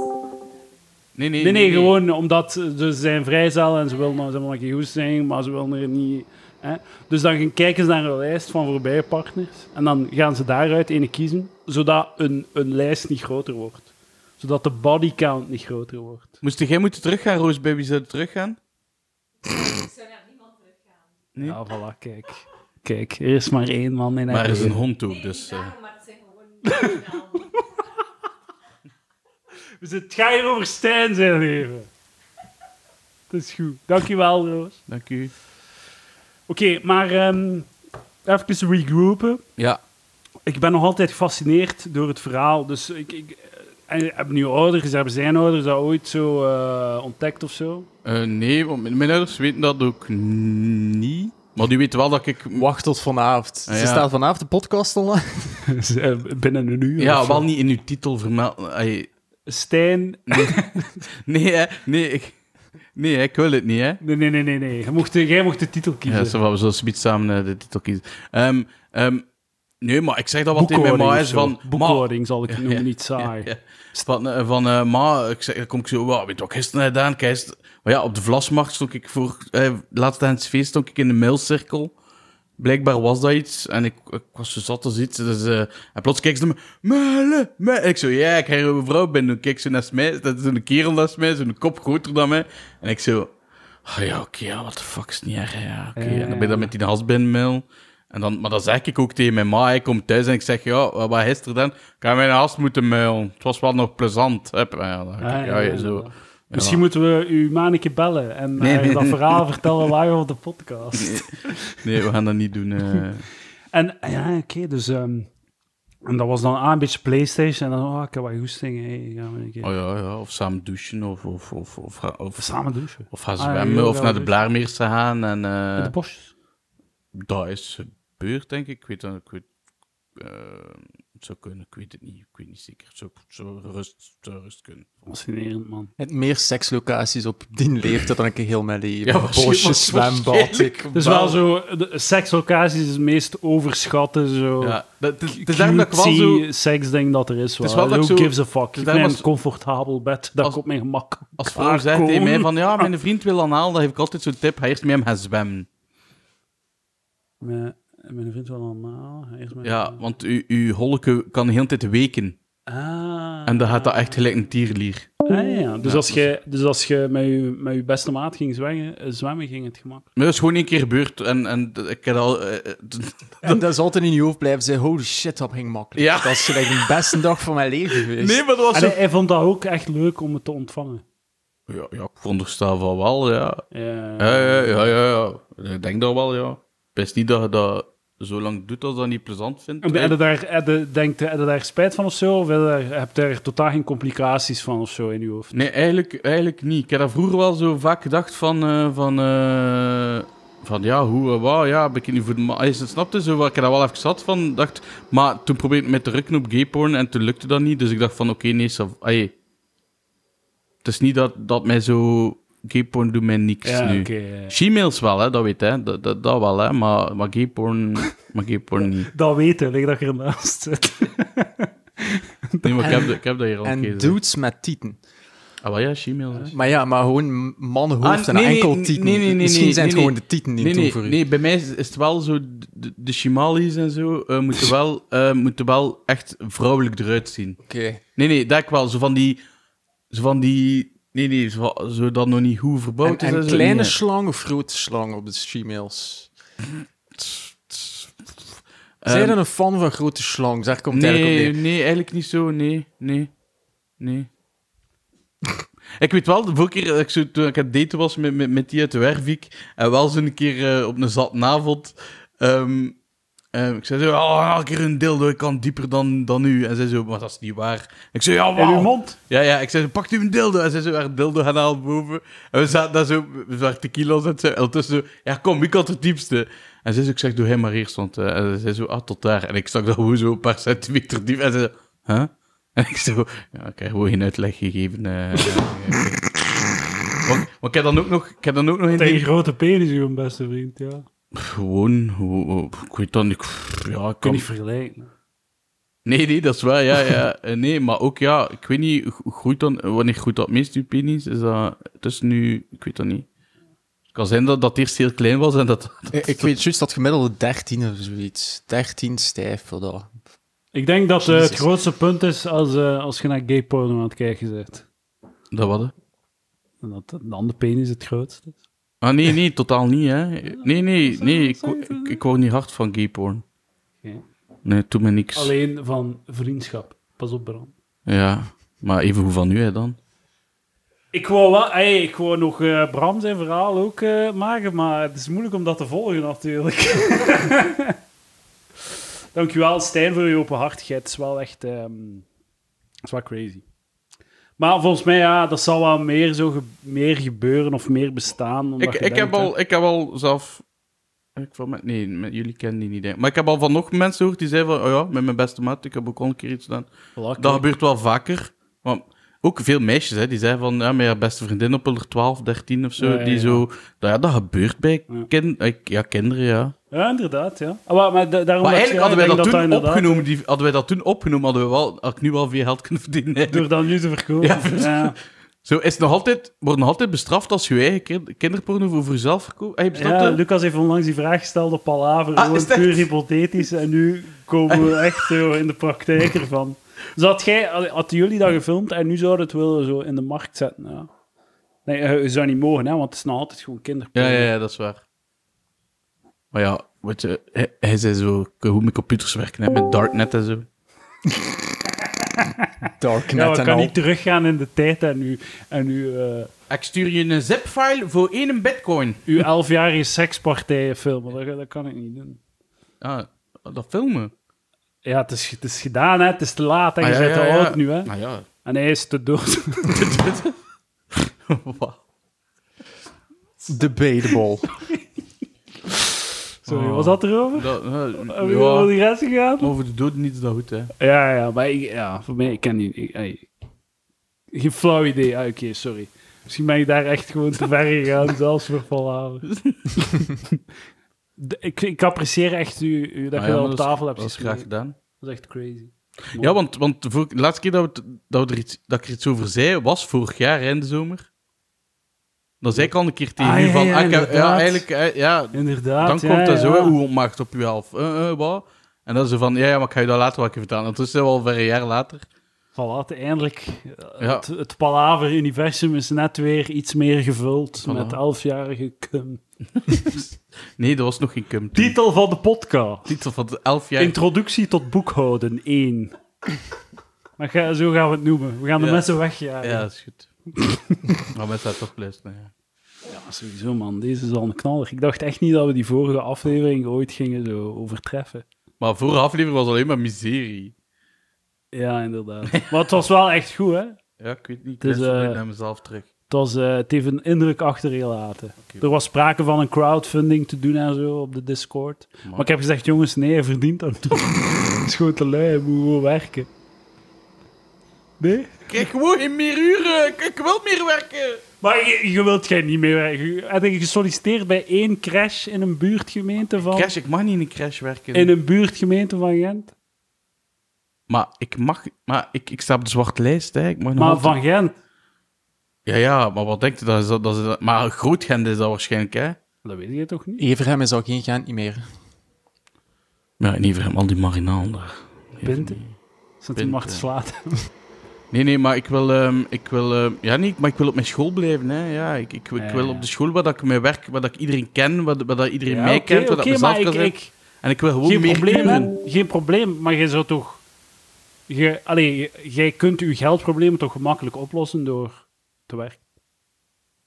Speaker 2: Nee, nee,
Speaker 3: Nee, nee, gewoon omdat eh, ze zijn vrijzaal en ze willen nou, ze hebben nog een goed zijn, maar ze willen er niet. Hè? Dus dan gaan kijken ze naar een lijst van voorbije partners en dan gaan ze daaruit ene kiezen, zodat een, een lijst niet groter wordt. Zodat de bodycount niet groter wordt.
Speaker 2: Moest jij moeten teruggaan, Roos Baby? Zou je teruggaan? Nee.
Speaker 3: Ja, voilà, kijk. Kijk, er is maar één man in haar
Speaker 2: Maar er is een
Speaker 3: leven.
Speaker 2: hond ook, dus... eh.
Speaker 4: Daarom, maar het zijn gewoon niet namen.
Speaker 3: Dus het gaat hier over Stijn zijn leven. Dat is goed. Dankjewel, Roos.
Speaker 2: Dank u.
Speaker 3: Oké, maar ehm even regroupen.
Speaker 2: Ja.
Speaker 3: ik ben nog altijd gefascineerd door het verhaal. Dus ik, ik, eh, ik heb nu ouders, hebben zijn ouders dat ooit zo eh, ontdekt of zo?
Speaker 2: Eh, nee, want mijn, mijn ouders weten dat ook niet. Maar die weten wel dat ik...
Speaker 1: Wacht tot vanavond.
Speaker 2: Ah,
Speaker 1: Ze
Speaker 2: ja.
Speaker 1: staat vanavond de podcast online.
Speaker 3: eh, Binnen een uur.
Speaker 2: Ja, wel niet in uw titel vermeld. Ai,
Speaker 3: Stijn,
Speaker 2: Nee, hè. nee, ik, nee, hè, ik wil het niet, hè.
Speaker 3: nee, nee, nee, nee. nee. Jij, mocht, de- jij mocht de titel
Speaker 2: Ja,
Speaker 3: kiezen.
Speaker 2: zo van, we zullen zometeen samen eh, de titel kiezen. Ehm, ehm, nee, maar ik zeg dat wat in mijn
Speaker 3: Boekhouding
Speaker 2: ma
Speaker 3: of
Speaker 2: is
Speaker 3: zo.
Speaker 2: van... ma,
Speaker 3: Boekhouding zal ik
Speaker 2: Ja,
Speaker 3: noemen,
Speaker 2: ja,
Speaker 3: niet saai.
Speaker 2: ja. Van, eh, van eh, ma, ik zeg, dan kom ik zo, wow, weet je wat ik gisteren heb gedaan? Ik heb gisteren- Maar ja, op de Vlasmarkt stond ik voor... eh laatst aan het feest stond ik in de mailcirkel. Blijkbaar was dat iets. En ik, ik was zo zat als iets. Dus, eh, en plots keek ze naar me. Melle, Melle. En ik zo, ja, ik ga een vrouw binnen. Dan keek ze naast mij. Dat is een kerel naast mij. Zo'n kop groter dan mij. En ik zo... ah ja, oké, ja, what the fuck is niet erg. Ja, oké.
Speaker 3: Ja,
Speaker 2: En dan
Speaker 3: ja.
Speaker 2: ben ik dan met die hasbinmail. En dan, maar dan zeg ik ook tegen mijn ma. Ik kom thuis en ik zeg, ja, wat wat is er dan? Ik heb mijn has moeten mailen. Het was wel nog plezant. Hup, ja, dan,
Speaker 3: Ah,
Speaker 2: ja,
Speaker 3: ja,
Speaker 2: zo.
Speaker 3: ja. Misschien moeten we u Maneke bellen en
Speaker 2: Nee,
Speaker 3: eh,
Speaker 2: nee,
Speaker 3: dat
Speaker 2: nee.
Speaker 3: verhaal vertellen live op de podcast.
Speaker 2: Nee, we gaan dat niet doen. eh.
Speaker 3: En ja, oké, dus... ehm, en dat was dan ah, een beetje Playstation. En dan, oh, ik heb wat goesting. Hey, gaan we een keer
Speaker 2: Oh ja, ja, of samen douchen. Of, of, of, of, of, of,
Speaker 3: samen douchen.
Speaker 2: of gaan
Speaker 3: Ah, ja,
Speaker 2: zwemmen.
Speaker 3: ja,
Speaker 2: of
Speaker 3: ja,
Speaker 2: naar de
Speaker 3: dus.
Speaker 2: Blaarmeerse gaan. En,
Speaker 3: Met
Speaker 2: eh,
Speaker 3: de bosjes.
Speaker 2: Dat is gebeurd, denk ik. Ik weet dat ik weet, eh, Het zou kunnen, ik weet het niet. Ik weet niet zeker. Het zou, het zou rust, het zou rust kunnen.
Speaker 3: Fascinerend, man.
Speaker 1: Het meer sekslocaties op die leeftijd dan ik in heel mijn leven.
Speaker 2: Ja, waarschijnlijk-
Speaker 1: Bosjes, zwembad. Ik,
Speaker 2: waarschijnlijk.
Speaker 3: Het is wel zo... De, sekslocaties is het meest overschatte, zo...
Speaker 2: Ja, dat, het, is- het is eigenlijk dat ik wel zo...
Speaker 3: cutesy seksding dat er
Speaker 2: is
Speaker 3: is. Wel.
Speaker 2: wel dat ik
Speaker 3: Who
Speaker 2: zo-
Speaker 3: gives a fuck?
Speaker 2: is
Speaker 3: Ik
Speaker 2: daar
Speaker 3: neem
Speaker 2: was-
Speaker 3: een comfortabel bed, dat
Speaker 2: Als-
Speaker 3: ik op mijn gemak
Speaker 2: Als vrouw zegt tegen
Speaker 3: komen.
Speaker 2: mij van, ja, mijn vriend wil anaal, dan geef ik altijd zo'n tip. Hij eerst met hem gaan zwemmen.
Speaker 3: Mijn, mijn vriend wel allemaal. Hij is mijn...
Speaker 2: Ja, want u- uw holleke kan de hele tijd weken.
Speaker 3: Ah.
Speaker 2: En dan gaat dat echt gelijk een tierlier.
Speaker 3: Ah, ja. Dus,
Speaker 2: Ja,
Speaker 3: als je, dus als je met je, met je beste maat ging zwemmen, eh, zwemmen ging het gemakkelijk.
Speaker 2: Maar dat is gewoon één keer gebeurd. En, en d- ik heb al... eh, eh, d-
Speaker 1: en dat is altijd in je hoofd blijven zeggen, holy shit, dat ging makkelijk.
Speaker 2: Ja.
Speaker 1: Dat is gelijk de beste dag van mijn leven geweest.
Speaker 2: nee, maar dat was
Speaker 3: En
Speaker 2: zo...
Speaker 3: hij, hij vond dat ook echt leuk om het te ontvangen.
Speaker 2: Ja, ja, ik veronderstel van wel, ja.
Speaker 3: Ja.
Speaker 2: Ja, ja, ja, ja, ja. Ik denk dat wel, ja. Best niet dat je dat zo lang doet als je dat niet plezant vindt.
Speaker 3: En Heb je daar, heb je- denkt, heb je daar spijt van of zo? Of heb je daar, heb je daar totaal geen complicaties van of zo in je hoofd?
Speaker 2: Nee, eigenlijk, eigenlijk niet. Ik heb dat vroeger wel zo vaak gedacht van... eh, van, eh, van ja, hoe, eh, wat, ja, ben ik niet voor de ma- Is het snapte zo, waar ik dat wel even zat van, dacht... Maar toen probeerde ik met te rukken op gayporn en toen lukte dat niet. Dus ik dacht van, oké, nee, ça va. Ay, Het is niet dat, dat mij zo... Gayporn doet mij niks
Speaker 3: Ja,
Speaker 2: nu.
Speaker 3: oké. ja.
Speaker 2: Gmails wel, hè, dat weet hè. Dat, dat, dat wel, hè. Maar, maar gayporn... maar gayporn niet.
Speaker 3: Dat weten, ik dat je ernaast zit.
Speaker 2: Nee, maar ik heb, dat- ik heb dat hier al een keer
Speaker 1: En
Speaker 3: dus-
Speaker 2: gezegd.
Speaker 1: dudes met tieten.
Speaker 2: Ah, wel ja, Gmail. hè.
Speaker 1: Maar ja, maar gewoon mannenhoofd
Speaker 2: Ah,
Speaker 1: en
Speaker 2: nee, nee,
Speaker 1: enkel
Speaker 2: nee,
Speaker 1: tieten.
Speaker 2: nee, nee, nee,
Speaker 1: Misschien
Speaker 2: nee,
Speaker 1: zijn het
Speaker 2: nee,
Speaker 1: gewoon de tieten die
Speaker 2: Nee,
Speaker 1: het
Speaker 2: nee,
Speaker 1: doen voor u.
Speaker 2: nee, bij mij is, is het wel zo... De, de Shimali's en zo eh, moeten, wel, eh, moeten wel echt vrouwelijk eruit zien.
Speaker 1: Oké.
Speaker 2: Nee, nee, dat ik wel. Zo van die... Zo van die... Nee, nee, zo, van- zo dat nog niet goed
Speaker 1: En,
Speaker 2: verbouwd is.
Speaker 1: en
Speaker 2: zo,
Speaker 1: kleine
Speaker 2: nee.
Speaker 1: slang of grote slang op de Gmails?
Speaker 2: Ehm,
Speaker 1: Zijn er een fan van grote slang? Daar komt het eigenlijk op
Speaker 2: Nee,
Speaker 1: neer.
Speaker 2: nee, eigenlijk niet zo. Nee, nee, nee. ik weet wel, de vorige keer dat ik zo, toen ik aan het daten was met, met, met die uit de Wervik, en wel zo'n keer eh, op een zatnavond, ehm ehm, ik zei zo, oh, elke keer een dildo, ik kan dieper dan, dan u. En zij zo, maar dat is niet waar. Ik zei, ja,
Speaker 3: In uw
Speaker 2: wauw.
Speaker 3: mond?
Speaker 2: Ja, ja, ik zei, zo, pak u een dildo. En zij zo, haar dildo gaan halen boven. En we zaten daar zo, we waren tequila's en zo. En tussen zo, ja, kom, wie kan het diepste? En zij zo, ik zeg, doe hem maar eerst, want... eh, en zij zo, ah, tot daar. En ik stak dat gewoon zo een paar centimeter diep. En zij zo, huh? En ik zo, ja, ik heb gewoon geen uitleg gegeven. eh, eh, eh. Want, want ik heb dan ook nog, ik heb dan ook nog in
Speaker 3: Tegen
Speaker 2: die...
Speaker 3: grote penis, uw beste vriend, ja.
Speaker 2: Gewoon, hoe- hoe- ik weet dan, ik... Ja, ik
Speaker 3: Kun
Speaker 2: kan
Speaker 3: je niet vergelijken.
Speaker 2: Nee, nee, dat is waar, ja, ja. Eh, Nee, maar ook, ja, ik weet niet, gro- groeit dan, wanneer groeit dat meest, uw penis? Is dat, het is nu, ik weet dat niet. Het kan zijn dat dat eerst heel klein was en dat...
Speaker 1: Ik, ik weet juist dat gemiddelde 13 of zoiets. 13 stijf voor dat.
Speaker 3: Ik denk dat eh, het
Speaker 1: Jezus.
Speaker 3: grootste punt is als, eh, als je naar gay porno aan het kijken bent.
Speaker 2: Dat wat, hè?
Speaker 3: En dat dan de penis het grootste is.
Speaker 2: Ah, nee, nee, totaal niet, hè. Nee, nee, nee, ik, wo- ik, ik word niet hard van gay porn.
Speaker 3: Oké.
Speaker 2: Nee, het doet me niks.
Speaker 3: Alleen van vriendschap. Pas op, Bram.
Speaker 2: Ja, maar even hoe van u, hè, dan?
Speaker 3: Ik wou, wel, hey, ik wou nog eh, Bram zijn verhaal ook eh, maken, maar het is moeilijk om dat te volgen natuurlijk. Dankjewel Stijn voor je openhartigheid. Het is wel echt ehm, het is wel crazy. Maar volgens mij, ja, dat zal wel meer, zo ge- meer gebeuren of meer bestaan. dan
Speaker 2: Ik,
Speaker 3: dat je
Speaker 2: ik, heb
Speaker 3: denkt, hè.
Speaker 2: al, ik heb al zelf... Ik van, me- nee, met jullie kennen die niet, denk ik. Maar ik heb al van nog mensen gehoord die zeiden van... Oh ja, met mijn beste maat, ik heb ook al een keer iets gedaan.
Speaker 3: Voilà,
Speaker 2: Dat
Speaker 3: kijk.
Speaker 2: gebeurt wel vaker. Want ook veel meisjes, hè, die zijn van, ja, met haar beste vriendin op hun 12, 13 of zo,
Speaker 3: Ja, ja,
Speaker 2: die
Speaker 3: ja.
Speaker 2: zo... Nou ja, dat gebeurt bij
Speaker 3: Ja.
Speaker 2: kind, eh, ja, kinderen, ja.
Speaker 3: Ja, inderdaad, ja. Ah, Maar, maar da- daarom
Speaker 2: Maar
Speaker 3: dat ik
Speaker 2: eigenlijk hadden wij
Speaker 3: zei,
Speaker 2: dat,
Speaker 3: ik denk
Speaker 2: toen
Speaker 3: inderdaad-
Speaker 2: opgenomen, die, hadden wij dat toen opgenomen, hadden we wel, had ik nu wel veel geld kunnen verdienen. eigenlijk.
Speaker 3: Door dat nu te verkopen.
Speaker 2: Ja,
Speaker 3: Ja,
Speaker 2: Zo is het nog altijd, wordt nog altijd bestraft als je je eigen kin- kinderporno voor- voor jezelf verkoopt. Heb je
Speaker 3: Ja,
Speaker 2: snapt het?
Speaker 3: Lucas heeft onlangs die vraag gesteld op Palaver,
Speaker 2: Ah,
Speaker 3: gewoon
Speaker 2: is dat-
Speaker 3: puur hypothetisch, en nu komen we echt zo in de praktijk ervan. Dus had jij, hadden jullie dat gefilmd en nu zouden het willen zo in de markt zetten, ja. Nee, eh, je zou niet mogen, hè, want het is nog altijd gewoon kinderporno.
Speaker 2: Ja, ja, ja, dat is waar. Maar ja, weet je, hij, hij zei zo, "Ik weet hoe mijn computers werken, hè, met darknet en zo.
Speaker 1: Darknet
Speaker 3: we
Speaker 1: en
Speaker 3: kan
Speaker 1: al.
Speaker 3: niet teruggaan in de tijd en uw, en uw, eh,
Speaker 2: Ik stuur je een zip-file voor één bitcoin.
Speaker 3: uw elfjarige sekspartijen filmen. Dat, dat kan ik niet doen.
Speaker 2: Ah, dat filmen.
Speaker 3: Ja, het is, het is gedaan, hè. Het is te laat, hè. Je
Speaker 2: Ah, ja,
Speaker 3: bent
Speaker 2: ja,
Speaker 3: te
Speaker 2: ja.
Speaker 3: oud nu, hè.
Speaker 2: Nou ja.
Speaker 3: En hij is te dood.
Speaker 2: Wauw.
Speaker 1: Debatable.
Speaker 3: Sorry,
Speaker 2: Oh.
Speaker 3: was dat erover?
Speaker 2: Dat, eh,
Speaker 3: Heb je
Speaker 2: ja,
Speaker 3: over die rest gegaan?
Speaker 2: maar over de dood niets dat goed, hè.
Speaker 3: Ja, ja, maar ik, ja, voor mij, ik ken die... Ik, ey. geen flauw idee. Ah, oké, sorry. Misschien ben ik daar echt gewoon te ver gegaan, zelfs voor volhouden. De- ik, ik apprecieer echt u, u dat
Speaker 2: Ah
Speaker 3: je
Speaker 2: ja,
Speaker 3: dat
Speaker 2: maar
Speaker 3: op
Speaker 2: dat is-
Speaker 3: tafel hebt
Speaker 2: Dat is
Speaker 3: gesmeten.
Speaker 2: graag gedaan.
Speaker 3: Dat is echt crazy.
Speaker 2: Ja, want, want de, vor- de laatste keer dat, we het- dat, we er iets, dat ik er iets over zei, was vorig jaar hè, in de zomer. Dan zei ik al een keer tegen
Speaker 3: Ah,
Speaker 2: u
Speaker 3: ja,
Speaker 2: van...
Speaker 3: ja,
Speaker 2: ah, ik heb- ja,
Speaker 3: inderdaad.
Speaker 2: eigenlijk, eh, ja,
Speaker 3: Inderdaad,
Speaker 2: dan
Speaker 3: ja,
Speaker 2: komt dat zo,
Speaker 3: ja.
Speaker 2: hè, hoe onmacht op je helft. Eh, eh, wat? En dan ze van, ja, ja, maar ik ga je dat later wel even vertellen. En toen is het al een jaar later.
Speaker 3: Voilà, eindelijk. eh,
Speaker 2: Ja.
Speaker 3: Het, het Palaver-universum is net weer iets meer gevuld
Speaker 2: Voilà.
Speaker 3: met elfjarige cum.
Speaker 2: Nee, dat was nog geen cum. toen.
Speaker 3: Titel van de podcast.
Speaker 2: Titel van de elf jaar.
Speaker 3: Introductie tot boekhouden 1. Maar ga- zo gaan we het noemen. We gaan de
Speaker 2: Ja.
Speaker 3: mensen wegjagen.
Speaker 2: Ja, dat is goed. maar mensen gaan toch luisteren, ja.
Speaker 3: Ja, sowieso man. Deze is al een knaller. Ik dacht echt niet dat we die vorige aflevering ooit gingen zo overtreffen.
Speaker 2: Maar vorige aflevering was alleen maar miserie.
Speaker 3: Ja, inderdaad. maar het was wel echt goed, hè?
Speaker 2: Ja, ik weet niet. Ik
Speaker 3: Dus,
Speaker 2: luister
Speaker 3: eh,
Speaker 2: altijd naar mezelf terug.
Speaker 3: Het, was, eh, het heeft een indruk achtergelaten. Er was sprake van een crowdfunding te doen en zo op de Discord. Maar, ik heb gezegd, jongens, nee, je verdient dat niet. Het is gewoon te lui, je moet gewoon werken. Nee?
Speaker 2: Ik krijg gewoon geen meer uren. Ik, ik wil meer werken.
Speaker 3: Maar je, je wilt jij niet meer werken. Je- Heb je gesolliciteerd bij één crash in een buurtgemeente van...
Speaker 2: Crash, ik mag niet in een crash werken.
Speaker 3: In een buurtgemeente van Gent?
Speaker 2: Maar ik mag... Maar ik, ik sta op de zwarte lijst, hè. Ik mag nog
Speaker 3: Maar
Speaker 2: altijd-
Speaker 3: van Gent?
Speaker 2: Ja, ja, maar wat denk je? Dat is, dat, dat is, dat- maar groot Gent is dat waarschijnlijk, hè.
Speaker 3: Dat weet je toch niet?
Speaker 1: Everhem is al geen Gent niet meer.
Speaker 2: Ja, in ieder geval al die marinaal daar.
Speaker 3: Pinte? Sint
Speaker 2: Pinte.
Speaker 3: mag te slaat.
Speaker 2: Nee, nee, maar ik wil... ehm, ik wil ehm, ja, nee, maar ik wil op mijn school blijven, hè. Ja, ik, ik, ik
Speaker 3: Ja,
Speaker 2: wil
Speaker 3: ja.
Speaker 2: op de school waar dat ik mijn werk... Waar dat ik iedereen ken, waar, waar dat iedereen
Speaker 3: Ja,
Speaker 2: mij
Speaker 3: oké,
Speaker 2: kent, waar dat
Speaker 3: oké,
Speaker 2: ik mezelf
Speaker 3: maar
Speaker 2: kan
Speaker 3: ik-
Speaker 2: zijn.
Speaker 3: ik-
Speaker 2: En ik wil gewoon
Speaker 3: Geen
Speaker 2: meer
Speaker 3: probleem,
Speaker 2: leven.
Speaker 3: hè? Geen probleem, maar jij zou toch... Je, allee, jij kunt uw geldprobleem toch gemakkelijk oplossen door te werken.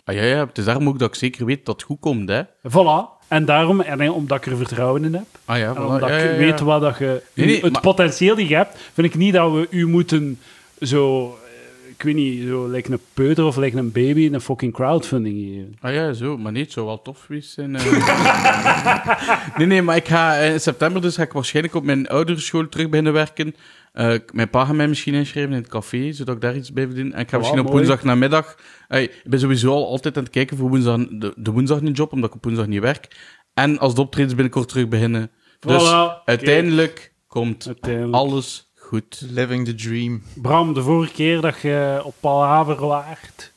Speaker 2: Ah, ja, ja, het is daarom ook dat ik zeker weet dat het goed komt, hè.
Speaker 3: Voilà. En daarom, en omdat ik er vertrouwen in heb,
Speaker 2: Ah ja, voilà.
Speaker 3: en omdat
Speaker 2: ja,
Speaker 3: ik
Speaker 2: ja, ja.
Speaker 3: weet wat dat je...
Speaker 2: Nee, nee,
Speaker 3: het
Speaker 2: maar-
Speaker 3: potentieel die je hebt, vind ik niet dat we u moeten zo... eh, Ik weet niet, zo lijkt een peuter of lijkt een baby een fucking crowdfunding geven.
Speaker 2: Ah ja, zo. Maar nee, het zou wel tof geweest zijn. eh. nee, nee, maar ik ga eh, in september dus ga ik waarschijnlijk op mijn oudere school terug beginnen werken. Eh, ik- mijn pa gaat mij misschien inschrijven in het café, zodat ik daar iets bij verdien. En ik ga
Speaker 3: Ja,
Speaker 2: misschien op
Speaker 3: mooi.
Speaker 2: woensdag namiddag... Hey, ik ben sowieso al altijd aan het kijken voor woensdag, de, de woensdag een job, omdat ik op woensdag niet werk. En als de optredens binnenkort terug beginnen. Dus
Speaker 3: Voilà.
Speaker 2: uiteindelijk komt
Speaker 3: Uiteindelijk.
Speaker 2: alles goed.
Speaker 1: Living the dream.
Speaker 3: Bram, de vorige keer dat je op Palaver waart,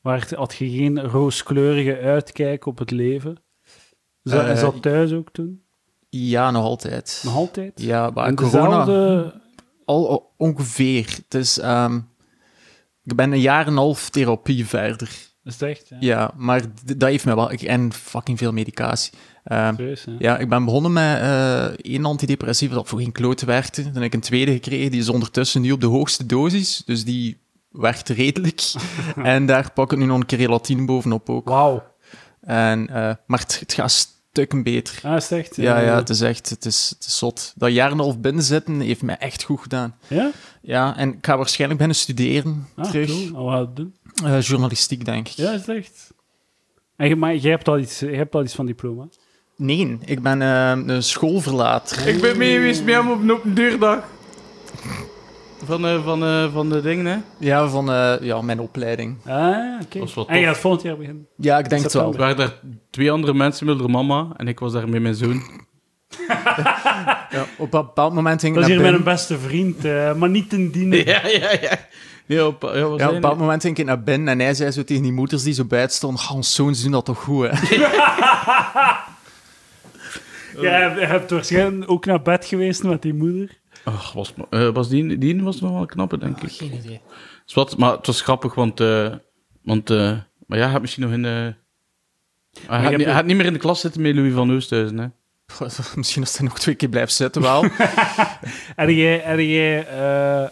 Speaker 3: waart had je geen rooskleurige uitkijk op het leven. Is dat, is
Speaker 1: Eh,
Speaker 3: dat thuis ook toen?
Speaker 1: Ja, nog altijd.
Speaker 3: Nog altijd?
Speaker 1: Ja, maar
Speaker 3: En
Speaker 1: corona...
Speaker 3: dezelfde-
Speaker 1: Al o- ongeveer. Het is... ehm, ik ben een jaar en een half therapie verder.
Speaker 3: Is het echt? Ja.
Speaker 1: Ja, maar d- dat heeft mij wel... ik- En fucking veel medicatie. Ehm,
Speaker 3: Serieus, hè?
Speaker 1: ja, ik ben begonnen met eh één antidepressief dat voor geen klote werkte. Dan heb ik een tweede gekregen, die is ondertussen nu op de hoogste dosis. Dus die werkt redelijk. en daar pak ik nu nog een keer relatine bovenop ook.
Speaker 3: Wauw.
Speaker 1: En, eh, maar het, het gaat stukken beter.
Speaker 3: Ah, is het echt?
Speaker 1: Ja,
Speaker 3: Eh,
Speaker 1: ja, het is echt, het is, het is zot. Dat jaar en een half binnen zitten heeft mij echt goed gedaan.
Speaker 3: ja?
Speaker 1: Ja, en ik ga waarschijnlijk beginnen studeren
Speaker 3: Ah,
Speaker 1: terug.
Speaker 3: cool. Al wat doen.
Speaker 1: Eh, journalistiek, denk ik.
Speaker 3: Ja, is het echt? En je, maar jij hebt al iets, jij hebt al iets van diploma.
Speaker 1: Nee, ik ben eh, een schoolverlater.
Speaker 2: Ik ben mee geweest met hem op een open deurdag. Van, eh, van, eh, van de dingen, hè.
Speaker 1: Ja, van eh, ja, mijn opleiding.
Speaker 3: Ah, oké.
Speaker 2: Dat is wel
Speaker 3: En je
Speaker 2: tof.
Speaker 3: gaat volgend jaar beginnen.
Speaker 1: Ja, ik denk het wel.
Speaker 2: Er waren daar twee andere mensen met haar mama en ik was daar met mijn zoon.
Speaker 1: Ja, op een bepaald moment ging ik
Speaker 3: Dat is
Speaker 1: naar
Speaker 3: hier mijn
Speaker 1: binnen.
Speaker 3: beste vriend, eh, maar niet ten dienen.
Speaker 2: Ja, ja, ja. Ja, op, ja, wat
Speaker 1: Ja, op
Speaker 2: zei
Speaker 1: een bepaald
Speaker 2: hij?
Speaker 1: moment ging ik naar binnen en hij zei zo tegen die moeders die zo buiten stonden, "Ah, ons zoons doen dat toch goed, hè?
Speaker 3: Ja, je hebt waarschijnlijk ook naar bed geweest met die moeder.
Speaker 2: Ach, was, eh, was die, die was nog wel een knappe, denk ik.
Speaker 1: Geen idee.
Speaker 2: Is wat, maar het was grappig, want... eh, want eh, maar ja, hij had misschien nog in... eh, hij,
Speaker 3: heb
Speaker 2: had, niet-
Speaker 3: je-
Speaker 2: hij had niet meer in de klas zitten met Louis van Oosthuizen, hè.
Speaker 1: Misschien als hij nog twee keer blijft zitten, wel.
Speaker 3: En jij... En jij eh,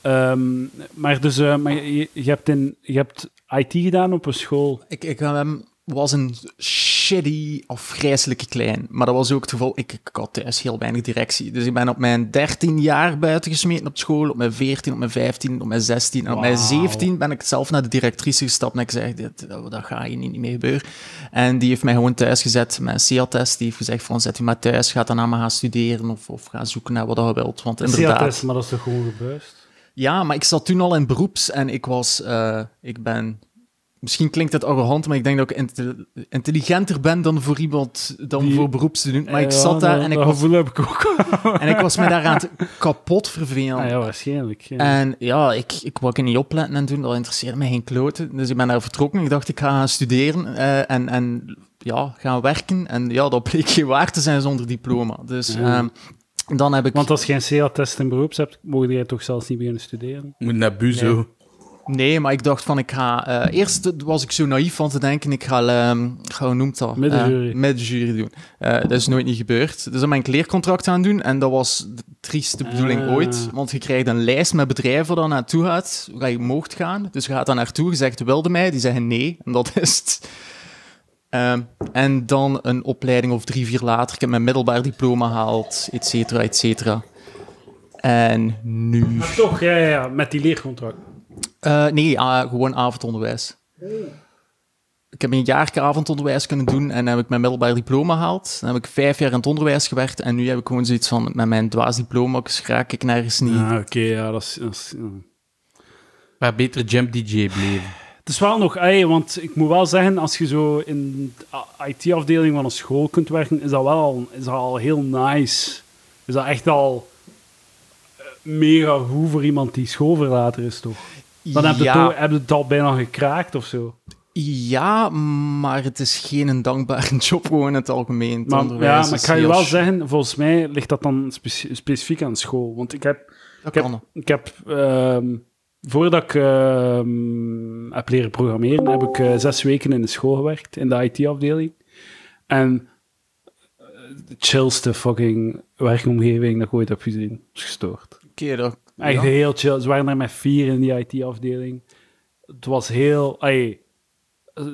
Speaker 3: ehm, maar dus, eh, maar je, je hebt in, je hebt IT gedaan op een school.
Speaker 1: ik, ik, ehm, was een shitty, afgrijzelijke klein. Maar dat was ook het geval, ik, ik had thuis heel weinig directie. Dus ik ben op mijn 13 jaar buitengesmeten op school, op mijn 14, op mijn 15, op mijn 16. En op mijn
Speaker 3: Wauw.
Speaker 1: 17 ben ik zelf naar de directrice gestapt en ik zei, dit, dat, dat ga je niet, niet meer gebeuren. En die heeft mij gewoon thuis gezet, mijn CA-test. Die heeft gezegd van, zet je maar thuis, ga daarna maar gaan studeren of, of ga zoeken naar wat je wilt. Want inderdaad...
Speaker 3: CA-test, maar dat is toch gewoon gebuist?
Speaker 1: Ja, maar ik zat toen al in beroeps en ik was, eh, ik ben, misschien klinkt het arrogant, maar ik denk dat ik inte- intelligenter ben dan voor iemand, dan
Speaker 3: Die-
Speaker 1: voor beroepsstudent. Maar ik
Speaker 3: Eh, Ja,
Speaker 1: zat daar
Speaker 3: dat-
Speaker 1: en ik,
Speaker 3: dat
Speaker 1: was,
Speaker 3: gevoel heb ik ook.
Speaker 1: en ik was me daaraan het kapot vervelen.
Speaker 3: Ah, ja, waarschijnlijk. ja.
Speaker 1: En ja, ik, ik wou er niet opletten en toen, dat interesseerde mij geen kloten. Dus ik ben daar vertrokken. Ik dacht, ik ga gaan studeren eh, en, en ja, gaan werken. En ja, dat bleek geen waar te zijn zonder diploma. Dus
Speaker 3: Ja.
Speaker 1: ehm, dan heb ik...
Speaker 3: Want als je geen CA-test in beroeps hebt, mogen jij toch zelfs niet beginnen studeren?
Speaker 2: Moet naar Buzo.
Speaker 1: Nee, maar ik dacht van ik ga. eh, eerst was ik zo naïef van te denken, ik ga, ehm, ga hoe noemt dat?
Speaker 3: Middenjury.
Speaker 1: Eh, middenjury doen. Eh, dat is nooit niet gebeurd. Dus dan ben ik leercontract aan doen en dat was de trieste bedoeling
Speaker 3: Ah.
Speaker 1: ooit. Want je krijgt een lijst met bedrijven waar je naartoe gaat, waar je mocht gaan. Dus je gaat daar naartoe, je zegt wilde mij, die zeggen nee. En dat is het. Ehm, en dan een opleiding of drie, vier later. Ik heb mijn middelbaar diploma gehaald, et cetera, et cetera. En nu.
Speaker 3: Maar toch, ja, ja, ja, met die leercontract.
Speaker 1: Eh, nee, ah, gewoon avondonderwijs. Ik heb een jaar avondonderwijs kunnen doen en dan heb ik mijn middelbaar diploma gehaald. Dan heb ik vijf jaar in het onderwijs gewerkt en nu heb ik gewoon zoiets van, met mijn dwaas diploma raak ik nergens niet.
Speaker 3: Ah, oké, ja, dat is... Dat is ja.
Speaker 2: Waar beter Jump DJ bleven.
Speaker 3: Het is wel nog, ey, want ik moet wel zeggen, als je zo in de IT-afdeling van een school kunt werken, is dat wel al, is dat al heel nice. Is dat echt al eh, mega goed voor iemand die schoolverlater is, toch? Dan heb je,
Speaker 1: ja,
Speaker 3: het, toch- heb je het al bijna gekraakt of zo.
Speaker 1: ja, maar het is geen een dankbare job gewoon in het algemeen. Het
Speaker 3: Maar,
Speaker 1: onderwijs
Speaker 3: ja, maar
Speaker 1: is
Speaker 3: ik ga je
Speaker 1: heel
Speaker 3: wel
Speaker 1: sh-
Speaker 3: zeggen, volgens mij ligt dat dan speci- specifiek aan school. Want ik heb
Speaker 1: Dat
Speaker 3: Ik
Speaker 1: kan.
Speaker 3: heb, ik heb ehm, voordat ik ehm, heb leren programmeren, heb ik eh, zes weken in de school gewerkt, in de IT-afdeling. En eh, de chillste fucking werkomgeving dat ik ooit heb gezien. Dat is gestoord.
Speaker 1: Oké, dat-
Speaker 3: Echt
Speaker 1: ja.
Speaker 3: heel chill. Ze waren er met vier in die IT-afdeling. Het was heel... ai, eh,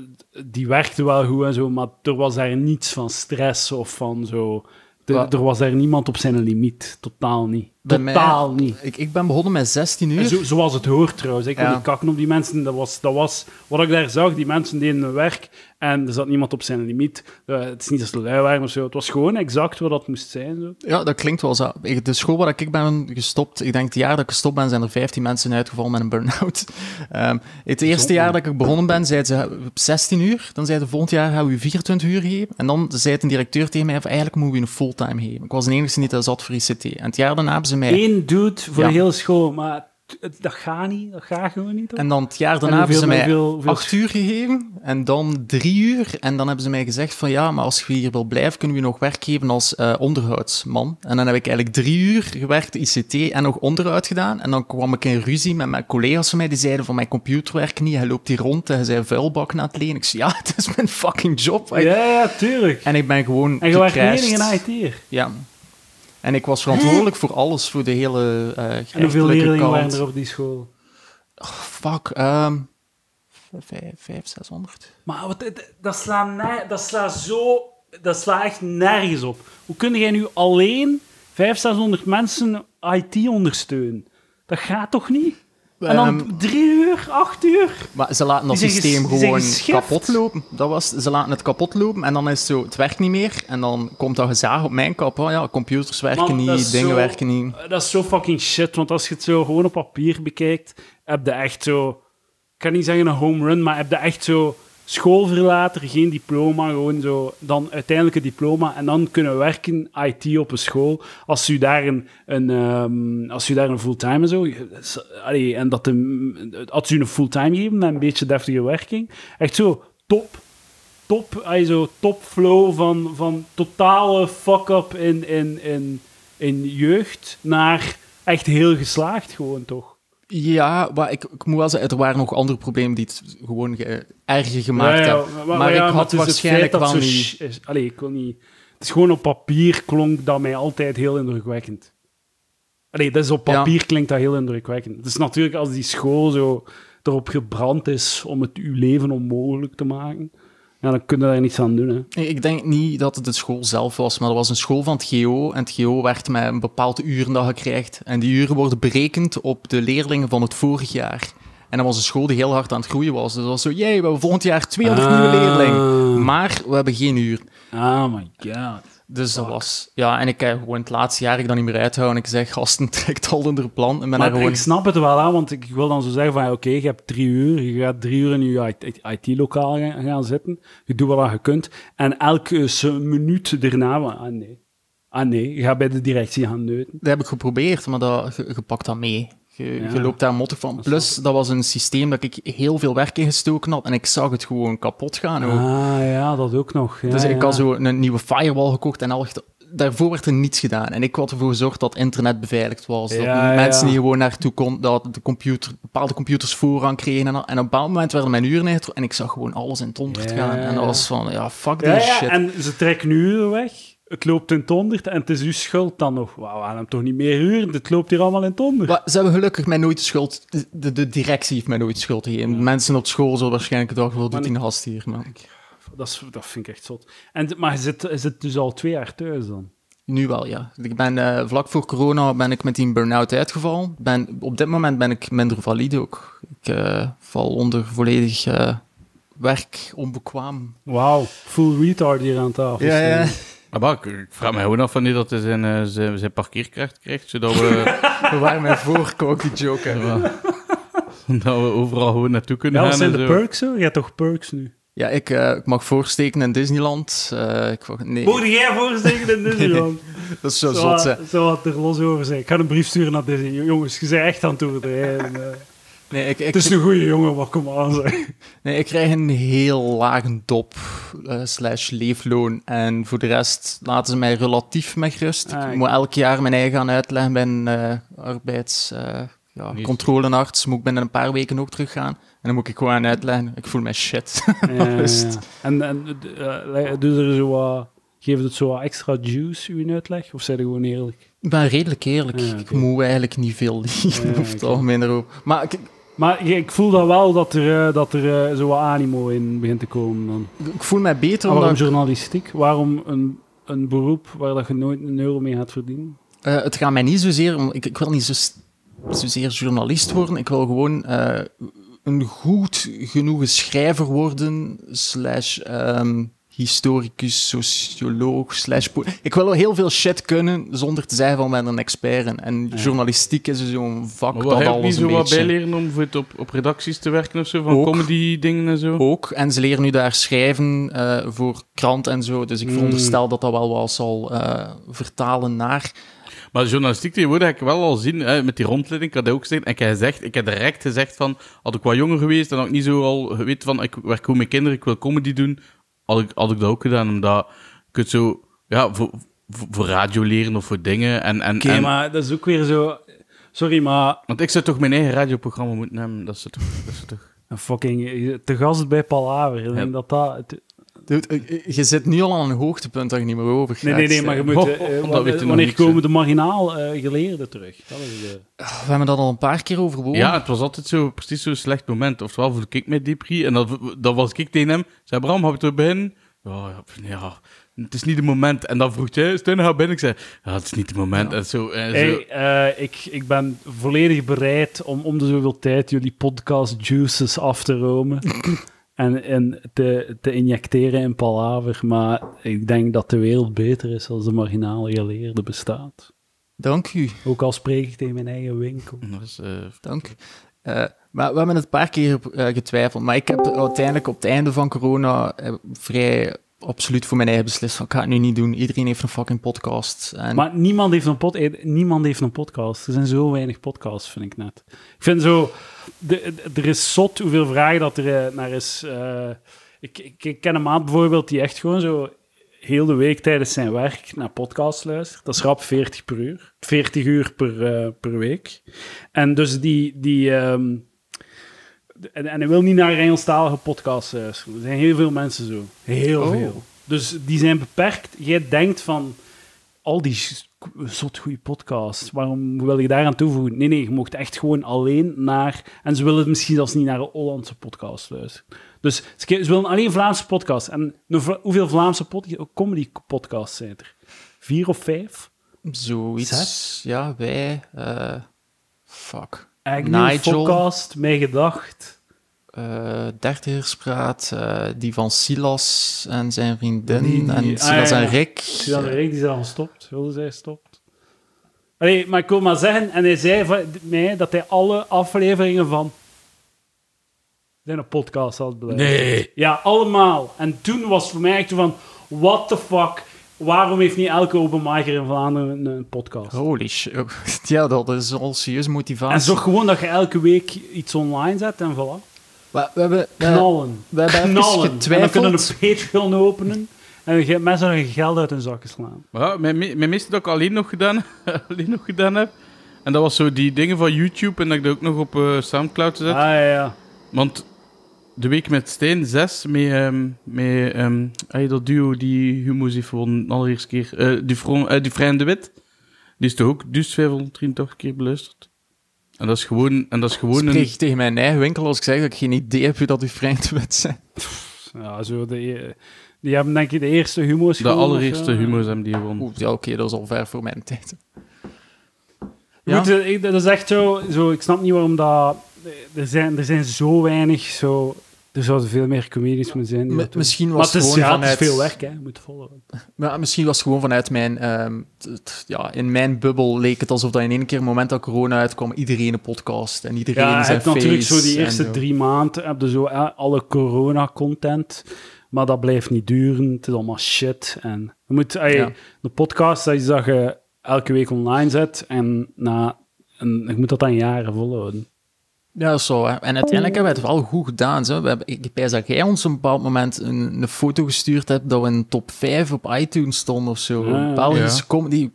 Speaker 3: die werkte wel goed en zo, maar er was daar niets van stress of van zo... Er-
Speaker 1: Wa-
Speaker 3: er was daar niemand op zijn limiet. Totaal niet.
Speaker 1: Bij mij-
Speaker 3: Totaal niet.
Speaker 1: Ik, ik ben begonnen met 16 uur.
Speaker 3: En Zo, zoals het hoort trouwens. Ik wil
Speaker 1: Ja.
Speaker 3: niet kakken op die mensen. Dat was, dat was wat ik daar zag. Die mensen deden hun werk en er zat niemand op zijn limiet. Eh, het is niet dat ze lui waren of zo. Het was gewoon exact wat dat moest zijn. Zo.
Speaker 1: Ja, dat klinkt wel zo. Ik- De school waar ik ben gestopt, ik denk het jaar dat ik gestopt ben, zijn er 15 mensen uitgevallen met een burn-out. Ehm, het eerste jaar dat ik begonnen ben, zeiden ze op 16 uur. Dan zeiden ze volgend jaar gaan we u 24 uur geven. En dan zei een directeur tegen mij, van, eigenlijk moeten we u een fulltime geven. Ik was de enige niet dat zat voor ICT. En het jaar daarna hebben ze mij...
Speaker 3: Eén dude voor
Speaker 1: Ja.
Speaker 3: de hele school, maar t- het- dat gaat niet. Dat gaat gewoon niet. hoor.
Speaker 1: En dan het jaar daarna
Speaker 3: En
Speaker 1: hebben ze
Speaker 3: hoeveel-
Speaker 1: mij
Speaker 3: hoeveel- hoeveel-
Speaker 1: acht uur gegeven en dan drie uur. En dan hebben ze mij gezegd van ja, maar als je hier wil blijven, kunnen we je nog werk geven als eh, onderhoudsman. En dan heb ik eigenlijk drie uur gewerkt, ICT en nog onderhoud gedaan. En dan kwam ik in ruzie met mijn collega's van mij, die zeiden van mijn computer werkt niet, hij loopt hier rond en hij zei vuilbak aan het lenen. Ik zei ja, het is mijn fucking job.
Speaker 3: Ja, ja, tuurlijk.
Speaker 1: En ik ben gewoon
Speaker 3: En je werkt niet
Speaker 1: gecrashed.
Speaker 3: enige IT'er.
Speaker 1: Ja. En ik was verantwoordelijk voor alles, voor de hele eh
Speaker 3: En hoeveel
Speaker 1: gerechtelijke
Speaker 3: leerlingen
Speaker 1: kant.
Speaker 3: waren er op die school?
Speaker 1: Fuck, ehm vijf, vijf, 600.
Speaker 3: Maar wat, het- dat slaat ne- dat slaat zo... Dat slaat echt nergens op. Hoe kun jij nu alleen 500, 600 mensen IT ondersteunen? Dat gaat toch niet? En
Speaker 1: Ehm,
Speaker 3: dan drie uur, acht uur?
Speaker 1: maar ze laten dat
Speaker 3: die zijn ges-
Speaker 1: systeem
Speaker 3: die zijn
Speaker 1: gewoon
Speaker 3: geschift.
Speaker 1: kapot lopen. Dat was, ze laten het kapot lopen en dan is het zo, het werkt niet meer. En dan komt dat gezaag op mijn kap. Oh ja, computers werken
Speaker 3: Man, dat
Speaker 1: niet,
Speaker 3: is
Speaker 1: dingen
Speaker 3: zo-
Speaker 1: werken niet.
Speaker 3: Eh, Dat is zo fucking shit, want als je het zo gewoon op papier bekijkt, heb je echt zo... Ik kan niet zeggen een home run, maar heb je echt zo schoolverlater, geen diploma, gewoon zo dan uiteindelijk een diploma en dan kunnen werken IT op een school. Als u daar een, een ehm, als u daar een fulltime en zo, s- allee, en dat de, als u een fulltime geven met een beetje deftige werking, echt zo top, top, allee, zo top flow van, van totale fuck up in, in, in, in jeugd naar echt heel geslaagd gewoon toch.
Speaker 1: Ja, maar ik, ik moet wel zeggen, er waren nog andere problemen die het gewoon ge- erger gemaakt
Speaker 3: Ja, ja,
Speaker 1: hebben. Maar, ik had
Speaker 3: het is het
Speaker 1: waarschijnlijk
Speaker 3: feit dat
Speaker 1: wel
Speaker 3: zo
Speaker 1: niet...
Speaker 3: sh- is- Allee, ik wil niet... Het is gewoon op papier klonk dat mij altijd heel indrukwekkend. Allee, dat is op
Speaker 1: Ja.
Speaker 3: papier klinkt dat heel indrukwekkend. Het is natuurlijk als die school zo erop gebrand is om het uw leven onmogelijk te maken. Ja, dan kunnen we daar niets aan doen. Hè.
Speaker 1: Ik ik denk niet dat het de school zelf was, maar dat was een school van het GO. En het GO werd met een bepaald uren dat je krijgt. En die uren worden berekend op de leerlingen van het vorig jaar. En dat was een school die heel hard aan het groeien was. Dus dat was zo, jee, we hebben volgend jaar 200 nieuwe
Speaker 3: Ah.
Speaker 1: leerlingen. Maar we hebben geen uur. Ah,
Speaker 3: Oh my god.
Speaker 1: Dus dat was... Ja, en ik heb gewoon het laatste jaar ik dat niet meer uithouden. Ik zeg, gasten, trekt al onder plan. En ben daar
Speaker 3: Maar
Speaker 1: gewoon...
Speaker 3: ik snap het wel aan, want ik wil dan zo zeggen van, ja, oké, je hebt drie uur, je gaat drie uur in je IT-lokaal gaan, gaan zitten, je doet wat je kunt, en elke se- minuut daarna, van, ah nee, ah nee, je gaat bij de directie gaan neuten.
Speaker 1: Dat heb ik geprobeerd, maar dat, je, je pakt dat mee. Je,
Speaker 3: Ja.
Speaker 1: je loopt daar mottig van. Plus, dat was een systeem dat ik heel veel werk in gestoken had. En ik zag het gewoon kapot gaan ook.
Speaker 3: Ah ja, dat ook nog. Ja,
Speaker 1: Dus ik had
Speaker 3: ja.
Speaker 1: zo een nieuwe firewall gekocht en al echt- daarvoor werd er niets gedaan. En ik had ervoor gezorgd dat internet beveiligd was. Dat
Speaker 3: Ja,
Speaker 1: mensen
Speaker 3: ja.
Speaker 1: niet gewoon naartoe konden, dat de computer, bepaalde computers voorrang kregen. En, al- en op een bepaald moment werden mijn uren ingetrokken en ik zag gewoon alles in het honderd
Speaker 3: Ja.
Speaker 1: gaan. En dat was van, ja, fuck
Speaker 3: Ja,
Speaker 1: this
Speaker 3: ja,
Speaker 1: shit.
Speaker 3: en ze trekken nu uren weg. Het loopt in het honderd en het is uw schuld dan nog. Wauw, we gaan hem toch niet meer huren? Het loopt hier allemaal in het honderd.
Speaker 1: Maar ze hebben gelukkig mij nooit de schuld, de, de directie heeft mij nooit de schuld gegeven. Mensen op school zullen waarschijnlijk gedacht, wat doet
Speaker 3: Maar
Speaker 1: die gast hier, man?
Speaker 3: Dat, is, dat vind ik echt zot. En, d- maar je zit, je zit dus al twee jaar thuis dan.
Speaker 1: Nu wel, ja. Ik ben, eh, vlak voor corona ben ik met die burn-out uitgevallen. Ben, op dit moment ben ik minder valide ook. Ik eh, val onder volledig eh, werk onbekwaam. Dus, eh,
Speaker 3: Wauw, full retard hier aan tafel. staan.
Speaker 2: Maar Bak, ik vraag me gewoon af wanneer dat hij zijn, eh, zijn, zijn parkeerkracht krijgt, zodat we,
Speaker 1: We waren mijn voorkookte joker.
Speaker 2: dat we overal gewoon naartoe kunnen
Speaker 3: Ja, wat
Speaker 2: gaan.
Speaker 3: zijn
Speaker 2: en
Speaker 3: de
Speaker 2: zo.
Speaker 3: perks hoor? Je hebt toch perks nu?
Speaker 1: Ja, ik, eh, ik mag voorsteken in Disneyland. Eh, ik, mag- nee,
Speaker 3: Moet jij voorzeggen in Disneyland?
Speaker 1: dat is zo zot, hè.
Speaker 3: Zo wat er los over zijn. Ik ga een brief sturen naar Disney. Jongens, je bent echt aan het overdrijven. eh.
Speaker 1: Nee, ik, ik,
Speaker 3: Het is een goede jongen, maar kom aan zeg.
Speaker 1: nee, ik krijg een heel laag dop eh, slash leefloon. En voor de rest laten ze mij relatief met rust.
Speaker 3: Ah,
Speaker 1: ik
Speaker 3: ik-
Speaker 1: moet elk jaar mijn eigen gaan uitleggen bij een eh, arbeids... eh, ja,
Speaker 2: Niet-
Speaker 1: controlenarts moet ik binnen een paar weken ook teruggaan. En dan moet ik gewoon uitleggen, ik voel mij shit. Rust.
Speaker 3: Ja, ja, ja. En, en eh, eh, dus er zo wat, geeft het zo wat extra juice, uw uitleg? Of zijn er gewoon eerlijk?
Speaker 1: ik ben redelijk eerlijk.
Speaker 3: Ja, oké.
Speaker 1: Ik moet eigenlijk niet veel liegen
Speaker 3: Ja,
Speaker 1: over het
Speaker 3: oké.
Speaker 1: algemeen erover. Maar ik,
Speaker 3: Maar ik- ik voel dan wel dat er, eh, dat er eh, zo wat animo in begint te komen dan.
Speaker 1: ik voel mij beter
Speaker 3: En waarom
Speaker 1: omdat ik-
Speaker 3: journalistiek? Waarom een, een beroep waar dat je nooit een euro mee gaat verdienen?
Speaker 1: Eh, het gaat mij niet zozeer om. Ik, ik wil niet zo, s- zozeer journalist worden. Ik wil gewoon eh, een goed genoegen schrijver worden, slash ehm, historicus, socioloog, slash. po- Ik wil wel heel veel shit kunnen zonder te zeggen van ben een expert. in. En
Speaker 3: Ja.
Speaker 1: journalistiek is zo'n vak
Speaker 2: Maar
Speaker 1: dat
Speaker 2: wat, heb je niet
Speaker 1: alles
Speaker 2: zo
Speaker 1: een
Speaker 2: wat
Speaker 1: beetje.
Speaker 2: bijleren om voor het op, op redacties te werken of zo, van
Speaker 1: Ook.
Speaker 2: comedy dingen en zo?
Speaker 1: Ook, en ze leren nu daar schrijven eh, voor krant en zo. Dus ik
Speaker 2: Hmm.
Speaker 3: Mm.
Speaker 1: veronderstel dat dat wel wat zal eh, vertalen naar.
Speaker 2: Maar journalistiek tegenwoordig heb ik wel al zien, hè, met die rondleiding, ik had dat ook gezegd, en ik heb, gezegd, ik heb direct gezegd van, had ik wat jonger geweest, en had ik niet zo al geweten van, ik werk goed met kinderen, ik wil comedy doen, had ik, had ik dat ook gedaan, omdat je kunt zo, ja, voor, voor voor radio leren of voor dingen, en... en,
Speaker 3: Oké,
Speaker 2: en-
Speaker 3: maar dat is ook weer zo... Sorry, maar
Speaker 2: Want ik zou toch mijn eigen radioprogramma moeten hebben, dat is toch... Dat is toch
Speaker 3: een fucking... Te gast bij Palaver. Ik denk
Speaker 2: Ja.
Speaker 3: dat dat... het-
Speaker 1: Dude, eh, eh, Je zit nu al aan een hoogtepunt dat je niet meer over gaat.
Speaker 3: Nee, nee, nee, maar je moet...
Speaker 2: Ho, ho,
Speaker 3: eh, eh,
Speaker 2: dat weet je nog
Speaker 3: wanneer
Speaker 2: niks,
Speaker 3: komen
Speaker 2: hè.
Speaker 3: de marginaal eh, geleerden terug? Dat is, eh,
Speaker 1: We hebben dat al een paar keer overwogen.
Speaker 2: Ja, het was altijd zo, precies zo'n slecht moment. Oftewel voelde ik mij depri en dat, dat was ik tegen hem. Zei Bram, heb je er binnen? Ja, ja, pff, ja, het is niet het moment. En dan vroeg jij, Steun, ga binnen. Ik zei, ja, het is niet het moment. En zo, en zo.
Speaker 3: Hey, eh, ik, ik ben volledig bereid om om de zoveel tijd jullie podcast juices af te romen en, en te, te injecteren in palaver. Maar ik denk dat de wereld beter is als de marginale geleerde bestaat.
Speaker 1: Dank u,
Speaker 3: Ook al spreek ik tegen mijn eigen winkel.
Speaker 2: Dat is, eh,
Speaker 1: dank u. Eh, maar we hebben het een paar keer eh, getwijfeld. Maar ik heb uiteindelijk op het einde van corona eh, vrij absoluut voor mijn eigen beslist van ik ga het nu niet doen. Iedereen heeft een fucking podcast. En
Speaker 3: Maar niemand heeft, een pod eh, niemand heeft een podcast. Er zijn zo weinig podcasts, vind ik net. Ik vind zo... de- de- er is zot hoeveel vragen dat er eh, naar is. eh. ik, ik, ik ken een maat bijvoorbeeld die echt gewoon zo... heel de week tijdens zijn werk naar podcasts luistert. Dat is rap 40 per uur. 40 uur per, eh, per week. En dus die... die ehm, de- en, en hij wil niet naar Engelstalige podcasts luisteren. Er zijn heel veel mensen zo. Heel
Speaker 1: Oh.
Speaker 3: veel. Dus die zijn beperkt. Jij denkt van... al die s- k- zot goede podcasts. Waarom wil je daaraan toevoegen? Nee, nee, je mocht echt gewoon alleen naar... En ze willen misschien zelfs niet naar een Hollandse podcast luisteren. Dus ze, ke- ze willen alleen Vlaamse podcasts. En een Vla- hoeveel Vlaamse pod- oh, comedy podcasts zijn er? Vier of vijf?
Speaker 1: Zoiets. Ja, wij. eh, fuck.
Speaker 3: Agnew,
Speaker 1: Nigel.
Speaker 3: Podcast, Mijn Gedacht.
Speaker 1: eh dertigerspraat, eh, die van Silas en zijn vriendin,
Speaker 3: Die- die-
Speaker 1: en
Speaker 3: ah,
Speaker 1: Silas
Speaker 3: ja, ja.
Speaker 1: en Rick.
Speaker 3: Zie dan de Rick, die is al gestopt. Wilde zij stopt. Allee, maar ik wil maar zeggen... En hij zei van mij dat hij alle afleveringen van... Zijn een podcast had beluisterd.
Speaker 2: Nee.
Speaker 3: Ja, allemaal. En toen was het voor mij echt zo van... What the fuck? Waarom heeft niet elke openmaker in Vlaanderen een, een podcast?
Speaker 1: Holy shit. Ja, dat is al serieus motivatie.
Speaker 3: En zorg gewoon dat je elke week iets online zet en voilà.
Speaker 1: we, we hebben, eh,
Speaker 3: Knallen.
Speaker 1: we hebben even
Speaker 3: Knallen. En dan
Speaker 1: getwijfeld.
Speaker 3: kunnen we een Patreon openen. En je- mensen hun geld uit hun zakken slaan.
Speaker 2: Ja, mijn, me- mijn meeste dat ik alleen nog, gedaan, alleen nog gedaan heb. En dat was zo die dingen van YouTube en dat ik dat ook nog op eh, Soundcloud zet.
Speaker 3: Ah ja, ja.
Speaker 2: Want de week met Stijn 6, met, ehm, met ehm, ah, dat duo die Humo's heeft gewonnen, de allereerste keer, eh die, Vron, eh, die Vrij en de Wit, die is toch ook dus 1583 keer beluisterd. En dat is gewoon, en dat is gewoon
Speaker 1: Ik
Speaker 2: een...
Speaker 1: kreeg tegen mijn eigen winkel als ik zeg dat ik geen idee heb hoe dat uw vrienden wet zijn.
Speaker 3: ja zo de, e- die hebben denk ik de eerste humo's
Speaker 2: De
Speaker 3: gewonnen of
Speaker 2: allereerste
Speaker 3: zo.
Speaker 2: Humo's hebben die gewonnen.
Speaker 1: Oeh, ja, oké, dat is al ver voor mijn tijd.
Speaker 3: Je moet, eh, ik- dat is echt zo, zo... Ik snap niet waarom dat... eh, Er zijn, er zijn zo weinig zo... Er zouden veel meer comedies moeten zijn. die
Speaker 1: Mi-
Speaker 3: dat doen.
Speaker 1: misschien
Speaker 3: Maar
Speaker 1: was
Speaker 3: het is,
Speaker 1: gewoon
Speaker 3: ja, het is
Speaker 1: vanuit...
Speaker 3: veel werk, hè. Je moet volgen.
Speaker 1: Maar misschien was het gewoon vanuit mijn... ehm, t- t- ja, in mijn bubbel leek het alsof dat in één keer, het moment dat corona uitkwam, iedereen een podcast en iedereen
Speaker 3: Ja, je
Speaker 1: zijn
Speaker 3: hebt natuurlijk zo
Speaker 1: face
Speaker 3: die
Speaker 1: en
Speaker 3: eerste drie maanden heb je zo eh, alle corona-content. Maar dat blijft niet duren. Het is allemaal shit. En je moet, ey,
Speaker 1: Ja.
Speaker 3: De podcast, dat is dat je elke week online zet. En, na, en je moet dat dan jaren volhouden.
Speaker 1: Ja, zo. Hè. En uiteindelijk hebben we het wel goed gedaan. Zo. We hebben, ik ik pijs dat jij ons op een bepaald moment een, een foto gestuurd hebt dat we in top 5 op iTunes stonden of zo.
Speaker 3: Ja.
Speaker 1: Belgische
Speaker 2: Ja.
Speaker 1: comedy.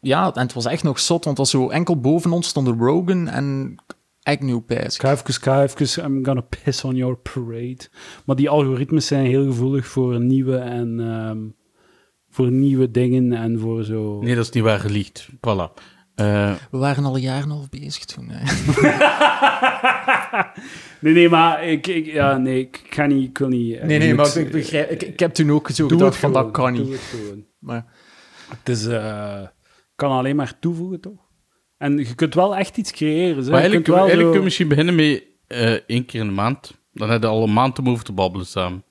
Speaker 1: Ja, en het was echt nog zot, want het was zo enkel boven ons stonden Rogan en Agnew pijs.
Speaker 3: Ik ga even, ga even, I'm gonna piss on your parade. Maar die algoritmes zijn heel gevoelig voor nieuwe en... ehm, voor nieuwe dingen en voor zo...
Speaker 2: Nee, dat is niet waar gelicht. Voilà. Eh,
Speaker 1: We waren al een jaar en een half bezig toen. Hè.
Speaker 3: nee, nee, maar ik, ik, ja, nee, ik ga niet, ik wil niet... eh,
Speaker 1: Nee, nee,
Speaker 3: ik-
Speaker 1: maar ik begrijp... Ik, ik heb toen ook zo
Speaker 3: Doe
Speaker 1: gedacht
Speaker 3: het
Speaker 1: van, dat
Speaker 3: gewoon,
Speaker 1: kan
Speaker 3: doe
Speaker 1: niet.
Speaker 3: het gewoon.
Speaker 1: Maar
Speaker 3: Het is, eh, kan alleen maar toevoegen, toch? En je kunt wel echt iets creëren. Zeg.
Speaker 2: maar
Speaker 3: je
Speaker 2: eigenlijk,
Speaker 3: kunt wel
Speaker 2: eigenlijk
Speaker 3: zo-
Speaker 2: kun je misschien beginnen met eh, één keer in de maand. Dan heb je al een maand om over te babbelen samen.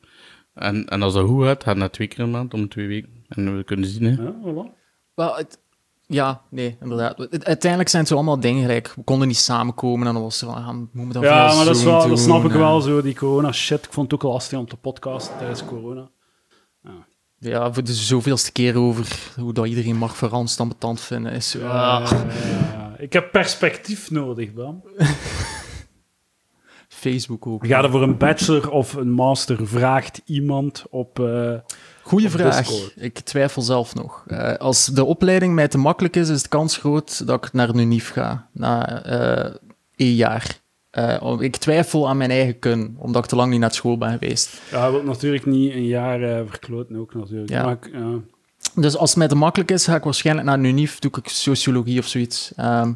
Speaker 2: En, en als dat goed gaat, gaat het twee keer in de maand, om twee weken. En we kunnen zien, hè.
Speaker 3: Ja, voilà.
Speaker 1: Wel, het- ja, nee, inderdaad. Het- Uiteindelijk zijn het zo allemaal dingen. gelijk, we konden niet samenkomen en dan was er van, ah, moeten we dan
Speaker 3: ja
Speaker 1: via
Speaker 3: maar dat, is
Speaker 1: Zoom
Speaker 3: wel, dat snap
Speaker 1: doen
Speaker 3: ik
Speaker 1: en-
Speaker 3: wel, zo, die corona-shit. Ik vond het ook lastig om te podcasten tijdens corona.
Speaker 1: Ja, voor de zoveelste keer over hoe dat iedereen mag veranderd dan betand vinden. Is zo, ah,
Speaker 3: Eh, ik heb perspectief nodig, Bram.
Speaker 1: Facebook ook.
Speaker 3: Ga er voor een bachelor of een master, vraagt iemand op... eh,
Speaker 1: Goeie
Speaker 3: Op
Speaker 1: vraag.
Speaker 3: Discord.
Speaker 1: Ik twijfel zelf nog. Eh, als de opleiding mij te makkelijk is, is de kans groot dat ik naar NUNIF ga. Na eh één jaar. Eh, om- ik twijfel aan mijn eigen kun, omdat ik te lang niet naar school ben geweest.
Speaker 3: ja, je wilt natuurlijk niet een jaar eh, verkloten ook, natuurlijk.
Speaker 1: Ja.
Speaker 3: Maar ik, eh,
Speaker 1: Dus als het mij te makkelijk is, ga ik waarschijnlijk naar NUNIF. Doe ik sociologie of zoiets. Ehm,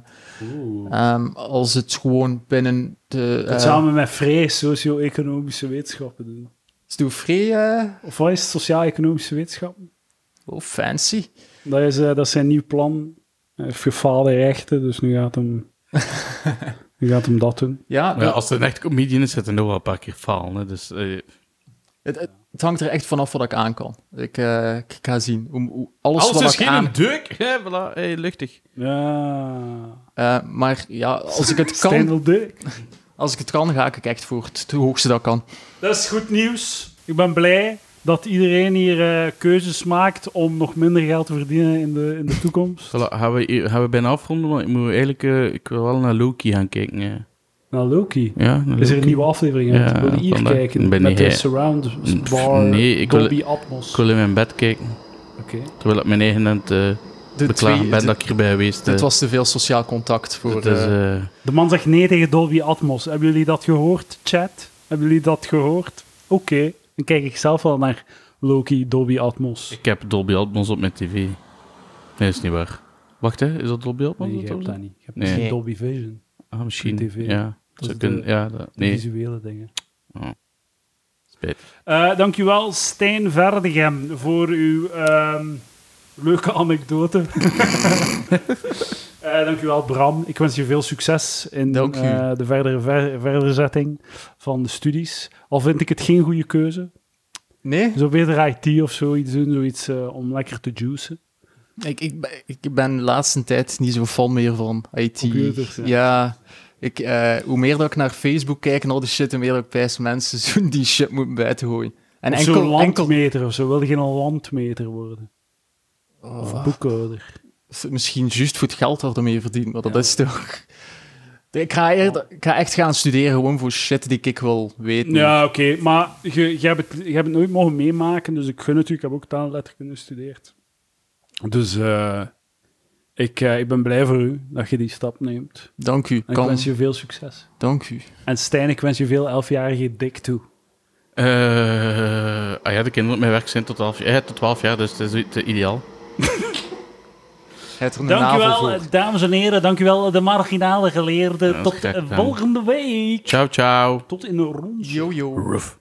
Speaker 3: oeh.
Speaker 1: ehm, als het gewoon binnen de...
Speaker 2: Eh,
Speaker 1: eh,
Speaker 3: Dat samen met vrees socio-economische wetenschappen doen.
Speaker 1: Doe free... eh,
Speaker 3: Of wat is het, sociaal-economische wetenschappen?
Speaker 1: oh, fancy.
Speaker 3: Dat is, eh, dat is zijn nieuw plan. Hij heeft gefaalde rechten, dus nu gaat hem, nu gaat hem dat doen.
Speaker 1: Ja,
Speaker 2: Maar ja, als het een echt comedian is, zit er nog wel een paar keer falen. Hè. Dus, eh,
Speaker 1: Het, het, het hangt er echt vanaf wat ik aan kan. Ik, eh, ik ga zien. Hoe- hoe- alles,
Speaker 2: alles
Speaker 1: wat
Speaker 2: is
Speaker 1: ik
Speaker 2: geen
Speaker 1: aan...
Speaker 2: deuk. Hè, voilà, hey, luchtig.
Speaker 3: Ja.
Speaker 1: Eh, maar ja, als ik het kan,
Speaker 3: Stendel Dirk.
Speaker 1: als ik het kan, ga ik echt voor het hoogste dat ik kan.
Speaker 3: Dat is goed nieuws. Ik ben blij dat iedereen hier eh, keuzes maakt om nog minder geld te verdienen in de, in de toekomst.
Speaker 2: Voilà, gaan, we, gaan we bijna afronden, maar ik, moet eigenlijk, eh, ik wil wel naar Loki gaan kijken. Hè.
Speaker 3: Nou, Loki.
Speaker 2: Ja, naar
Speaker 3: Is er een
Speaker 2: Loki.
Speaker 3: nieuwe aflevering? uit?
Speaker 2: Ja,
Speaker 3: wil je hier
Speaker 2: vandaag
Speaker 3: kijken
Speaker 2: ben
Speaker 3: met
Speaker 2: ik-
Speaker 3: de surround bar
Speaker 2: nee, ik wil-
Speaker 3: Dolby
Speaker 2: Ik
Speaker 3: Atmos.
Speaker 2: wil in mijn bed kijken,
Speaker 3: Oké.
Speaker 2: terwijl ik mijn eigen aan het eh,
Speaker 1: De
Speaker 2: beklagen
Speaker 1: twee-
Speaker 2: ben
Speaker 1: de-
Speaker 2: dat ik hierbij geweest
Speaker 1: dit
Speaker 2: eh.
Speaker 1: was te veel sociaal contact voor...
Speaker 2: Het is,
Speaker 1: eh,
Speaker 2: eh,
Speaker 3: De man zegt nee tegen Dolby Atmos. Hebben jullie dat gehoord, chat? Hebben jullie dat gehoord? Oké, dan kijk ik zelf wel naar Loki Dolby Atmos.
Speaker 2: ik heb Dolby Atmos op mijn tv. Nee, is niet waar. Wacht, hè. Is dat Dolby Atmos?
Speaker 3: Nee, je
Speaker 2: dat
Speaker 3: hebt
Speaker 2: dat-
Speaker 3: dat niet. Je hebt
Speaker 2: Nee.
Speaker 3: misschien Dolby Vision.
Speaker 2: Ah, misschien.
Speaker 3: TV.
Speaker 2: Ja.
Speaker 3: Dat
Speaker 2: Zou
Speaker 3: is de-
Speaker 2: kunnen- ja, dat-
Speaker 3: de
Speaker 2: nee.
Speaker 3: visuele dingen.
Speaker 2: Spijt.
Speaker 3: Eh, dankjewel, Stijn Verdegem, voor uw ehm, leuke anekdote. Eh dankjewel, Bram. Ik wens je veel succes in
Speaker 1: Dank u.
Speaker 3: eh, de verdere ver- verderzetting van de studies. Al vind ik het geen goede keuze.
Speaker 1: Nee?
Speaker 3: Zo beter IT of zoiets doen, zoiets eh, om lekker te juicen.
Speaker 1: Ik, ik, ben- ik ben de laatste tijd niet zo fan meer van IT.
Speaker 3: Computers, ja.
Speaker 1: ja. Ik, eh, hoe meer dat ik naar Facebook kijk en al die shit, hoe meer dat ik pijs mensen zoen die shit moeten buitengooien. En
Speaker 3: En zo'n
Speaker 1: enkel, enkel...
Speaker 3: landmeter of zo. Wil je geen landmeter worden? Of
Speaker 1: Oh.
Speaker 3: boekhouder?
Speaker 1: Of Misschien juist voor het geld wat ermee verdient, maar dat is toch... Ik ga, eerder- ik ga echt gaan studeren gewoon voor shit die ik wil weten.
Speaker 3: Ja, oké. Maar je, je, hebt het, je hebt het nooit mogen meemaken, dus ik gun het u. Ik heb ook taalletterkunde gestudeerd. Dus eh, ik, eh, ik ben blij voor u dat je die stap neemt.
Speaker 1: Dank u.
Speaker 3: En ik
Speaker 1: Kan.
Speaker 3: wens je veel succes.
Speaker 1: Dank u.
Speaker 3: En Stijn, ik wens je veel elfjarige dik toe.
Speaker 2: Eh, ah ja, de kinderen op mijn werk zijn tot 12 jaar, eh, tot 12 jaar dus dat is eh, ideaal.
Speaker 1: Het er een navel
Speaker 3: Dankjewel, eh,
Speaker 1: voor.
Speaker 3: dames en heren. Dankjewel, de marginale geleerden.
Speaker 2: Ja, dat is
Speaker 3: Tot
Speaker 2: graag
Speaker 3: eh,
Speaker 2: gedaan.
Speaker 3: volgende week.
Speaker 2: Ciao, ciao.
Speaker 3: Tot in de rond.
Speaker 1: Yo, yo.
Speaker 2: Ruff.